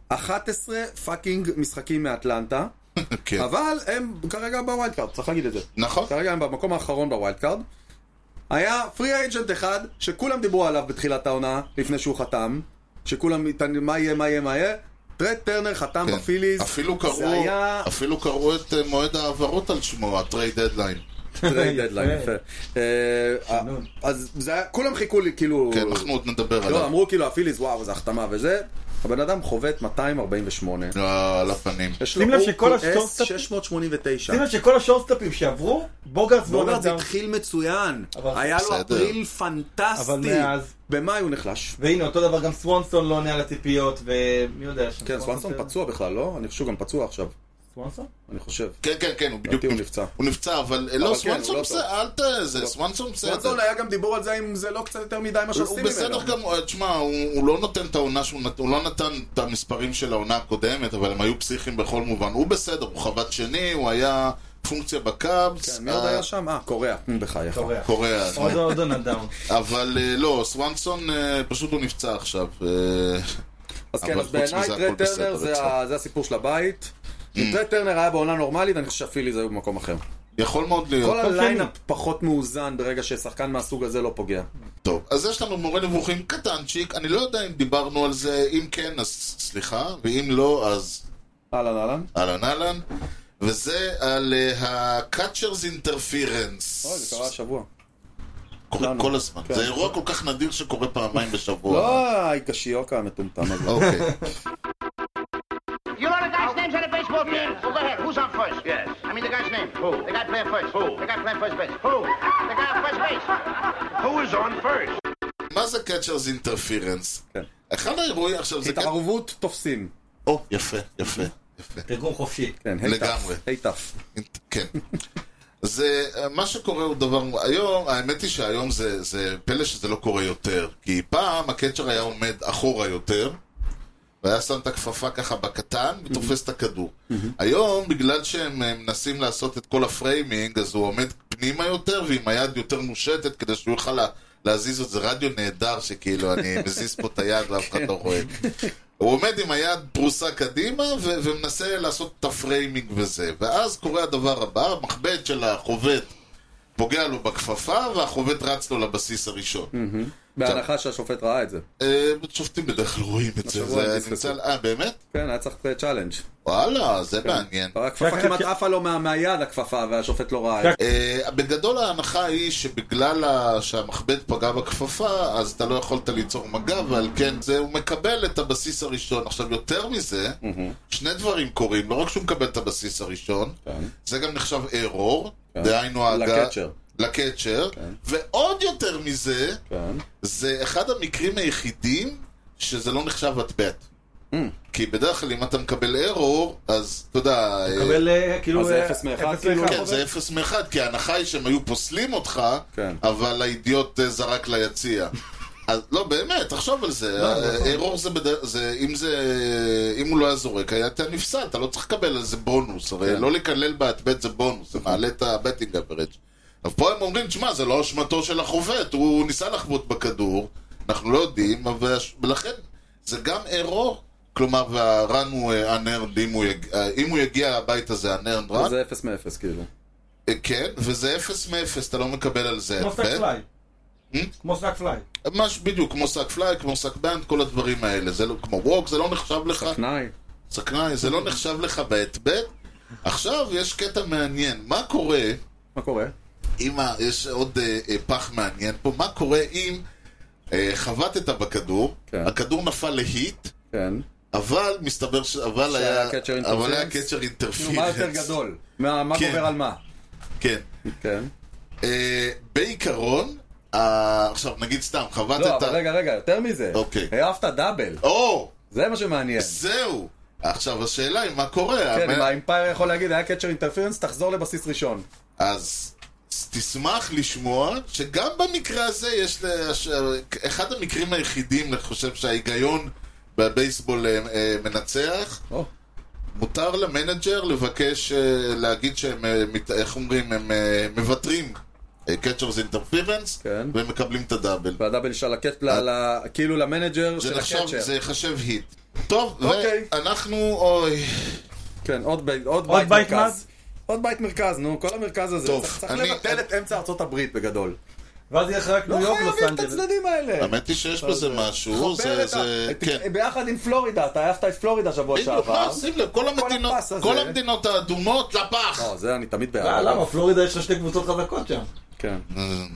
S3: 11 פאקינג משחקים מאטלנטה,
S1: כן.
S3: אה, אבל הם כרגע בווילד קארד, צריך להגיד את זה.
S1: נכון.
S3: כרגע הם במקום האחרון בווילד קארד. היה פרי אייג'נט אחד, שכולם דיברו עליו בתחילת העונה, לפני שהוא חתם, שכולם, התעניינו, מה יהיה, מה יהיה, מה יהיה, טרד טרנר חתם
S1: כן.
S3: בפיליז,
S1: אפילו קראו,
S3: זה היה...
S1: אפילו קראו את אה, מועד ההעברות על שמו, ה-Trade Deadline.
S3: טרייד
S4: כן,
S3: דדליין, יפה. אה,
S4: שינוי.
S3: אז זה היה, כולם חיכו לי, כאילו...
S1: כן, אנחנו עוד נדבר
S3: לא,
S1: עליו.
S3: אמרו כאילו הפיליז, וואו, זה החתמה וזה. הבן אדם חובט 248.
S1: אה, על הפנים.
S3: יש
S4: שים לב שכל
S3: הוא
S4: השטוף-
S3: כועס 689.
S4: שים לב שכל השורסטאפים שעברו, בוגרס
S3: ואומר, זה
S4: ואומר
S3: התחיל מצוין.
S4: אבל-
S3: היה לו
S1: בסדר.
S3: אפריל פנטסטי.
S4: אבל מאז-
S3: במאי הוא נחלש.
S4: והנה, אותו דבר גם סוונסון לא עונה על הציפיות, ומי יודע שם.
S3: כן, סוונסון פצוע בכלל, לא? אני חושב שהוא גם פצוע עכשיו.
S4: סוונסון?
S3: אני חושב.
S1: כן, כן, כן, הוא בדיוק...
S3: לדעתי הוא נפצע.
S1: הוא נפצע, אבל... אה, לא,
S3: אבל כן, הוא
S1: סוונסון
S3: לא
S1: בסדר, אל ת... זה, סוונסון בסדר.
S3: סוונסון היה גם דיבור על זה אם זה לא קצת יותר מדי מה
S1: הוא
S3: שעושים ממנו.
S1: בסדר גמור, אה, תשמע, הוא הוא לא נותן את העונה שהוא נת... הוא לא נתן את המספרים של העונה הקודמת, אבל הם היו פסיכיים בכל מובן. הוא בסדר, הוא חבט שני, הוא היה... פונקציה בקאבס.
S3: כן, מי עוד היה שם? אה, קוריאה. נו, בחייך.
S4: קוריאה.
S1: קוריאה.
S4: עוד עוד נדאון.
S1: אבל אה, לא, סוואנסון אה, פשוט הוא נפצע עכשיו. אה,
S3: אז כן,
S1: אבל
S3: אז
S1: חוץ מזה
S3: בעיניי
S1: הכל
S3: טרי טרנר
S1: בסדר
S3: זה
S1: אצלו.
S3: ה- זה הסיפור של הבית. אם טרי טרנר היה בעונה נורמלית, אני חושב שהפיליז היו במקום אחר.
S1: יכול מאוד להיות.
S3: כל הליינאפ פחות מאוזן ברגע ששחקן מהסוג הזה לא פוגע.
S1: טוב, אז יש לנו מורה נבוכים קטנצ'יק, אני לא יודע אם דיברנו על זה, אם כן אז סליחה, ואם לא אז
S3: אהלן אהלן.
S1: אהלן אהלן, וזה על אה, ה-Catchers Interference.
S3: אוי, זה קרה השבוע.
S1: אה. קורה
S3: לנו.
S1: כל הזמן.
S3: כן.
S1: זה אירוע כל כך נדיר שקורה פעמיים בשבוע.
S3: לא האיקשיוקה המטומטם הזה.
S1: אוקיי.
S6: You know the guy's names on the baseball team? Well, go ahead. Who's on first? Yes. I mean the guy's name. Who? The guy playing first. Who? The guy playing first base. Who? The guy on first base. Who is on first?
S1: מה זה Catchers Interference?
S3: כן.
S1: אחד האירועים עכשיו זה... גם-
S3: התערבות תופסים.
S1: או, יפה, יפה, יפה.
S4: תרגום חופשי.
S3: כן, היי
S1: לגמרי.
S3: תף. היי תף.
S1: כן. זה, מה שקורה הוא דבר, היום, האמת היא שהיום זה, זה פלא שזה לא קורה יותר. כי פעם הקצ'ר היה עומד אחורה יותר, והיה שם את הכפפה ככה בקטן, ותופס את הכדור. היום, בגלל שהם אה, מנסים לעשות את כל הפריימינג, אז הוא עומד פנימה יותר, ועם היד יותר מושטת, כדי שהוא יוכל לה, להזיז את זה. רדיו נהדר, שכאילו, אני מזיז פה את היד ואף אחד לא רואה. הוא עומד עם היד פרוסה קדימה ו- ומנסה לעשות את הפריימינג וזה. ואז קורה הדבר הבא, המחבט של החובט פוגע לו בכפפה והחובט רץ לו לבסיס הראשון.
S3: בהנחה שהשופט ראה את זה.
S1: אה, שופטים בדרך כלל רואים את זה.
S3: השבוע הם
S1: זה
S3: פספסו.
S1: נמצא... אה, באמת?
S3: כן, היה צריך צ'אלנג'.
S1: וואלה, זה מעניין.
S3: הכפפה
S4: רק-
S3: כמעט עפה לו מה- מהיד הכפפה והשופט לא ראה את זה.
S4: רק-
S1: אה, בגדול ההנחה היא שבגלל ה- שהמחבט פגע בכפפה, אז אתה לא יכולת ליצור מגע,
S3: Mm-hmm.
S1: ועל כן זה, הוא מקבל את הבסיס הראשון. עכשיו, יותר מזה,
S3: Mm-hmm.
S1: שני דברים קורים, לא רק שהוא מקבל את הבסיס הראשון, זה גם נחשב ארור, דהיינו ההגה...
S3: כן. לקצ'ר.
S1: לקצ'ר, ועוד יותר מזה,
S3: כן.
S1: זה אחד המקרים היחידים שזה לא נחשב הטבעת.
S3: Mm.
S1: כי בדרך כלל אם אתה מקבל ארור, אז אתה יודע... אה,
S4: מקבל אה, כאילו...
S3: אז זה
S4: אה,
S3: אפס מאחד,
S4: אפס
S3: כאילו?
S4: מאחד.
S1: כן, זה אפס מאחד, כי ההנחה היא שהם היו פוסלים אותך,
S3: כן.
S1: אבל האידיוט אה, זרק ליציע. אז לא, באמת, תחשוב על
S3: לא,
S1: זה. אה, ארור זה בדרך, זה- אם זה, אם הוא לא היה זורק, היה אתה נפסל, אתה לא צריך לקבל על זה בונוס.
S3: כן.
S1: הרי לא לקלל בהטבט זה בונוס, זה מעלה את הבטינג אברג'. אבל פה הם אומרים, תשמע, זה לא אשמתו של החובט, הוא ניסה לחבוט בכדור, אנחנו לא יודעים, אבל- ולכן זה גם ארור. כלומר, והרן הוא אנרנד, אם הוא יגיע הביתה זה אנרנד רן.
S3: זה אפס מאפס כאילו.
S1: אה, כן, וזה אפס מאפס, אתה לא מקבל על זה.
S4: כמו סאק
S1: כן?
S4: פליי. כמו סאק פליי.
S1: ממש בדיוק, כמו שק פליי, כמו שק בנד, כל הדברים האלה. זה לא, כמו ווק, זה לא נחשב לך,
S3: תנאי.
S1: סכנאי, זה לא נחשב לך בהטבט. עכשיו יש קטע מעניין, מה קורה
S3: מה קורה?
S1: אם, ה- יש עוד אה, אה, פח מעניין פה, מה קורה אם אה, חבטת בכדור,
S3: כן.
S1: הכדור נפל להיט,
S3: כן.
S1: אבל מסתבר ש... אבל
S3: שהיה
S1: היה...
S3: catcher
S1: אבל היה
S3: interference?
S1: קצ'ר
S3: נו,
S1: אינטרפירנס.
S3: כאילו, מה יותר גדול? מה מה
S1: כן.
S3: גובר על מה?
S1: כן.
S3: כן.
S1: אה, בעיקרון, אה, עכשיו נגיד סתם, חבטת...
S3: לא, אבל רגע, רגע, יותר מזה.
S1: אוקיי.
S3: העפת דאבל.
S1: או!
S3: זה מה שמעניין.
S1: זהו! עכשיו השאלה היא מה קורה.
S3: כן, אם
S1: המ-
S3: האימפייר יכול להגיד, היה קצ'ר אינטרפרנס, תחזור לבסיס ראשון.
S1: אז תשמח לשמוע שגם במקרה הזה יש... לש- אחד המקרים היחידים, אני חושב שההיגיון בבייסבול אה, אה, מנצח.
S3: או,
S1: מותר למנג'ר לבקש, אה, להגיד שהם, אה, מת- איך אומרים, הם אה, מוותרים. אה, קצ'רס אינטרפירנס,
S3: כן.
S1: והם מקבלים את הדאבל.
S3: והדאבל של הקט... ל- ל- כאילו למנג'ר
S1: זה
S3: של
S1: נחשב,
S3: הקצ'ר.
S1: זה ייחשב היט. טוב,
S3: אוקיי.
S1: ואנחנו, אוי,
S3: כן, עוד בית- עוד
S4: עוד
S3: בית
S4: בית
S3: מרכז.
S4: מאז?
S3: עוד בית מרכז, נו, כל המרכז הזה.
S1: טוב,
S3: צריך צריך
S1: אני-
S3: לבטל את אמצע ארצות הברית בגדול.
S4: ואז יהיה לך רק
S3: לא
S4: ניו יורק לוס
S3: חייבים את
S4: אנג'לס.
S3: הצדדים האלה.
S1: האמת היא שיש בזה משהו,
S3: אה, חבר
S1: זה,
S3: את
S1: זה,
S3: ה-
S1: כן.
S3: את- ביחד עם פלורידה, אתה העפת את פלורידה שבוע
S1: בדיוק,
S3: שעבר.
S1: מה, שים לב, כל המדינות,
S3: הפס הזה.
S1: כל המדינות האדומות לפח.
S3: לא, זה אני תמיד בעד.
S4: אה, למה? פלורידה יש לה שתי קבוצות חזקות שם.
S3: כן.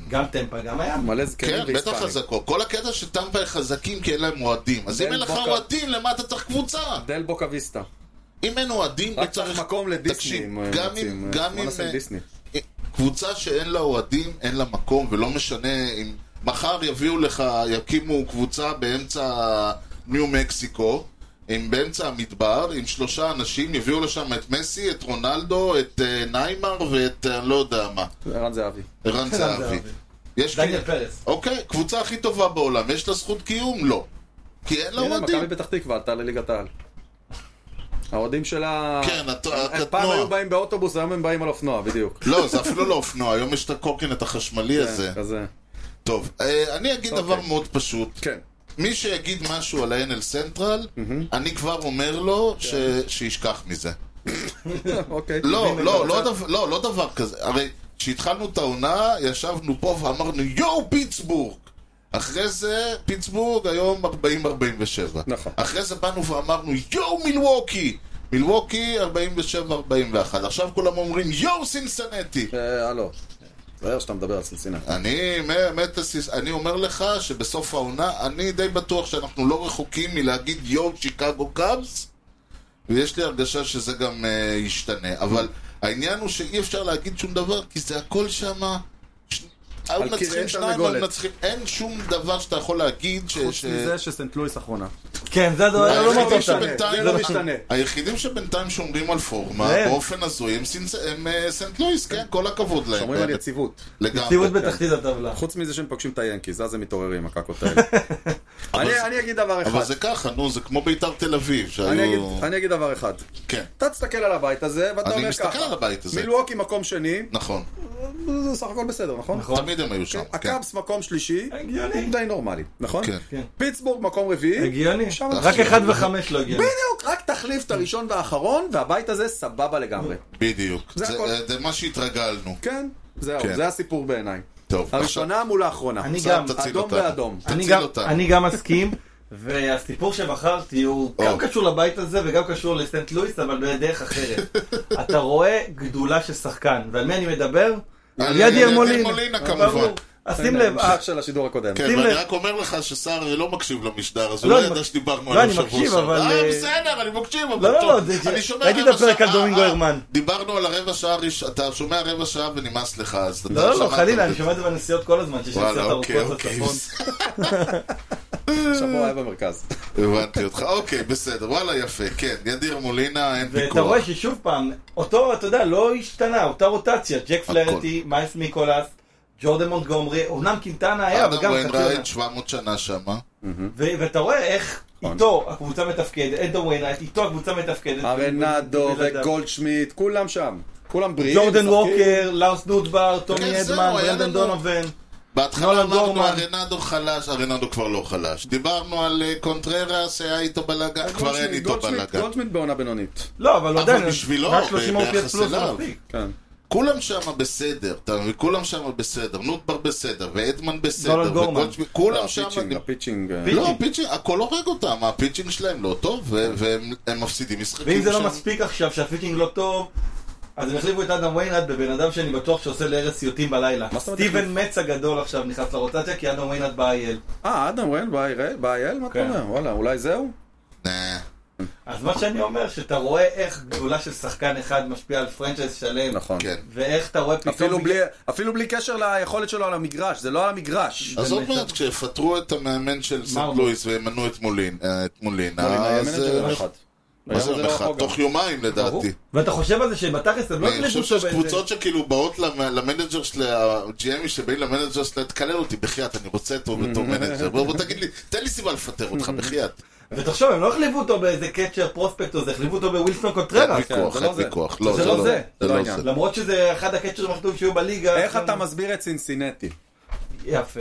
S4: גם טמפה, גם הים.
S3: מלא זקנים
S1: כן, בטח
S3: והיספנים.
S1: חזקות. כל הקטע שטמפה הם חזקים כי אין להם אוהדים. אז אם
S3: דל
S1: אין לך
S3: בוקה.
S1: אוהדים, למה אתה צריך קבוצה?
S3: דל בוקה ויסטה.
S1: אם אין אוהדים,
S3: רק
S1: לא צריך...
S3: צריך מקום לדיסני.
S1: תקשיב,
S3: אם, אה,
S1: גם
S3: רוצים,
S1: אם...
S3: אה,
S1: גם
S3: בוא
S1: אם...
S3: נעשה
S1: אה,
S3: דיסני.
S1: קבוצה שאין לה אוהדים, אין לה מקום, ולא משנה אם מחר יביאו לך, יקימו קבוצה באמצע ניו מקסיקו, עם באמצע המדבר, עם שלושה אנשים, יביאו לשם את מסי, את רונלדו, את אה, ניימר ואת אה, לא יודע מה,
S3: ערן זהבי.
S1: ערן זהבי.
S4: זהבי.
S1: יש
S4: דניאל
S1: כאילו-
S4: פרס.
S1: אוקיי, קבוצה הכי טובה בעולם, יש לה זכות קיום? לא. כי אין לה
S3: הנה,
S1: אוהדים.
S3: מכבי פתח תקווה עלתה לליגת העל. האוהדים שלה...
S1: כן, הת-
S3: הם
S1: הקטנוע.
S3: פעם היו באים באוטובוס, היום הם באים על אופנוע, בדיוק.
S1: לא, זה אפילו לא אופנוע, היום יש את הקורקינט החשמלי הזה.
S3: כזה.
S1: טוב, אה, אני אגיד
S3: כן. אוקיי.
S1: דבר מאוד פשוט.
S3: כן.
S1: מי שיגיד משהו על ה-NL סנטרל, אני כבר אומר לו ש-
S3: כן.
S1: שישכח מזה.
S3: אוקיי.
S1: לא,
S3: הנה,
S1: לא,
S3: אתה
S1: לא
S3: רוצה-
S1: דבר- לא, לא דבר כזה. הרי כשהתחלנו את העונה, ישבנו פה ואמרנו, יואו, פיטסבורג! אחרי זה, פיטסבורג היום 40-47.
S3: נכון.
S1: אחרי זה באנו ואמרנו, יואו, מילווקי! מילווקי 47-41. עכשיו כולם אומרים, יואו, סינסנטי!
S3: אה, הלו. זהר שאתה מדבר על סלסינה.
S1: אה, אני, מ- מטסיס, אני אומר לך שבסוף העונה, אני די בטוח שאנחנו לא רחוקים מלהגיד יואו שיקגו קאבס, ויש לי הרגשה שזה גם uh, ישתנה. אבל העניין הוא שאי אפשר להגיד שום דבר, כי זה הכל שמה... ש... היו
S3: כרעי
S1: מנצחים שניים,
S3: תרנגולת.
S1: היו מנצחים... אין שום דבר שאתה יכול להגיד ש...
S3: חוץ
S1: ש...
S3: מזה שסנט לואיס אחרונה.
S4: כן, זה הדבר,
S1: היחידים
S4: לא
S3: זה לא
S4: מרגיש
S3: משתנה,
S4: שאני...
S1: שבינתיים-
S3: זה לא משתנה.
S1: היחידים שבינתיים שומרים על פורמה,
S4: זה הם.
S1: באופן הזוי, הם, סינס... הם אה, סנט לואיס, כן, כל הכבוד להם.
S3: שומרים על יציבות.
S4: ציוות
S1: לגמרי.
S4: בתחתית הטבלה.
S3: חוץ מזה שהם פוגשים את היאנקיז, אז הם מתעוררים, הקקות האלה. אני- אני אגיד דבר אחד.
S1: אבל זה כאילו- ככה, נו, זה כמו בית"ר תל אביב,
S3: אני אגיד-
S1: שהיו...
S3: אני אגיד דבר אחד.
S1: כן.
S3: אתה תסתכל על הבית הזה, ואתה
S1: אני
S3: אומר ככה.
S1: מסתכל על הבית הזה.
S3: מילווקי מקום שני,
S1: נכון,
S3: זה סך הכל בסדר, נכון?
S4: נכון.
S1: תמיד הם היו שם. כן.
S3: הקאבס מקום שלישי,
S4: הגיוני.
S3: די נורמלי, נכון?
S1: כן.
S4: כן.
S3: פיטסבורג מקום רביעי.
S4: הגיוני.
S3: שם-
S4: רק אחד וחמש לא הגיוני.
S3: בדיוק, רק תחליף את הראשון והאחרון, והבית הזה סבבה לגמרי.
S1: בדיוק.
S3: זה
S1: זה,
S3: הכל.
S1: זה, מה שהתרגלנו.
S3: כן, זהו,
S1: כן.
S3: זה הסיפור בעיניי.
S1: טוב,
S3: הראשונה מול האחרונה.
S4: אני
S1: עכשיו
S4: גם,
S1: תציל
S3: אדום
S1: אותנו.
S3: ואדום.
S1: תציל
S4: אני גם-
S1: אותנו.
S4: אני גם מסכים, והסיפור שבחרתי הוא
S1: או.
S4: גם קשור לבית הזה וגם קשור לסנט לואיס, אבל בדרך אחרת. אתה רואה גדולה של שחקן, ועל מי אני מדבר?
S1: על
S4: על ידי
S1: ידי
S4: אלמולינה,
S1: אלמולינה, כמובן.
S4: ברור. אז שים
S3: הנה,
S4: לב, אה,
S3: המשך של השידור הקודם.
S1: כן,
S4: שים
S1: ואני
S4: לב.
S1: רק אומר לך שסער לא מקשיב למשדר, אז הוא
S4: לא,
S1: לא
S4: אני
S1: ידע
S4: מק-
S1: שדיברנו
S4: לא,
S1: עליו
S4: אני
S1: שבוע
S4: מקשיב,
S1: שעבר.
S4: אבל,
S1: אה,
S4: אה,
S1: בסדר, אני מקשיב, אבל
S4: לא,
S1: טוב.
S4: לא, זה-
S1: אני שומע
S4: ראיתי את
S1: רבע
S4: הפרק
S1: שעה,
S4: על דומינגו
S1: אה,
S4: הרמן.
S1: דיברנו על הרבע שעה, הראש- אתה שומע רבע שעה ונמאס לך, אז אתה
S4: לא, לא, לא,
S1: שמעת
S4: חלילה,
S1: את
S4: אני
S1: זה.
S4: שומע את זה בנסיעות כל הזמן, שיש
S1: וואלה,
S4: נסיעות
S1: אוקיי,
S4: ארוכות
S1: אוקיי.
S4: לצפון.
S3: שבוע היה במרכז.
S1: הבנתי אותך, אוקיי, בסדר, וואלה, יפה, כן, ידיר מולינה, אין
S4: ואתה
S1: פיקוח.
S4: רואה ששוב פעם, אותו, אתה יודע, לא השתנה, אותה רוטציה, ג'ק פלרטי, מייס מיקולס, ג'ורדן מונטגומרי, אמנם קינטנה היה, אבל
S1: אדם
S4: גם חצי עונה.
S1: ויינרייט 700 שנה שמה.
S4: ו- ואתה רואה איך
S1: אוקיי.
S3: נכון.
S4: איתו הקבוצה מתפקדת, אדו וויינרייט, איתו הקבוצה מתפקדת.
S3: ארנדו
S4: בלעדיו.
S3: וגולדשמיט, כולם שם. כולם בריאים.
S4: ג'ורדן
S3: משחקים.
S4: ווקר, לאוס דודבר,
S1: אוקיי. כן,
S4: טומי
S1: זהו,
S4: אדמן,
S1: היה
S4: ברנדן
S1: לנו-
S4: דונובן.
S1: בהתחלה
S4: נולן
S1: אמרנו
S4: דורמן.
S1: ארנדו חלש, ארנדו כבר לא חלש. דיברנו על אה, קונטררס, היה איתו בלאגן, כבר אין
S3: גולדשמיט-
S1: איתו
S3: גולדשמיט-
S1: בלאגן.
S3: גולדשמיט בעונה בינונית.
S4: לא, אבל הוא
S1: אבל
S4: עדיין,
S1: בשבילו,
S4: רק 30
S1: ב-
S4: אופייט
S1: ביחס
S4: פלוס
S1: אליו.
S4: זה מספיק.
S3: כן.
S1: כולם שם בסדר, אתה מבין? כולם שם בסדר, נוטבר בסדר, ואדמן
S4: נולן
S1: בסדר,
S4: גורמן.
S1: וגולדשמיט, כולם שם...
S3: אה, הפיצ'ינג, הפיצ'ינג. אה,
S1: לא, הפיצ'ינג, הכל הורג אותם, הפיצ'ינג שלהם לא טוב, ו- והם הם מפסידים משחקים
S4: ואם זה לא
S1: שם.
S4: מספיק עכשיו שהפיטינג לא טוב, אז הם החליפו את אדם ויינרד בבן אדם שאני בטוח שעושה להרס סיוטים בלילה.
S3: מה זאת אומרת
S4: סטיבן מצ הגדול עכשיו נכנס לרוטציה כי אדם ויינרד ב-IL.
S3: אה, אדם ריין, באייל? מה אתה
S4: כן.
S3: אומר? וואלה, אולי זהו?
S1: אה,
S4: אז מה שאני אומר, שאתה רואה איך גדולה של שחקן אחד משפיעה על פרנצ'ייז שלם.
S3: נכון.
S1: כן.
S4: ואיך אתה רואה פתאום...
S3: אפילו בלי, אפילו בלי קשר ליכולת שלו על המגרש, זה לא על המגרש.
S1: אז עוד
S4: באמת.
S1: מעט, כשיפטרו את המאמן של סנט
S4: מרמור.
S1: לואיס וימנו את מולין- אה, את
S4: לא,
S1: מולינה,
S3: היה
S1: אז...
S3: מנג'ר
S1: אה,
S3: יום אחד.
S1: מה זה
S3: היום
S1: יום
S3: לא
S1: אחד?
S3: רחוק גם.
S1: תוך יומיים לדעתי.
S4: ואתה חושב על זה שבתכלס הם לא
S1: אני
S4: יקלטו
S1: חושב
S4: אותו
S1: שיש
S4: באיזה-
S1: קבוצות שכאילו באות למ- למנג'ר של ה-GMי שבאים למנג'ר שלה, תקלל אותי, בחייאת, אני רוצה אותו בתור מנג'ר. בוא בוא תגיד לי, תן לי סיבה לפטר אותך, בחייאת.
S4: ותחשוב, הם לא החליפו אותו באיזה קצ'ר פרוספקט או זה, החליפו אותו בווילסון
S1: אין
S4: קוטררס.
S1: ויכוח,
S3: זה לא
S1: אין
S3: זה.
S1: ויכוח. לא,
S4: זה לא זה.
S1: זה
S3: זה לא
S1: לא
S3: העניין.
S1: זה.
S4: למרות שזה אחד הקצ'רים הכי טובים שהיו בליגה.
S3: איך אתה מסביר את סינסינטי?
S4: יפה.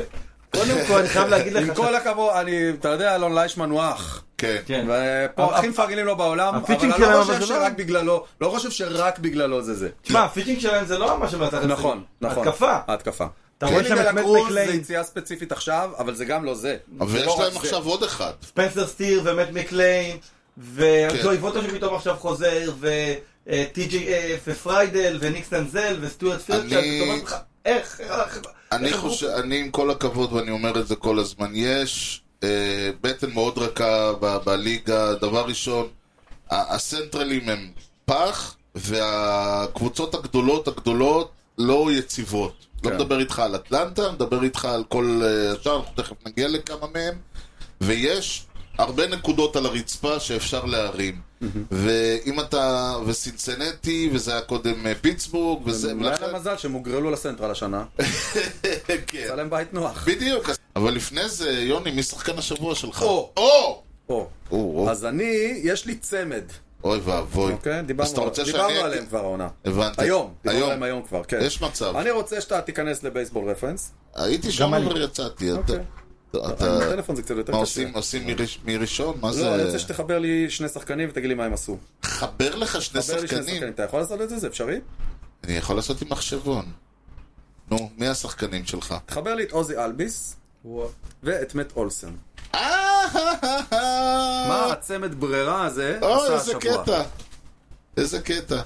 S4: קודם כל, אני חייב להגיד לך...
S3: עם כל הכבוד, אני, אתה יודע, אלון ליישמן הוא אח.
S1: כן.
S4: כן.
S3: ופה
S4: אבל-
S3: הכי מפרגנים לו בעולם, אבל
S4: הפיצ'ינג
S3: אני לא
S4: שלהם,
S3: חושב
S4: אבל זה לא-
S3: שרק בגללו, לא חושב שרק בגללו זה זה.
S4: תשמע, הפיצ'ינג שלהם זה לא מה שמנצח את זה.
S3: נכון, נכון.
S4: התקפה.
S3: התקפה.
S4: אתה רואה שם
S3: קלינגל
S4: את מט
S3: הקרוז זה
S4: מקליין,
S3: יציאה ספציפית עכשיו, אבל זה גם לא זה.
S1: אבל
S3: זה
S1: יש
S3: לא רק
S1: להם
S3: זה.
S1: עכשיו עוד אחד.
S4: ספנסר סטיר ומט מקליין,
S1: כן.
S4: וג'וי ווטו שפתאום עכשיו חוזר, אה, וטי.ג'י ופריידל, וניק סטנזל, וסטוארט
S1: אני-
S4: פילד, שאתה אומר לך, איך, איך,
S1: אני
S4: איך
S1: חושב, אני עם כל הכבוד, ואני אומר את זה כל הזמן, יש אה, בטן מאוד רכה ב- בליגה. דבר ראשון, ה- הסנטרלים הם פח, והקבוצות הגדולות הגדולות לא יציבות. לא
S3: כן.
S1: מדבר איתך על אטלנטה, מדבר איתך על כל אה, השאר, אנחנו תכף נגיע לכמה מהם. ויש הרבה נקודות על הרצפה שאפשר להרים. ואם אתה, וסינסנטי, וזה היה קודם אה, פיטסבורג, וזה,
S3: אולי
S1: ולכן,
S3: להם מזל שהם הוגרלו לסנטרל השנה,
S1: כן.
S3: יצא להם בית נוח.
S1: בדיוק, אז- אבל לפני זה, יוני, מי שחקן השבוע שלך?
S3: או.
S1: או!
S3: או.
S1: או, או.
S3: אז אני, יש לי צמד.
S1: אוי ואבוי.
S3: אוקיי?
S1: אז אתה
S3: דיברנו
S1: רוצה
S3: דיברנו
S1: שאני...
S3: עליהם כבר העונה.
S1: הבנתי.
S3: היום, דיברנו
S1: היום.
S3: עליהם היום כבר, כן.
S1: יש מצב.
S3: אני רוצה שאתה תיכנס לבייסבול רפרנס.
S1: הייתי שם
S4: אני.
S1: אבל יצאתי. אתה-
S3: אוקיי.
S1: אתה...
S3: הטלפון זה קצת יותר
S1: מה
S3: קשה.
S1: עושים? עושים מראש- מראשון? מה
S3: לא, אני
S1: זה?
S3: רוצה שתחבר לי שני שחקנים ותגיד לי מה הם עשו.
S1: חבר לך שני
S3: תחבר לי שני
S1: שחקנים.
S3: שחקנים. אתה יכול לעשות את זה? זה אפשרי?
S1: אני יכול לעשות עם מחשבון. נו, מי השחקנים שלך?
S3: תחבר לי את עוזי אלביס ואת מאט אולסן. מה אה.
S1: מה?
S3: הצמד ברירה הזה
S1: אה, אוי,
S3: עשה
S1: אה. איזה
S3: השבוע?
S1: קטע. איזה קטע.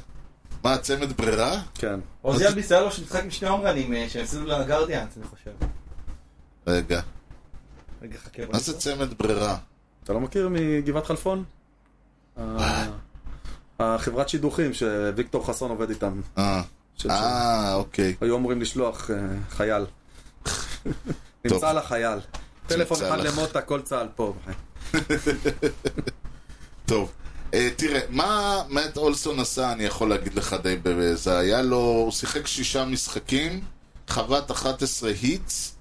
S1: מה, צמד ברירה?
S3: כן.
S4: עוזי אלביס היה לו שם משחק עם שני אומרנים אה, שהם עשינו לגרדיאנס, אני חושב.
S1: רגע,
S4: רגע, חכה. בוא
S1: מה זה צמד ברירה?
S3: אתה לא מכיר מגבעת חלפון?
S1: אה.
S3: ה- החברת שידוכים שוויקטור חסון עובד איתם.
S1: אה,
S3: של-
S1: אה, אוקיי.
S3: היו אמורים לשלוח אה, חייל.
S1: טוב.
S3: נמצא לה חייל. טלפון אחד
S1: לך.
S3: למוטה, כל צה"ל פה.
S1: אה, טוב. אה, תראה, מה מאט אולסון עשה, אני יכול להגיד לך די בזה. היה לו, הוא שיחק שישה משחקים, חבט 11 היטס,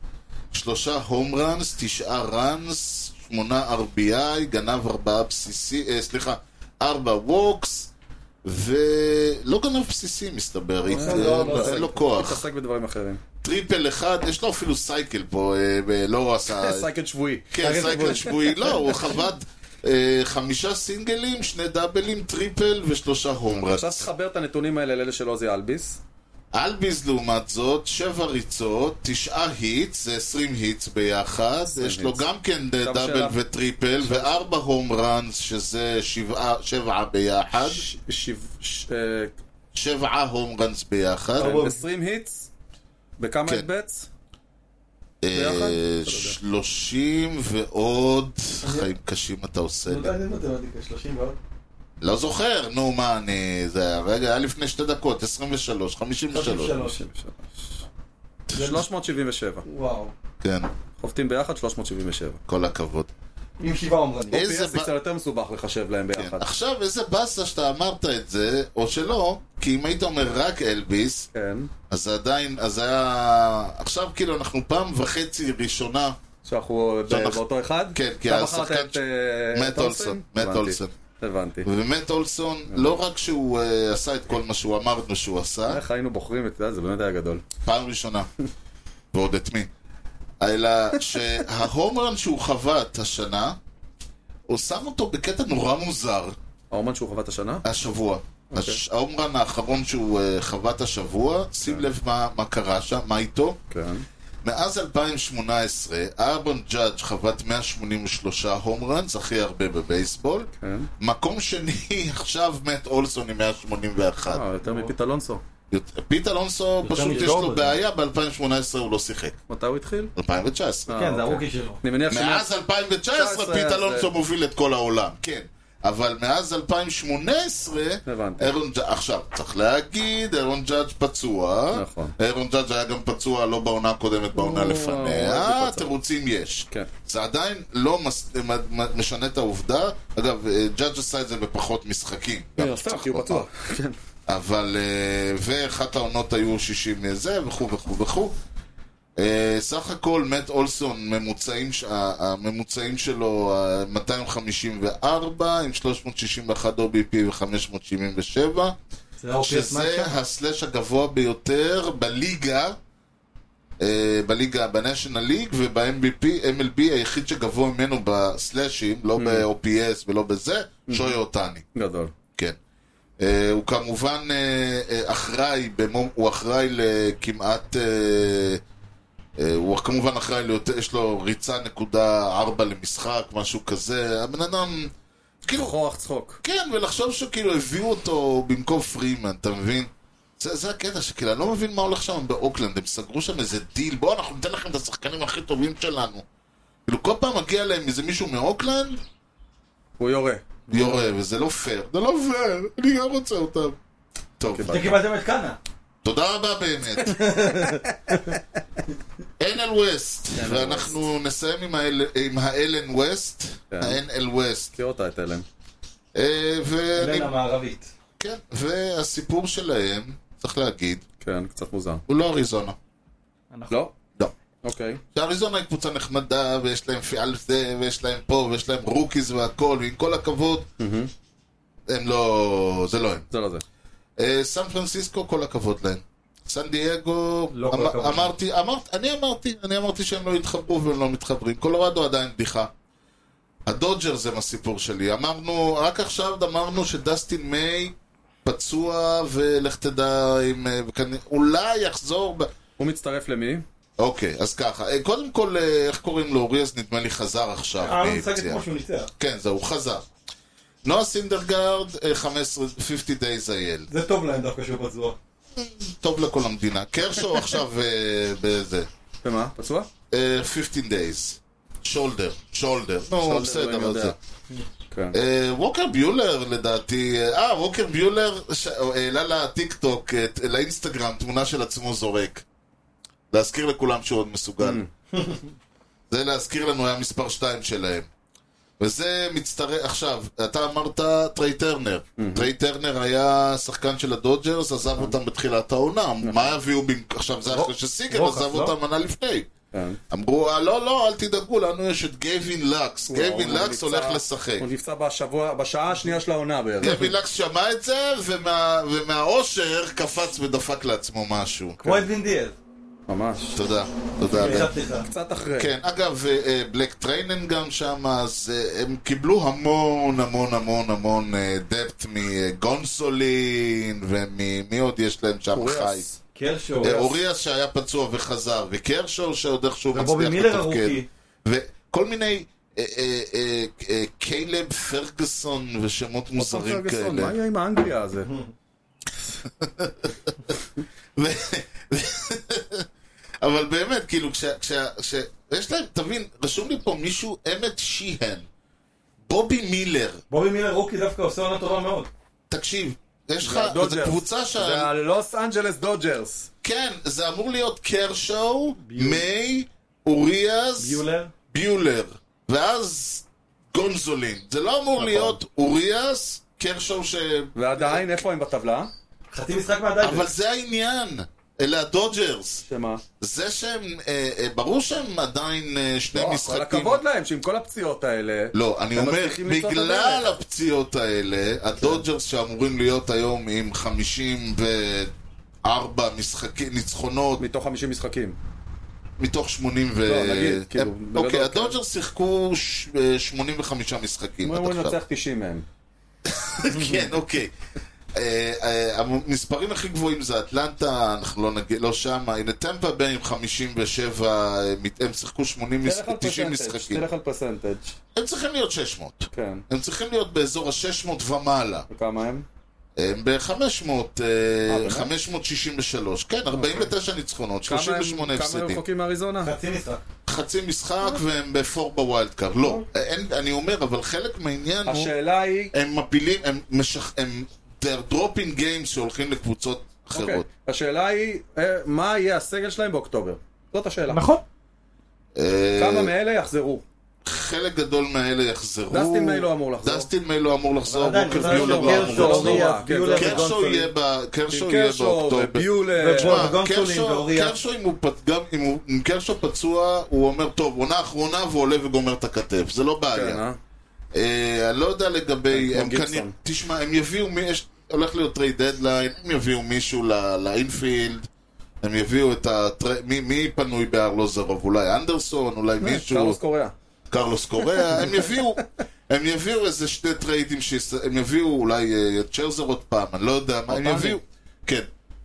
S1: שלושה הום ראנס, תשעה ראנס, שמונה RBI, גנב ארבעה בסיסי, אה, סליחה, ארבע ווקס, ולא גנב בסיסי מסתבר, אה,
S4: לא, לא,
S1: אין
S4: לא.
S1: לו כוח.
S3: מתעסק בדברים אחרים.
S1: טריפל אחד, יש לו אפילו סייקל פה, אה, ב- לא עשה...
S3: סייקל שבועי.
S1: כן, סייקל שבועי, לא, הוא חבט אה, חמישה סינגלים, שני דאבלים, טריפל ושלושה
S3: עכשיו
S1: הומרס.
S3: תחבר את הנתונים האלה לאלה של עוזי אלביס.
S1: אלביז לעומת זאת, שבע ריצות, תשעה היטס, זה עשרים היטס ביחד, יש לו
S3: היטס.
S1: גם כן
S3: עכשיו
S1: דאבל
S3: שאלה-
S1: וטריפל, וארבע הום ראנס, שזה שבעה- שבעה ביחד,
S3: ש- שבע- ש- אה,
S1: שבעה הום ראנס ביחד. אה,
S4: ארבע.
S3: 20 היטס? בכמה
S1: כן.
S3: את בטס?
S1: אה,
S3: ביחד?
S1: שלושים ועוד, חיים קשים אתה עושה לי.
S4: לא מעניין אותי, לא יודע, 30 ועוד.
S1: לא זוכר, נו מה אני... זה היה רגע, היה לפני שתי דקות, 23, 53.
S4: 33.
S3: 377.
S4: וואו.
S1: כן,
S3: חובטים ביחד 377.
S1: כל הכבוד.
S4: עם שבעה אומרנים.
S1: איזה
S3: פי-אס זה
S1: ב-
S3: קצת יותר מסובך לחשב להם
S1: כן.
S3: ביחד.
S1: עכשיו, איזה באסה שאתה אמרת את זה, או שלא, כי אם היית אומר רק אלביס,
S3: כן.
S1: אז זה עדיין, אז זה היה... עכשיו כאילו אנחנו פעם וחצי ראשונה,
S3: שאנחנו ב-
S1: שאנחנו-
S3: באותו אחד?
S1: כן, כי
S3: אתה
S1: השחקן
S3: בחרת את
S1: ש-
S3: אה,
S1: מאט
S3: את אולסן?
S1: אולסון, מאט
S3: הבנתי.
S1: אולסון.
S3: הבנתי.
S1: ובאמת אולסון, לא רק שהוא אה, עשה את כל מה שהוא אמרנו שהוא עשה,
S3: איך היינו בוחרים את זה, זה באמת היה גדול.
S1: פעם ראשונה. ועוד את מי. אלא שההומרן שהוא חבט השנה, הוא שם אותו בקטע נורא מוזר
S3: האומן שהוא חבט השנה?
S1: אה. השבוע.
S3: אוקיי.
S1: Okay. הש... ההומרן האחרון שהוא uh, חבט השבוע, שים לב מה, מה קרה שם, מה איתו.
S3: כן.
S1: מאז 2018, אהרון ג'אדג' חבט 183 הומרנס, הכי הרבה בבייסבול.
S3: כן.
S1: מקום שני, עכשיו מת אולסון עם 181.
S3: אה, יותר מפית אלונסו.
S1: יות- פיט אלונסו, פשוט יש
S4: מג'ורבן.
S1: לו בעיה, ב-2018 הוא לא שיחק.
S3: מתי הוא התחיל?
S1: 2019.
S4: כן, זה
S3: אוקיי.
S4: הרוקי שלו.
S3: אני מניח שמאז...
S1: מאז 2019 פית
S3: אז- אה,
S1: אלונסו מוביל את כל העולם, כן. אבל מאז 2018,
S3: הבנתי.
S1: אירון ג'אדג', עכשיו, צריך להגיד, אירון ג'אדג' פצוע.
S3: נכון.
S1: אירון ג'אדג' היה גם פצוע לא בעונה הקודמת, בעונה
S3: הוא- הוא
S1: לפניה.
S3: פצוע.
S1: תירוצים יש.
S3: כן.
S1: זה עדיין לא מס- מ- מ- משנה את העובדה. אגב, אה, ג'אדג' עשה את זה בפחות משחקים. גם
S4: לא,
S1: צריך
S3: כי הוא
S1: לומר.
S3: פצוע. כן.
S1: אבל, אה, ואחת העונות היו 60 זה, וכו' וכו' וכו'. אה, סך הכל, מאט אולסון, ממוצעים, ש- ה- הממוצעים שלו אה, 254, עם 361 OBP ו-577,
S4: זה הרוקי
S1: שזה הסלאש הגבוה ביותר בליגה, אה, בליגה, בניישנל ליג וב-MLB, MLB היחיד שגבוה ממנו בסלאשים, לא ב-OPS ולא בזה, שוי אותני.
S3: גדול.
S1: כן. אה, הוא כמובן אה, אה, אחראי, במו, הוא אחראי לכמעט... אה, אה, הוא כמובן אחראי ליותר, יש לו ריצה נקודה ארבע למשחק, משהו כזה. הבן אדם... כאילו,
S3: כוח צחוק.
S1: כן, ולחשוב שכאילו הביאו אותו במקום פרימן, אתה מבין? זה, זה הקטע שכאילו, אני לא מבין מה הולך שם באוקלנד, הם סגרו שם איזה דיל, בואו אנחנו ניתן לכם את השחקנים הכי טובים שלנו. כאילו, כל פעם מגיע להם איזה מישהו מאוקלנד,
S3: הוא יורה.
S1: יורה, וזה לא פייר. זה לא פייר, אני גם רוצה אותם. טוב,
S3: קיבלתי.
S4: אתם קיבלתם את קאנה.
S1: תודה רבה באמת. NL ווסט, ואנחנו נסיים עם האל- עם ה-LN ווסט,
S3: כן.
S1: ה-NL ווסט.
S3: מכיר אותה את אלן.
S1: אה, ואני-
S4: בין המערבית.
S1: כן, והסיפור שלהם, צריך להגיד,
S3: כן, קצת מוזר.
S1: הוא לא אריזונה.
S4: נכון.
S3: לא?
S1: לא.
S3: אוקיי.
S1: שאריזונה היא קבוצה נחמדה, ויש להם פיאל זה, ויש להם פה, ויש להם רוקיז והכל, ועם כל הכבוד, הם לא... זה לא הם.
S3: זה לא זה.
S1: אה, סן פרנסיסקו, כל הכבוד להם. סן דייגו,
S4: לא כל
S1: אמ-
S4: הכבוד.
S1: אמרתי, אמרת, אני אמרתי, אני אמרתי שהם לא יתחברו והם לא מתחברים. קולורדו עדיין בדיחה. הדודג'רס הם הסיפור שלי. אמרנו, רק עכשיו אמרנו שדסטין מיי פצוע, ולך תדע אם... אה, וכנ- אולי יחזור... ב...
S3: הוא מצטרף למי?
S1: אוקיי, אז ככה. אה, קודם כל, אה, איך קוראים לו? אוריאז נדמה לי חזר עכשיו.
S4: אהרון
S1: מפציעה.
S4: סגל אה, כמו שהוא ניצח.
S1: כן, זהו, חזר. נועה סינדרגרד, אה, 15, 50 Days IL.
S4: זה טוב להם דווקא שהוא פצוע.
S1: טוב לכל המדינה. קרשו עכשיו אה, בזה.
S3: ומה? פצוע?
S1: אה, 15 Days. שולדר, שולדר. נו,
S3: שולדר,
S1: בסדר,
S3: לא, אני
S1: אבל
S3: יודע.
S1: זה.
S3: כן.
S1: אה, ווקר ביולר לדעתי, אה, אה, ווקר ביולר ש- אה, העלה לטיק טוק, אה, לאינסטגרם, תמונה של עצמו זורק. להזכיר לכולם שהוא עוד מסוגל. זה להזכיר לנו היה מספר 2 שלהם. וזה מצטרף, עכשיו, אתה אמרת טריי טרנר.
S3: Mhm.
S1: טריי טרנר היה שחקן של הדודג'רס, עזב
S3: נכון.
S1: אותם בתחילת העונה. מה יביאו במק- עכשיו, זה אחרי שסיגל
S4: רוחס,
S1: עזב
S4: לא?
S1: אותם עונה לפני.
S3: כן.
S1: אמרו, "אה, לא, לא, אל תדאגו, לנו יש את גייבין לקס.
S3: וואו,
S1: גייבין
S3: הוא
S1: לקס הולך
S3: נפצע.
S1: לשחק.
S3: הוא נפצע בשבוע, בשעה השנייה של העונה בערך.
S1: גבי לקס שמע את זה, ומה- ומהאושר קפץ ודפק לעצמו משהו.
S4: כמו את וין דיאז.
S3: ממש.
S1: תודה. תודה.
S3: כן.
S1: בן.
S4: ישבתי איתך.
S3: קצת אחרי.
S1: כן, אגב, אה, אה, בלק טריינן גם שם, אז אה, הם קיבלו המון המון המון המון דפט מגונסולין, וממי עוד יש להם שם
S3: אוריאס.
S1: חי?
S4: קרשו.
S1: אה, אוריאס שהיה פצוע וחזר, וקרשו שעוד איכשהו מצליח
S4: ובובי מילר ארוכי.
S1: וכל מיני... אה, אה, אה, אה, קיילב פרגוסון ושמות מוזרים
S3: פרגוסון,
S1: כאלה.
S3: מה היה עם האנגליה הזה?
S1: ו- אבל באמת, כאילו, כש... כש... כש... יש להם, תבין, רשום לי פה מישהו, אמת שיהן, בובי מילר,
S4: בובי מילר רוקי דווקא עושה עונה טובה מאוד.
S1: תקשיב, יש לך, זו
S3: הדודג'רס.
S1: קבוצה ש...
S3: זה הלוס אנג'לס דודג'רס.
S1: כן, זה אמור להיות קרשו, מיי, אוריאז,
S4: ביולר.
S1: ביולר, ואז גונזולין. זה לא
S3: נכון.
S1: אמור להיות אוריאז, קרשו ש...
S3: ועדיין, איפה הם בטבלה?
S4: חצי משחק מהדייבר.
S1: אבל זה העניין, אלה הדודג'רס.
S3: שמה?
S1: זה שהם, אה, אה, ברור שהם עדיין אה, שני
S3: לא,
S1: משחקים.
S3: כל הכבוד להם שעם כל הפציעות האלה...
S1: לא, אני
S3: הם
S1: אומר,
S3: מצליחים למצוא את
S1: בגלל
S3: הדרך.
S1: הפציעות האלה, הדודג'רס שאמורים להיות היום עם 54 משחקים, ניצחונות,
S3: מתוך 50 משחקים.
S1: מתוך 80 ו...
S3: לא, נגיד, כאילו,
S1: הם-
S3: בגדול,
S1: אוקיי,
S3: כן.
S1: הדודג'רס שיחקו ש- אה, 85 משחקים
S3: הם
S1: עד
S3: אמורים
S1: עכשיו.
S3: לנצח 90 מהם.
S1: כן, אוקיי. אה, אה, המספרים הכי גבוהים זה אטלנטה, אנחנו לא נגיד, לא שמה, הנה טמפה ביי עם 57, הם שיחקו 80, מש-
S3: תלך על
S1: 90
S3: פרסנטג',
S1: משחקים.
S3: תלך על פרסנטג'.
S1: הם צריכים להיות 600.
S3: כן.
S1: הם צריכים להיות באזור ה-600 ומעלה.
S3: וכמה הם?
S1: הם ב-500,
S3: אה, באמת? אוקיי.
S1: 563, כן, 49 ניצחונות,
S3: כמה הם-
S1: 38
S3: כמה הם
S1: הפסדים. כן.
S3: רחוקים אה. מאריזונה?
S4: חצי משחק.
S1: חצי משחק והם בפור בווילד קארד. לא, אין- אני אומר, אבל חלק מהעניין הוא,
S3: אה. השאלה היא...
S1: הם מפילים, הם משח... הם, they're dropping games שהולכים לקבוצות
S3: אוקיי.
S1: אחרות.
S3: השאלה היא, אה, מה יהיה הסגל שלהם באוקטובר? זאת השאלה.
S4: נכון.
S1: אה,
S3: אוקיי. כמה מאלה יחזרו?
S1: חלק גדול מהאלה יחזרו.
S3: דסטין מיי לא אמור לחזור.
S1: דסטין מיי לא אמור לחזור,
S4: עדיין,
S1: ווקר
S4: עדיין,
S1: ביולר
S4: עדיין,
S1: לא אמור
S4: קרשו,
S1: לחזור.
S4: אוריאס,
S3: כן,
S4: ביולר
S3: זה-
S1: קרשו
S4: וגונסולין.
S1: יהיה ב- קרשו יהיה
S3: קרשו
S1: באוקטובר.
S3: וביולר.
S4: ובוא-
S1: תשמע,
S4: וגונסולין
S1: קרשו-
S4: ואוריה.
S1: קרשו אה, אם הוא פ- גם אם הוא- אם קרשו פצוע, הוא אומר, טוב, עונה אחרונה ועולה וגומר את הכתף, זה לא
S3: כן,
S1: בעיה.
S3: אה? כן,
S1: אה, אני לא יודע לגבי,
S3: כמו
S1: הם
S3: גיבסון.
S1: כנראה, תשמע, הם יביאו, מי- יש- הולך להיות טריי דדליין, הם יביאו מישהו ל- לאינפילד, הם יביאו את ה... מי פנוי בארלוזרוב? אולי אנדרסון? אולי מישהו?
S3: אה,
S1: לא
S3: קרלוס קוריאה.
S1: קרלוס קוריאה, הם יביאו, הם יביאו איזה שני טריידים, שיש- הם יביאו אולי אה, את צ'רזר עוד פעם, אני לא יודע מה, הם
S4: אותני.
S1: יביאו, כן,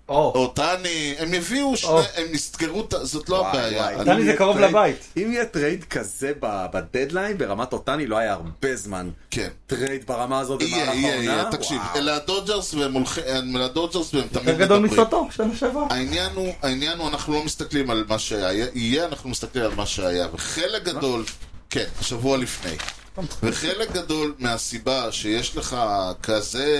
S4: או.
S1: או טני, הם יביאו שני,
S4: או.
S1: הם יסגרו, את ה- זאת לא
S3: וואי,
S1: הבעיה.
S3: וואי.
S1: אני-
S4: טלי
S3: אם
S4: זה
S3: יהיה
S4: קרוב
S3: טרייד-
S4: לבית.
S3: אם יהיה טרייד כזה ב- בדדליין, ברמת אותני לא היה הרבה זמן.
S1: כן.
S3: טרייד ברמה הזאת במהלך
S1: יהיה,
S3: העונה?
S1: יהיה, יהיה, תקשיב,
S3: וואו.
S1: אלה הדודג'רס והם הולכים, אלה הדודג'רס והם תמיד
S4: יותר גדול
S1: מדברים.
S4: מסוטו, שנה שעברה.
S1: העניין הוא, העניין הוא, אנחנו לא מסתכלים על מה שיהיה, אנחנו מסתכלים על מה שהיה, וחלק גדול, כן, שבוע לפני, וחלק גדול מהסיבה שיש לך כזה,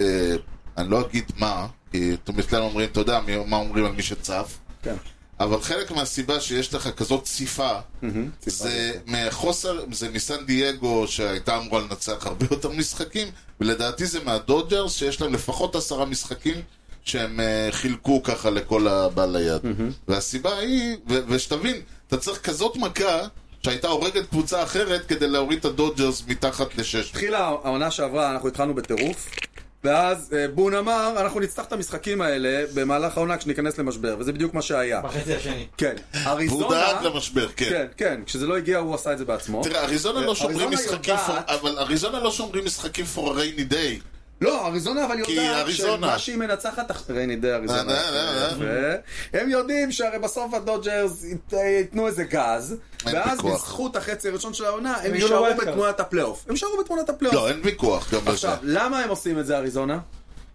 S1: אה, אני לא אגיד מה, כי תמיד כלל אומרים, אתה יודע מי- מה אומרים על מי שצף,
S3: כן.
S1: אבל חלק מהסיבה שיש לך כזאת ציפה, זה מחוסר, זה מסן דייגו שהייתה אמורה לנצח הרבה יותר משחקים, ולדעתי זה מהדודג'רס שיש להם לפחות עשרה משחקים שהם אה, חילקו ככה לכל הבעל היד. והסיבה היא, ו- ושתבין, אתה צריך כזאת מכה שהייתה הורגת קבוצה אחרת כדי להוריד את הדודג'רס מתחת לשש.
S3: התחילה העונה שעברה, אנחנו התחלנו בטירוף, ואז אה, בון אמר, אנחנו נצטרך את המשחקים האלה במהלך העונה כשניכנס למשבר, וזה בדיוק מה שהיה.
S4: בחצי השני.
S3: כן,
S1: והוא
S3: אריזונה...
S1: דאג למשבר, כן.
S3: כן, כן, כשזה לא הגיע הוא עשה את זה בעצמו.
S1: תראה, אריזונה לא שומרים
S3: אריזונה
S1: משחקים,
S3: יודעת-
S1: for- אבל אריזונה לא שומרים משחקים for a rainy day.
S3: לא, אריזונה אבל
S1: כי
S3: יודעת
S1: אריזונה.
S3: שמה שהיא מנצחת... אח- רייני די
S1: אה,
S3: אריזונה.
S1: אה,
S3: יפה. הם יודעים שהרי בסוף הדודג'רס ית- ייתנו איזה גז,
S1: אין
S3: ואז
S1: פיקוח.
S3: בזכות החצי הראשון של העונה הם
S4: יהיו
S3: יישארו
S4: לווילד קארד.
S3: בתמונת הפלייאוף. הם יישארו בתמונת הפלייאוף.
S1: לא, אין ויכוח גם בזה.
S3: עכשיו, למה הם עושים את זה אריזונה?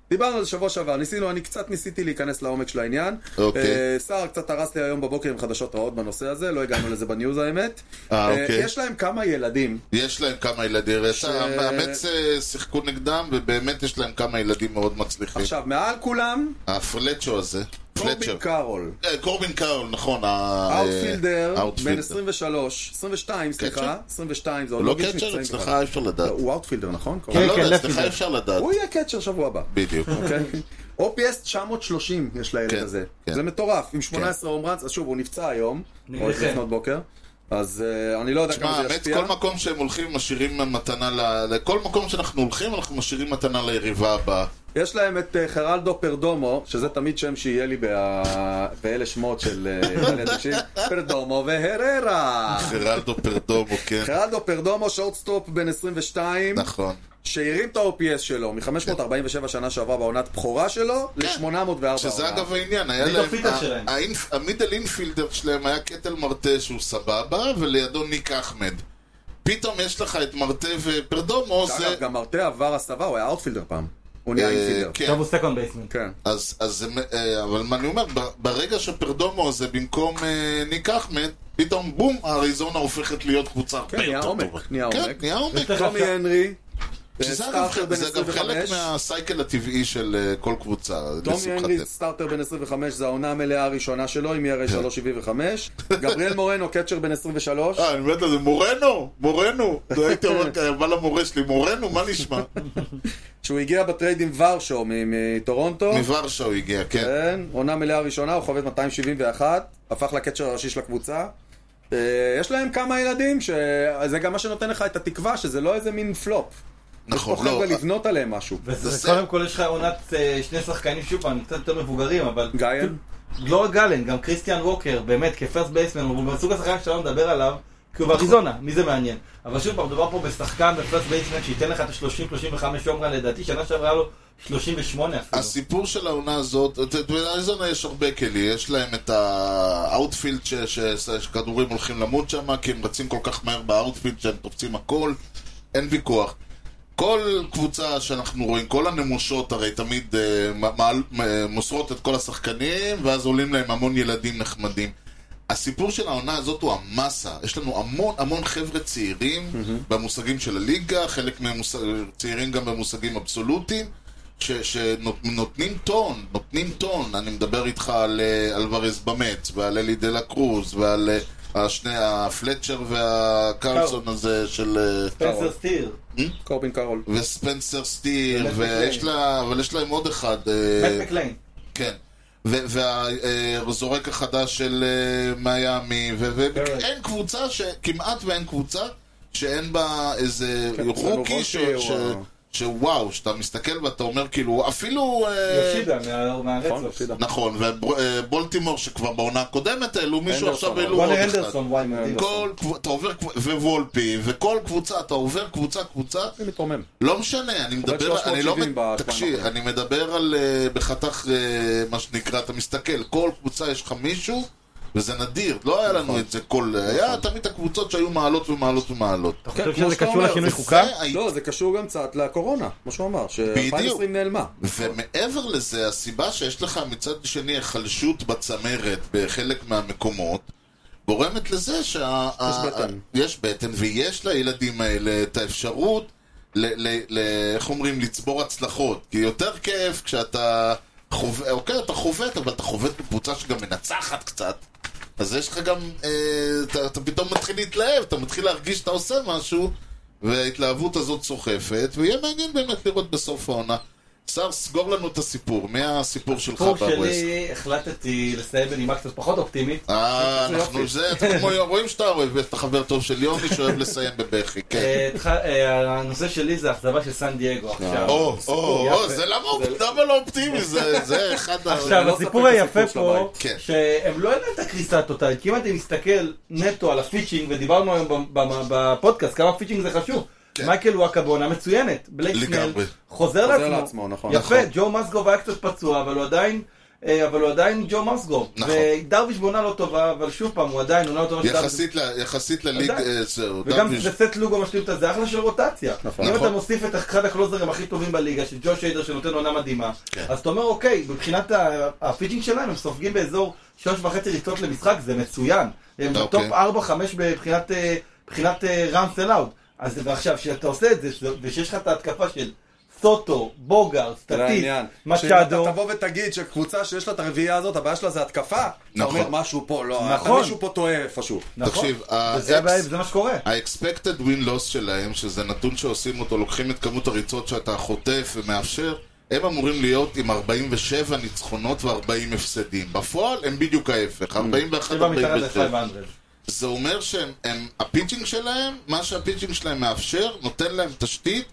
S3: דיברנו על זה שבוע שעבר, ניסינו, אני קצת ניסיתי להיכנס לעומק של העניין.
S1: אוקיי.
S3: אה, סער קצת הרס לי היום בבוקר עם חדשות רעות בנושא הזה, לא הגענו לזה בניוז האמת.
S1: אה,
S3: אה,
S1: אוקיי.
S3: יש להם כמה ילדים.
S1: יש להם כמה ילדים, יש- המאמץ אה, שיחקו נגדם, ובאמת יש להם כמה ילדים מאוד מצליחים.
S3: עכשיו, מעל כולם,
S1: הפלצ'ו הזה, פלצ'ו.
S3: קורבין קארול.
S1: אה, קורבין קארול, נכון. ה-
S3: אאוטפילדר,
S1: אה,
S3: בן
S1: האוטפילדר.
S3: 23, 22 סליחה,
S1: קצ'ר?
S3: 22 זה עוד
S1: הוא לא
S3: גיל
S1: קצ'ר,
S3: שנמצאים
S1: אצלך
S3: בכלל.
S1: אי אפשר לדעת.
S3: הוא אאוטפילדר נכון?
S1: אני
S4: כן,
S1: לא יודע,
S4: left
S1: אצלך
S4: fielder.
S1: אי אפשר לדעת.
S3: הוא יהיה קצ'ר שבוע הבא.
S1: בדיוק.
S3: אוקיי? OPS 930 יש לילד
S1: כן,
S3: הזה.
S1: כן.
S3: זה מטורף, עם 18 הום ראנס, אז שוב, הוא נפצע היום,
S4: נראה
S3: או
S4: לכם.
S3: לפנות בוקר, אז אה, אני לא יודע
S1: תשמע,
S3: כמה זה
S1: האמת,
S3: ישפיע.
S1: כל מקום שהם הולכים, משאירים מתנה ל... לכל מקום שאנחנו הולכים, אנחנו משאירים מתנה ליריבה הבאה.
S3: יש להם את אה, חרלדו פרדומו, שזה תמיד שם שיהיה לי בה- באלה שמות של אה, ילד אנשים, פרדומו והררה.
S1: חרלדו פרדומו, כן.
S3: חרלדו פרדומו, שורטסטופ בן 22,
S1: נכון.
S3: שהרים את ה-OPS שלו מ-547 שנה שעברה בעונת בכורה שלו, ל-804
S1: כן. שזה
S3: עונה.
S1: אגב העניין, היה
S4: מי
S1: להם...
S4: בפיטר
S1: ה-
S4: שלהם?
S1: האינפ- המידל אינפילדר שלהם היה קטל מרטה שהוא סבבה, ולידו ניק אחמד. פתאום יש לך את מרטה ופרדומו, זה...
S3: אגב, גם מרטה עבר הסבה, הוא היה אאוטפילדר פעם. הוא נהיה
S1: אה,
S3: אינפילדר.
S1: כן.
S4: עכשיו הוא סקונד בייסמנט.
S3: כן.
S1: אז, אז זה, מ- אה, אבל מה אני אומר, ב- ברגע שפרדומו זה במקום אה, ניק אחמד, פתאום בום, אריזונה הופכת להיות קבוצה הרבה
S3: כן, נהיה
S1: יותר
S3: עומק,
S1: טובה.
S3: נהיה
S1: כן,
S3: עומק.
S1: נהיה עומק.
S3: טומי הנרי,
S1: שזה אגב
S3: סטארטר בן
S1: זה אגב חלק
S3: 25.
S1: מהסייקל הטבעי של אה, כל קבוצה,
S3: טומי הנרי,
S1: לשמחתנו.
S3: סטארטר בן 25, זו העונה המלאה הראשונה שלו, עם
S1: כן.
S3: ERA 375. גבריאל מורנו, קצ'ר בן 23.
S1: אה, אני מת על זה, מורנו, מורנו. זה הייתי אומר, כזה, בא למורה שלי, מורנו, מה נשמע?
S3: שהוא הגיע בטרייד עם ורשו מ- מטורונטו.
S1: מוורשה הוא הגיע, כן.
S3: כן, עונה מלאה ראשונה, הוא חובט 271, הפך לקצ'ר הראשי של הקבוצה. אה, יש להם כמה ילדים, שזה גם מה שנותן לך את התקווה, שזה לא איזה מין פלופ.
S1: נכון,
S3: פה
S1: לא.
S3: חבר'ה לבנות עליהם משהו.
S1: זה-
S4: וזה קודם כל יש לך עונת אה, שני שחקנים שוב פעם, קצת יותר מבוגרים, אבל...
S3: גאיין?
S4: לא רק גלן, גם כריסטיאן ווקר, באמת, כפרסט בייסמן, הוא בסוג השחקן שאתה לא מדבר עליו, כי הוא באריזונה, מי זה מעניין. אבל שוב פעם, מדובר פה בשחקן בפרסט בייסמן שייתן לך את ה-30-35 יום, לדעתי, שנה שעברה היה לו 38 אפילו.
S1: הסיפור של העונה הזאת, את- את- באריזונה יש הרבה כלי, יש להם את האאוטפילד ש- ש- שכדורים הולכים למות שם, כי הם רצים כל כך מהר באאוטפילד שהם תופסים הכל, אין ויכוח. כל קבוצה שאנחנו רואים, כל הנמושות הרי תמיד אה, מ- מעל- מ- מוסרות את כל השחקנים, ואז עולים להם המון ילדים נחמדים. הסיפור של העונה הזאת הוא המסה. יש לנו המון המון חבר'ה צעירים במושגים של הליגה, חלק מהם מושג- צעירים גם במושגים אבסולוטיים, ש- שנותנים טון, נותנים טון. אני מדבר איתך על אה, אלוורז במץ, ועל אלי דה לה קרוז, ועל אה, השני, הפלצ'ר והקרלסון הזה של... אה,
S4: ספנסר סטיר,
S3: קורבין קארול.
S1: וספנסר סטיר,
S4: ומט
S1: ויש
S4: מקליין.
S1: לה, אבל יש להם עוד אחד, אה,
S4: מט מקליין.
S1: כן. והזורק החדש של אה, מיאמי,
S3: אה.
S4: ברק.
S1: ואין קבוצה, ש- כמעט ואין קבוצה, שאין בה איזה
S3: כן,
S1: רוקי, ש-
S3: סנובוסקי
S1: ש-
S3: הוא
S1: שוואו, שאתה מסתכל ואתה אומר כאילו, אפילו... אה,
S4: יושידה מה-
S3: נכון,
S4: מהרדסוקס.
S3: הפסידה.
S1: נכון, ובולטימור שכבר בעונה הקודמת העלו מישהו,
S3: אנדרסון,
S1: עכשיו העלו עוד
S4: וונר
S1: אחד.
S4: אנדרסון, וואי, מדהים.
S1: כל קבוצה, אתה עובר, קב- ווולפי, וכל קבוצה, אתה עובר קבוצה קבוצה,
S3: אני מתרומם.
S1: לא משנה, אני מדבר, אני לא,
S3: 370 בשבועיים
S1: תקשיב,
S3: האחרונים.
S1: אני מדבר על אה, בחתך, אה, מה שנקרא, אתה מסתכל, כל קבוצה יש לך מישהו, וזה נדיר, לא היה לנו את זה כל, היה תמיד הקבוצות שהיו מעלות ומעלות ומעלות.
S4: אתה
S3: כן,
S4: חושב
S3: כמו
S4: שזה
S3: שאתה
S4: קשור
S3: אומר,
S4: לשינוי
S3: זה
S4: חוקה?
S1: זה היה-
S3: לא, זה קשור גם קצת לקורונה, מה שהוא אמר, ש-2020 נעלמה.
S1: ומעבר לזה, הסיבה שיש לך מצד שני היחלשות בצמרת בחלק מהמקומות, גורמת לזה שה...
S3: יש
S1: ה-
S3: בטן.
S1: יש בטן, ויש לילדים האלה את האפשרות, ל... ל... ל... איך אומרים? לצבור הצלחות. כי יותר כיף כשאתה חובט, אוקיי, אתה חובט, אבל אתה חובט בקבוצה שגם מנצחת קצת. אז יש לך גם, אה, אתה, אתה פתאום מתחיל להתלהב, אתה מתחיל להרגיש שאתה עושה משהו, וההתלהבות הזאת סוחפת, ויהיה מעניין באמת לראות בסוף העונה. סער, סגור לנו את הסיפור. מי הסיפור שלך
S4: הסיפור
S1: בווסט?
S4: שלי, החלטתי לסיים בנימה קצת פחות אופטימית.
S1: אה,
S3: זה
S1: אנחנו
S3: יופי.
S1: זה, אתה כמו, רואים שאתה אוהב, אתה חבר טוב של יוני שאוהב לסיים בבכי, כן.
S4: אה, התח- אה, הנושא שלי זה האכזבה של סן דייגו עכשיו.
S1: או, או, או,
S4: יפה.
S1: זה למה אופ- למה לא אופטימי, זה זה אחד ה...
S4: עכשיו,
S3: לא
S4: הסיפור
S3: ספק
S4: היפה
S3: הסיפור של
S4: פה,
S3: הבית.
S1: כן.
S4: שהם לא יודעים את הקריסה הטוטאלית, כי אם אתה מסתכל נטו על הפיצ'ינג, ודיברנו היום ב- ב- בפודקאסט, כמה פיצ'ינג זה חשוב.
S1: כן.
S4: מייקל וואקה בעונה מצוינת, בלייק סנל
S1: לגמרי.
S4: חוזר
S3: חוזר
S4: לעצמו.
S3: לעצמו, נכון.
S4: יפה,
S1: נכון.
S4: ג'ו מסגוב היה קצת פצוע, אבל הוא עדיין... אה, אבל הוא עדיין ג'ו מסגוב.
S1: נכון.
S4: ודרוויש בעונה לא טובה, אבל שוב פעם, הוא עדיין עונה לא טובה של דרוויש.
S1: יחסית ל- יחסית לליג,
S4: עדיין.
S1: אה, זהו,
S4: וגם
S1: דרוויש.
S4: זה סט לוגו משלים את הזה, אחלה של רוטציה.
S3: נכון.
S4: אם
S1: נכון.
S4: אתה מוסיף את אחד הקלוזרים הכי טובים בליגה, של ג'וש היידר שנותן עונה מדהימה,
S1: כן.
S4: אז אתה אומר, אוקיי, מבחינת ה- הפיצ'ינג שלהם, הם סופגים באזור שלוש וחצי ריצות למשחק, זה מצוין. הם
S1: אוקיי.
S4: בטופ 4-5 מבחינת אה, מבחינת ראנס אלאוד. אז ועכשיו, כשאתה עושה את זה, שזה- ושיש לך את ההתקפה של סוטו, בוגר,
S3: זה לא
S4: סטטיס,
S3: העניין.
S4: מצ'אדו,
S3: שאם אתה תבוא ותגיד שקבוצה שיש לה את הרביעייה הזאת, הבעיה שלה זה התקפה. אתה
S1: נכון.
S3: אומר משהו פה, לא, אתה
S4: נכון.
S3: מישהו פה טועה איפשהו.
S4: נכון?
S1: תקשיב, ה-
S4: וזה הבעיה,
S1: אקס-
S4: זה מה שקורה.
S1: ה-expected win-loss שלהם, שזה נתון שעושים אותו, לוקחים את כמות הריצות שאתה חוטף ומאפשר, הם אמורים להיות עם 47 ניצחונות ו-40 הפסדים. בפועל הם בדיוק ההפך, 41-47.
S4: שבע Mm. מתחת ל-500.
S1: זה אומר שהם, הם- הפיצ'ינג שלהם, מה שהפיצ'ינג שלהם מאפשר, נותן להם תשתית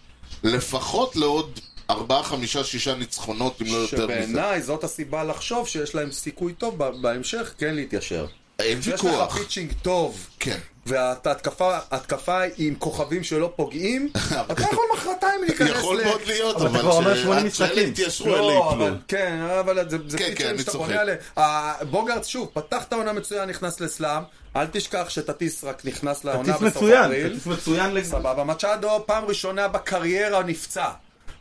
S1: לפחות לעוד 4, 5, 6 ניצחונות, אם לא יותר מזה.
S3: שבעיניי זאת הסיבה לחשוב שיש להם סיכוי טוב ב- בהמשך כן להתיישר.
S1: אין
S3: יש לך
S1: ויכוח.
S3: פיצ'ינג טוב,
S1: כן.
S3: וההתקפה ההתקפה היא עם כוכבים שלא פוגעים, אתה יכול מחרתיים להיכנס ל...
S1: יכול מאוד להיות,
S4: אבל
S1: אבל
S4: אתה כבר אומר
S1: ש-
S4: שמונה
S1: עד שאלה
S4: משחקים.
S1: יתיישרו, אלה
S3: לא,
S1: יפלו.
S3: אבל כן, אבל זה זה
S1: כן, כן,
S3: פיצ'רים
S1: אני
S3: שאתה
S1: צוחק.
S3: בונה עליהם. ה- בוגרט, שוב, פתח את העונה מצוין, נכנס לסלאם, אל תשכח שטטיס רק נכנס לעונה
S4: תטיס
S3: בסוף
S4: מצוין,
S3: אפריל.
S4: תטיס מצוין. לג-
S3: סבבה, מצ'אדו פעם ראשונה בקריירה נפצע.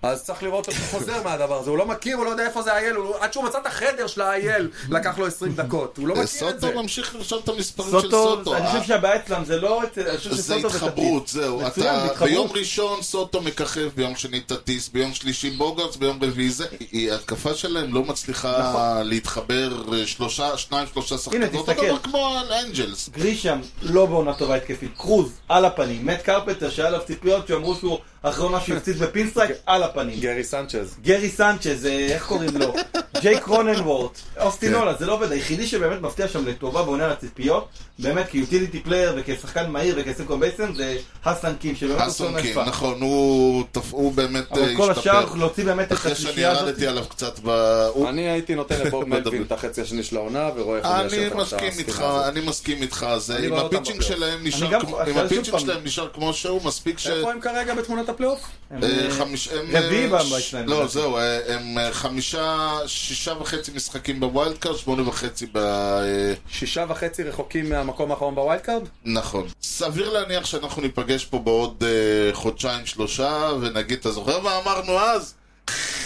S3: אז צריך לראות אותו חוזר מהדבר הזה, הוא לא מכיר, הוא לא יודע איפה זה האייל, הוא- עד שהוא מצא את החדר של האייל, לקח לו 20 דקות, הוא לא מכיר את זה.
S1: סוטו ממשיך לרשום את המספרים של סוטו. אה?
S4: סוטו, אני חושב שהבעיה אצלם זה לא אצל, אני חושב
S1: זה
S4: שסוטו זה
S1: התחברות, זהו.
S4: מצוין,
S1: אתה-
S4: זה התחברות.
S1: ביום ראשון סוטו מככב, ביום שני תטיס, ביום שלישי בוגרץ, ביום רביעי זה. היא- ההתקפה שלהם לא מצליחה להתחבר אה, שלושה, שניים, שלושה שחקנים.
S4: נכון. הנה,
S1: אותו
S4: תסתכל.
S1: דבר כמו על אנג'לס.
S4: גרישם לא בעונה טובה התקפית, קרוז על הפנים, מאט קרפטר שהיה עליו ציפיות שאמרו שהוא אחרי עונה שהפציץ בפינסטרייק על הפנים,
S3: גרי סנצ'ז.
S4: גרי סנצ'ז, אה, איך קוראים לו? ג'ייק רוננוורט, אוסטין אולה, זה לא עובד, היחידי שבאמת מפתיע שם לטובה ועונה על הציפיות, באמת כיוטיליטי פלייר וכשחקן מהיר וכסינקום בייסן זה האסן קים שבאמת עושה עונה
S1: הסונקים,
S4: יפה,
S1: נכון, הוא תפ- הוא באמת אה,
S4: אבל כל השאר
S1: השתפר.
S4: להוציא באמת את
S1: אחרי שאני
S4: השלישייה הזאת,
S1: ירדתי עליו קצת ב... הוא-
S3: אני לא הייתי נותן לבוב
S1: מדבר.
S3: מלווין את החצי השני של העונה, ורואה איך הוא
S1: אני
S3: מיישר את
S1: מסכים
S3: הסתימה
S1: איתך,
S3: הזאת.
S1: אני מסכים איתך, זה
S3: אני
S1: אם
S3: רואה אותם
S1: הפיצ'ינג
S3: בפלייאוף.
S1: שלהם
S4: גם-
S1: נשאר כמו-
S4: עכשיו
S1: אם
S4: שוב
S1: הפיצ'ינג
S4: פעם.
S1: שלהם נשאר כמו שהוא, מספיק ש...
S3: איפה הם כרגע בתמונת הפלייאוף?
S4: הם,
S1: אה,
S4: אה,
S1: חמיש- הם,
S4: רביעי
S1: אה,
S4: בבית
S1: ש-
S4: שלהם,
S1: לא,
S4: לדעתי.
S1: זהו, אה, הם אה, חמישה, שישה וחצי משחקים בווילד קארד, שמונה וחצי ב... אה,
S3: שישה וחצי רחוקים מהמקום האחרון בווילד קארד?
S1: נכון. סביר להניח שאנחנו ניפגש פה בעוד אה, חודשיים, שלושה, ונגיד, אתה זוכר מה אמרנו אז?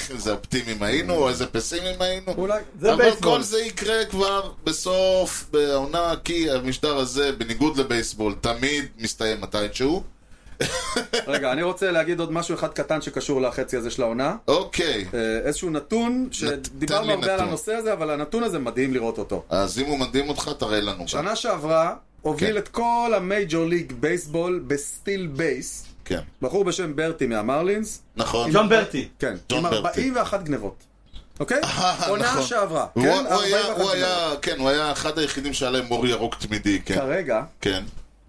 S1: איזה אופטימיים היינו, או איזה פסימיים היינו?
S3: אולי.
S4: זה
S1: אבל
S4: בייסבול.
S1: כל זה יקרה כבר בסוף העונה, כי המשדר הזה, בניגוד לבייסבול, תמיד מסתיים מתישהו.
S3: רגע, אני רוצה להגיד עוד משהו אחד קטן שקשור לחצי הזה של העונה.
S1: אוקיי,
S4: כן.
S3: אה, איזשהו נתון,
S1: תן
S3: שדיברנו
S1: לי
S3: הרבה על
S1: נתון.
S3: הנושא הזה, אבל הנתון הזה מדהים לראות אותו.
S1: אז אם הוא מדהים אותך, תראה לנו. גם.
S3: שנה שעברה,
S1: כן.
S3: הוביל את כל המייג'ור ליג בייסבול בסטיל בייס,
S1: כן.
S3: בחור בשם ברטי מהמרלינס,
S1: נכון.
S4: ג'ון ברטי.
S3: כן,
S1: ג'ון
S3: עם
S1: ברטי.
S3: 41 גנבות, אוקיי? עונה
S1: נכון.
S3: שעברה,
S1: הוא-
S3: כן,
S1: הוא היה-
S3: 41
S1: הוא
S3: גנבות.
S1: היה, כן, הוא היה אחד היחידים שהיה להם אור ירוק תמידי, כן.
S3: כרגע,
S1: כן.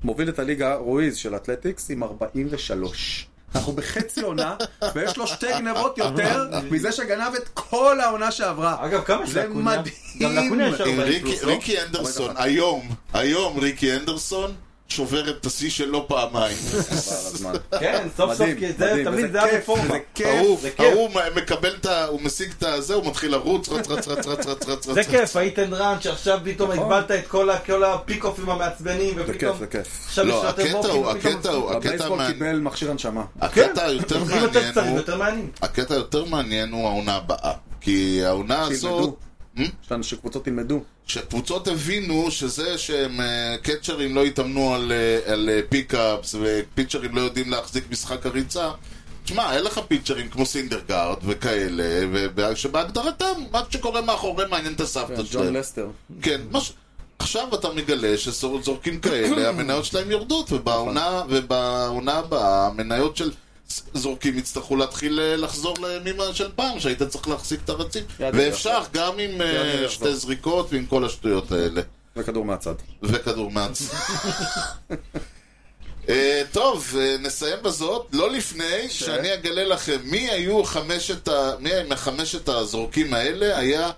S3: מוביל את הליגה רואיז של אתלטיקס עם 43. אנחנו בחצי עונה, ויש לו שתי גנבות יותר מזה שגנב את כל העונה שעברה.
S4: אגב, כמה יש
S3: זה
S4: לקוניה?
S3: מדהים.
S4: גם לקוניה יש
S1: עם
S4: 40
S1: ריקי-
S4: פלוס, לא?
S1: ריקי אנדרסון,
S3: 41.
S1: היום, היום ריקי אנדרסון שובר את השיא שלו לא פעמיים.
S3: חבל על הזמן.
S4: כן, סוף סוף,
S3: מדהים,
S4: כי זה
S3: מדהים,
S4: תמיד
S3: וזה
S4: זה
S3: כיף,
S4: הרפורמה.
S3: וזה
S1: ההוא-
S3: כיף.
S4: זה כיף.
S1: ההוא מקבל את ה... הוא משיג את הזה, הוא מתחיל לרוץ, רץ, רץ, רץ, רץ, רץ, רץ,
S4: זה
S1: רץ.
S4: כיף, היית אין ראנץ', עכשיו פתאום
S3: נכון.
S4: הגבלת את כל ה- כל הפיק-אופים המעצבנים,
S3: זה כיף,
S4: ופתאום...
S3: זה כיף.
S4: עכשיו
S1: לא,
S4: יש יותר
S1: הקטע הוא,
S4: מורפים, ופתאום-
S1: הקטע הוא, הקטע
S3: הבייסבול
S1: המעניין,
S3: קיבל מכשיר הנשמה. כן,
S4: כן.
S1: הקטע היותר
S4: הולכים יותר
S1: מעניין
S4: קצרים,
S1: הוא,
S4: יותר מעניינים.
S1: הקטע היותר מעניין הוא העונה הבאה. כי העונה הזאת,
S3: שילמדו. יש לנו שקבוצות ילמדו.
S1: שקבוצות הבינו שזה שהם אה, קצ'רים לא התאמנו על, אה, על אה, פיקאפס ופיצ'רים לא יודעים להחזיק משחק הריצה תשמע, אין לך פיצ'רים כמו סינדרגארד וכאלה ו- שבהגדרתם, מה שקורה מאחורי מעניין את הסבתא
S3: ג'ון
S1: שלהם
S3: לסטר.
S1: כן, מה ש... עכשיו אתה מגלה שזורקים כאלה, המניות שלהם יורדות ובעונה, ובעונה הבאה המניות של זורקים יצטרכו להתחיל אה, לחזור לימים של פעם, שהיית צריך להחזיק את הרצים.
S3: יד
S1: ואפשר גם עם אה,
S3: יד יחזור.
S1: שתי זריקות ועם כל השטויות האלה.
S3: וכדור מהצד.
S1: וכדור מעץ. אה, טוב, אה, נסיים בזאת, לא לפני שאני אגלה לכם מי היו חמשת, ה... מי הם חמשת הזורקים האלה, היה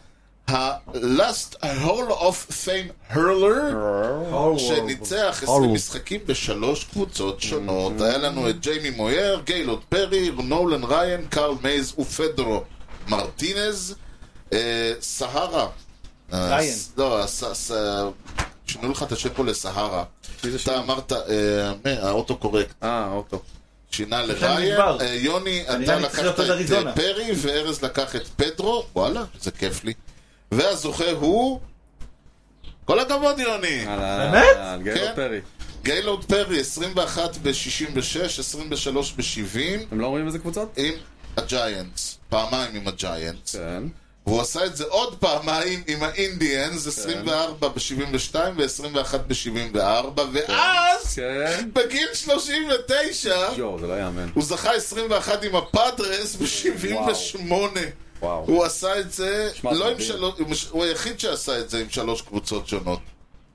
S1: ה-Last Hall of Fame Hurler, שניצח 20 משחקים בשלוש קבוצות שונות. היה לנו את ג'יימי מויר, גיילוד פרי, נולן ריין, קארל מייז ופדרו מרטינז, אה, סהרה. אה,
S4: ריין.
S1: ס- לא, הס- ס- שינו לך את השם פה לסהרה.
S3: מי זה
S1: אתה
S3: שינו?
S1: אמרת, אה, מה, האוטו קורקט,
S3: אה, אוטו.
S1: שינה לריין,
S4: מדבר.
S1: אה, יוני, אתה
S4: נראה לי צריך
S1: לקחת
S4: לעשות
S1: את
S4: אריזונה.
S1: אה, פרי, וארז לקח את פדרו, וואלה, זה כיף לי. והזוכה הוא... כל הכבוד, יוני!
S4: באמת?
S3: על גיירו
S1: כן.
S3: אה, פרי.
S1: גיילורד פרי, 21 ב-66, 23 ב-70,
S3: אתם לא רואים איזה קבוצות?
S1: עם הג'יינטס. פעמיים עם הג'יינטס.
S3: כן.
S1: והוא עשה את זה עוד פעמיים עם
S3: כן.
S1: האינדיאנס, 24 ב-72 ו-21 ב-74, ואז,
S3: כן.
S1: בגיל 39,
S3: יואו, זה לא יאמן.
S1: הוא זכה 21 עם הפאדרס ב-78.
S3: וואו.
S1: הוא עשה את זה,
S3: שמע,
S1: לא עם
S3: מדהים.
S1: שלוש, עם ש- הוא היחיד שעשה את זה עם שלוש קבוצות שונות.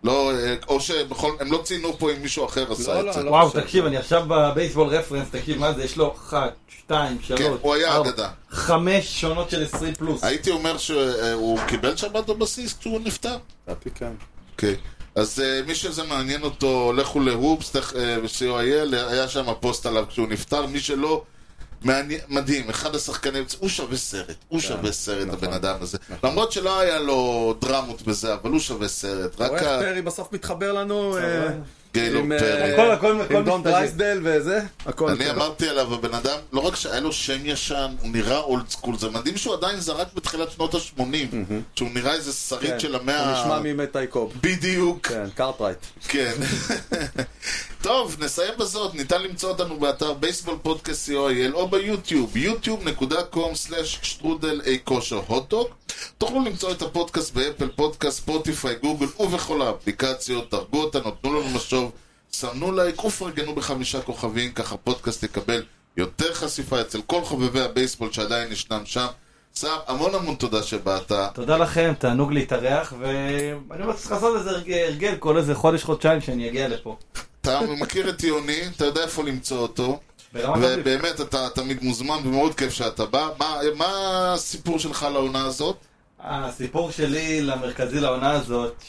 S1: לא, אה, או שבכל, הם לא ציינו פה אם מישהו אחר עשה
S3: לא,
S1: את
S3: לא,
S1: זה.
S3: לא.
S4: וואו,
S3: חושב.
S4: תקשיב, אני עכשיו בבייסבול רפרנס, תקשיב, מה זה, יש לו אחת, שתיים,
S1: כן,
S4: שלוש,
S1: הוא היה
S4: ארבע,
S1: אגדה.
S4: חמש שונות של 20 פלוס.
S1: הייתי אומר שהוא קיבל שבת בבסיס כשהוא נפטר.
S3: לדעתי כן.
S1: אוקיי. אז אה, מי שזה מעניין אותו, לכו להופס, תכ- אה, ב-co.il, היה שם פוסט עליו כשהוא נפטר, מי שלא, מעניין, מדהים, אחד השחקנים, הוא שווה סרט, הוא שווה סרט,
S3: נכון.
S1: הבן אדם הזה. למרות שלא היה לו דרמות בזה, אבל הוא שווה סרט, רק
S3: רואה איך פרי בסוף מתחבר לנו אה,
S1: הגיילור
S3: עם, אה,
S1: כאילו, פרי.
S4: הכל- הכל- הכל
S3: עם דון
S4: מסתדר.
S3: דרייסדל וזה? הכל. כן.
S1: אני אמרתי עליו, הבן אדם, לא רק שהיה לו שם ישן, הוא נראה אולד סקול, זה מדהים שהוא עדיין זרק בתחילת שנות ה-80, שהוא נראה איזה שריד
S3: כן.
S1: של המאה
S3: הוא
S1: ה...
S3: נשמע ממתי קוב.
S1: בדיוק.
S3: כן, קארטרייט.
S1: כן. טוב, נסיים בזאת. ניתן למצוא אותנו באתר בייסבול פודקאסט co.il או ביוטיוב, yוטיוב.com/שטרודל אי כושר הוטדוג. תוכלו למצוא את הפודקאסט באפל פודקאסט, ספוטיפיי, גוגל ובכל האפליקציות. דרגו אותנו, תנו לנו משוב, סמנו לייק ופרגנו בחמישה כוכבים, כך הפודקאסט יקבל יותר חשיפה אצל כל חובבי הבייסבול שעדיין ישנם שם. סער, המון המון תודה שבאת.
S4: תודה לכם, תענוג להתארח, ואני אומר, צריך לעשות איזה הרג- הרגל כל איזה חודש, חודשיים שאני אגיע לפה.
S1: אתה מכיר את יוני, אתה יודע איפה למצוא אותו.
S4: ברמת אביב.
S1: ובאמת, אתה תמיד מוזמן, ומאוד כיף שאתה בא. מה, מה הסיפור שלך לעונה הזאת?
S4: הסיפור שלי למרכזי לעונה הזאת,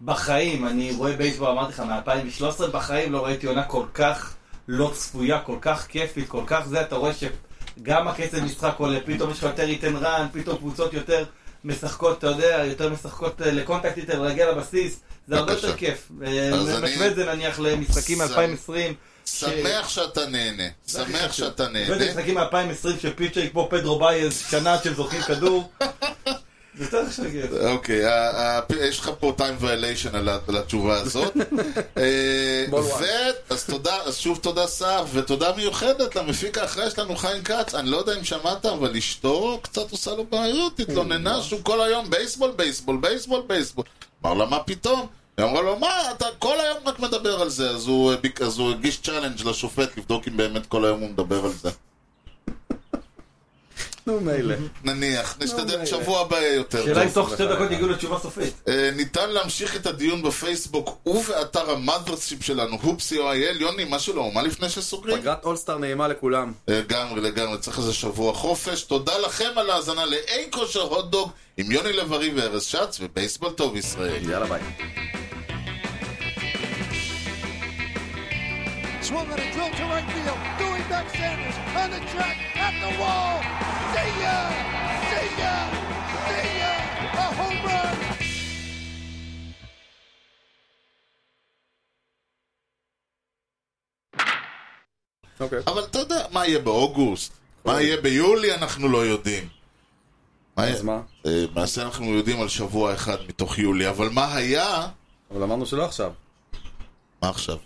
S4: שבחיים, אני רואה בייסבול, אמרתי לך, מ-2013, בחיים לא ראיתי עונה כל כך לא צפויה, כל כך כיפית, כל כך זה, אתה רואה שגם הקצב משחק עולה, פתאום יש לך יותר ייתן רן, פתאום קבוצות יותר משחקות, אתה יודע, יותר משחקות אה, לקונטקט יותר, להגיע לבסיס, זה הרבה
S1: בבקשה.
S4: יותר כיף. אה,
S1: אז אני-
S4: משווה את זה נניח למשחקים
S1: שמח.
S4: מ-2020.
S1: שמח שאתה נהנה. שמח שאתה
S4: וזה
S1: נהנה.
S4: משחקים מ-2020 שפיצ'ר כמו פדרו בייז, שנה עד שהם זורקים כדור. זה יותר כן. שגר.
S1: אוקיי, ה- ה- יש לך פה time violation על ה- על התשובה הזאת. אה,
S3: בול וואן.
S1: ו... אז תודה, אז שוב תודה סער, ותודה מיוחדת למפיק האחראי שלנו, חיים כץ. אני לא יודע אם שמעת, אבל אשתו קצת עושה לו בעיות, התלוננה שהוא כל היום בייסבול, בייסבול, בייסבול, בייסבול. אמר לה, מה פתאום? היא אמרה לו, מה, אתה כל היום רק מדבר על זה. אז הוא הביק- אז הוא הגיש צ'אלנג' לשופט לבדוק אם באמת כל היום הוא מדבר על זה.
S3: נו מילא.
S1: נניח, נשתדל
S3: מילא.
S1: שבוע הבא יהיה יותר טוב.
S4: שאלה אם תוך שתי דקות יגיעו לתשובה סופית.
S1: אה, ניתן להמשיך את הדיון בפייסבוק ובאתר המאדרשיפ שלנו, הופסי.או.איי.ל. יוני, משהו לא, מה לפני שסוגרים?
S3: פגרת אולסטאר נעימה לכולם.
S1: לגמרי, לגמרי, צריך איזה שבוע חופש. תודה לכם על ההאזנה לאי כושר הוטדוג עם יוני לב-ארי וארז שץ ובייסבול טוב ישראל.
S3: יאללה ביי.
S2: Swung on a drill to right field. Doing back Sanders on the track at the wall. See ya! See ya! See ya! A home run!
S3: אוקיי.
S1: אבל אתה יודע, מה יהיה באוגוסט? מה יהיה ביולי? אנחנו לא יודעים.
S3: אז מה?
S1: אה, למעשה אנחנו יודעים על שבוע אחד מתוך יולי, אבל מה היה?
S3: אבל אמרנו שלא עכשיו.
S1: מה עכשיו?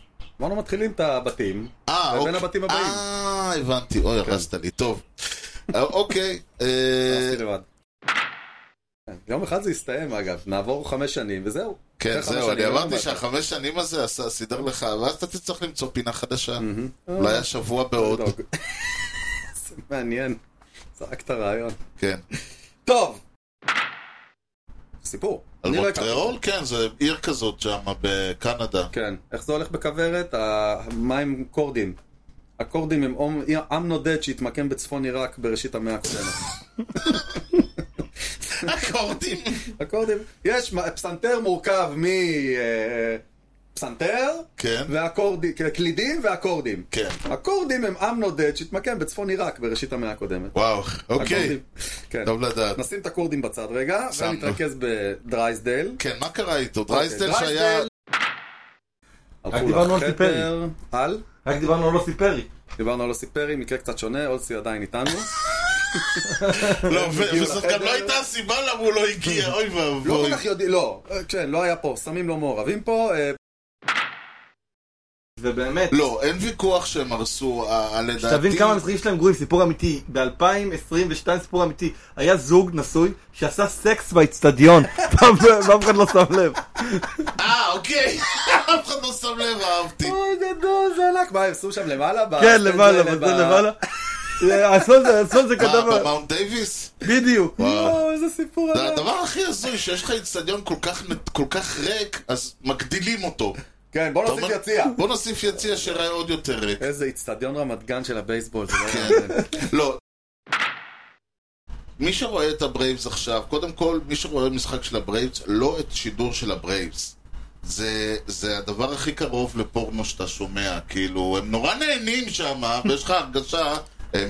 S3: אמרנו מתחילים את הבתים.
S1: אה,
S3: ובין הבתים הבאים. כן.
S1: אה, הבנתי. אוי, הרסת לי. טוב. אה, אוקיי. אה,
S3: עשיתי לבד. יום אחד זה יסתיים אגב, נעבור חמש שנים וזהו.
S1: כן,
S3: אחרי חמש
S1: זהו,
S3: שנים, לא
S1: אני
S3: אין
S1: אמרתי
S3: בעיה.
S1: שהחמש שנים הזה עשה, סידר לך, ואז אתה תצטרך למצוא פינה חדשה. אולי השבוע
S3: אה,
S1: בעוד.
S3: דוג. זה מעניין, זרקת רעיון.
S1: כן.
S3: טוב! סיפור.
S1: על
S3: אני לא הכרתי.
S1: מונטריאול, כן, זה עיר כזאת שם בקנדה.
S3: כן. איך זה הולך בכוורת? המים קורדים. הקורדים הם עם, עם נודד שהתמקם בצפון עיראק בראשית המאה הקודמת.
S1: אקורדים.
S3: הקורדים, יש מה- פסנתר מורכב מ... אה, פסנתר,
S1: כן.
S3: והקורדים, קלידים והקורדים.
S1: כן.
S3: הקורדים הם עם נודד שהתמקם בצפון עיראק בראשית המאה הקודמת.
S1: וואו, אוקיי.
S3: הקורדים. כן.
S1: טוב לדעת.
S3: נשים את הקורדים בצד רגע,
S1: שמנו.
S3: ונתרכז בדרייסדל.
S4: אה,
S1: כן, מה קרה איתו? דרייסדל
S3: אוקיי,
S1: שהיה...
S3: דרייסדל. הלכו
S4: דיברנו על
S3: לחדר,
S4: סיפרי.
S3: על?
S4: רק דיברנו על לוסי פרי.
S3: דיברנו על אוסי פרי, מקרה קצת שונה, אוסי עדיין איתנו.
S1: לא, ו-
S3: הגיעו
S1: וזאת
S3: לחדר.
S1: גם לא הייתה הסיבה למה הוא לא הגיע, אוי
S3: לא
S1: ואבוי.
S3: כל כך יודעים, לא, אה, כן, לא היה פה, סמים לא מעורבים פה, אה,
S4: ובאמת,
S1: לא, אין ויכוח שהם הרסו, ה- ה-
S4: שתבין
S1: לדעתי...
S4: כמה המזרחים שלהם גרועים, סיפור אמיתי. ב-2022 סיפור אמיתי. היה זוג נשוי שעשה סקס באצטדיון, ואף אחד לא שם לב.
S1: אה, אוקיי. אף אחד לא שם לב, אהבתי.
S3: אוי גדול, זה ענק, מה, הם עשו שם למעלה?
S4: כן,
S3: בסטנד
S4: למעלה,
S3: האלה,
S4: בזה
S3: ב-
S4: למעלה. האסון זה, האסון זה
S1: אה,
S4: כתב,
S1: במאונט דייוויס?
S4: בדיוק.
S3: יואו, איזה סיפור
S1: זה
S3: ענק.
S1: הדבר הכי הזוי, שיש לך איצטדיון כל כך נ- כל כך ריק, אז מגדילים אותו.
S3: כן, בוא
S1: אתה
S3: נוסיף
S1: אומר,
S3: יציע.
S1: בוא נוסיף יציע שיראה עוד יותר ריק.
S3: איזה איצטדיון רמת גן של הבייסבול, זה לא
S1: כן.
S3: יאמן.
S1: לא. מי שרואה את הברייבס עכשיו, קודם כל, מי שרואה משחק של הברייבס, לא את שידור של הברייבס. זה, זה הדבר הכי קרוב לפורנו שאתה שומע, כאילו, הם נורא נהנים שם, ויש לך הרגשה, הם, אה, הם,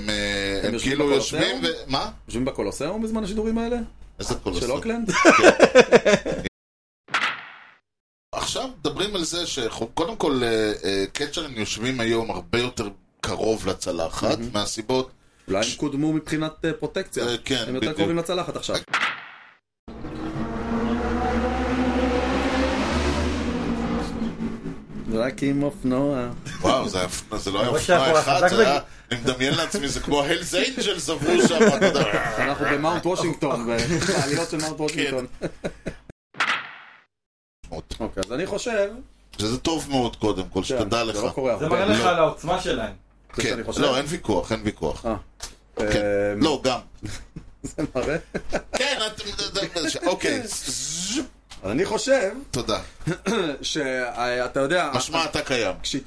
S1: הם
S3: יושבים
S1: כאילו
S3: בקולוסיאום?
S1: יושבים ו... מה?
S3: יושבים בקולוסיאום בזמן השידורים האלה?
S1: איזה קולוס.
S3: של אוקלנד?
S1: עכשיו מדברים על זה שקודם כל אה, אה, קצ'רים יושבים היום הרבה יותר קרוב לצלחת, מהסיבות
S3: אולי הם קודמו מבחינת אה, פרוטקציה.
S1: אה, כן,
S3: הם יותר
S1: בדיוק.
S3: קרובים לצלחת עכשיו. רק עם אופנוע.
S1: וואו, זה, היה- זה לא היה
S4: אבל
S1: אופנוע
S4: שאנחנו
S1: אחד,
S4: חזק
S1: זה היה... אני מדמיין לעצמי, זה כמו הלס אינג'לס עברו שם, אתה יודע.
S3: אנחנו במאונט וושינגטון, בעליות של
S1: כן.
S3: מאונט וושינגטון. אוקיי, אז אני חושב,
S1: שזה טוב מאוד קודם כל,
S3: כן,
S1: שתדע לך.
S3: זה לא קורה
S4: זה
S3: הרבה.
S4: מראה לך על העוצמה שלהם.
S3: זה
S1: כן,
S3: שאני חושב.
S1: לא, אין ויכוח, אין ויכוח.
S3: אה,
S1: כן.
S3: אה,
S1: לא, גם.
S3: זה מראה.
S1: כן, את- אוקיי, ז-
S3: אז אני חושב
S1: תודה.
S3: שאתה יודע,
S1: משמע אתה קיים.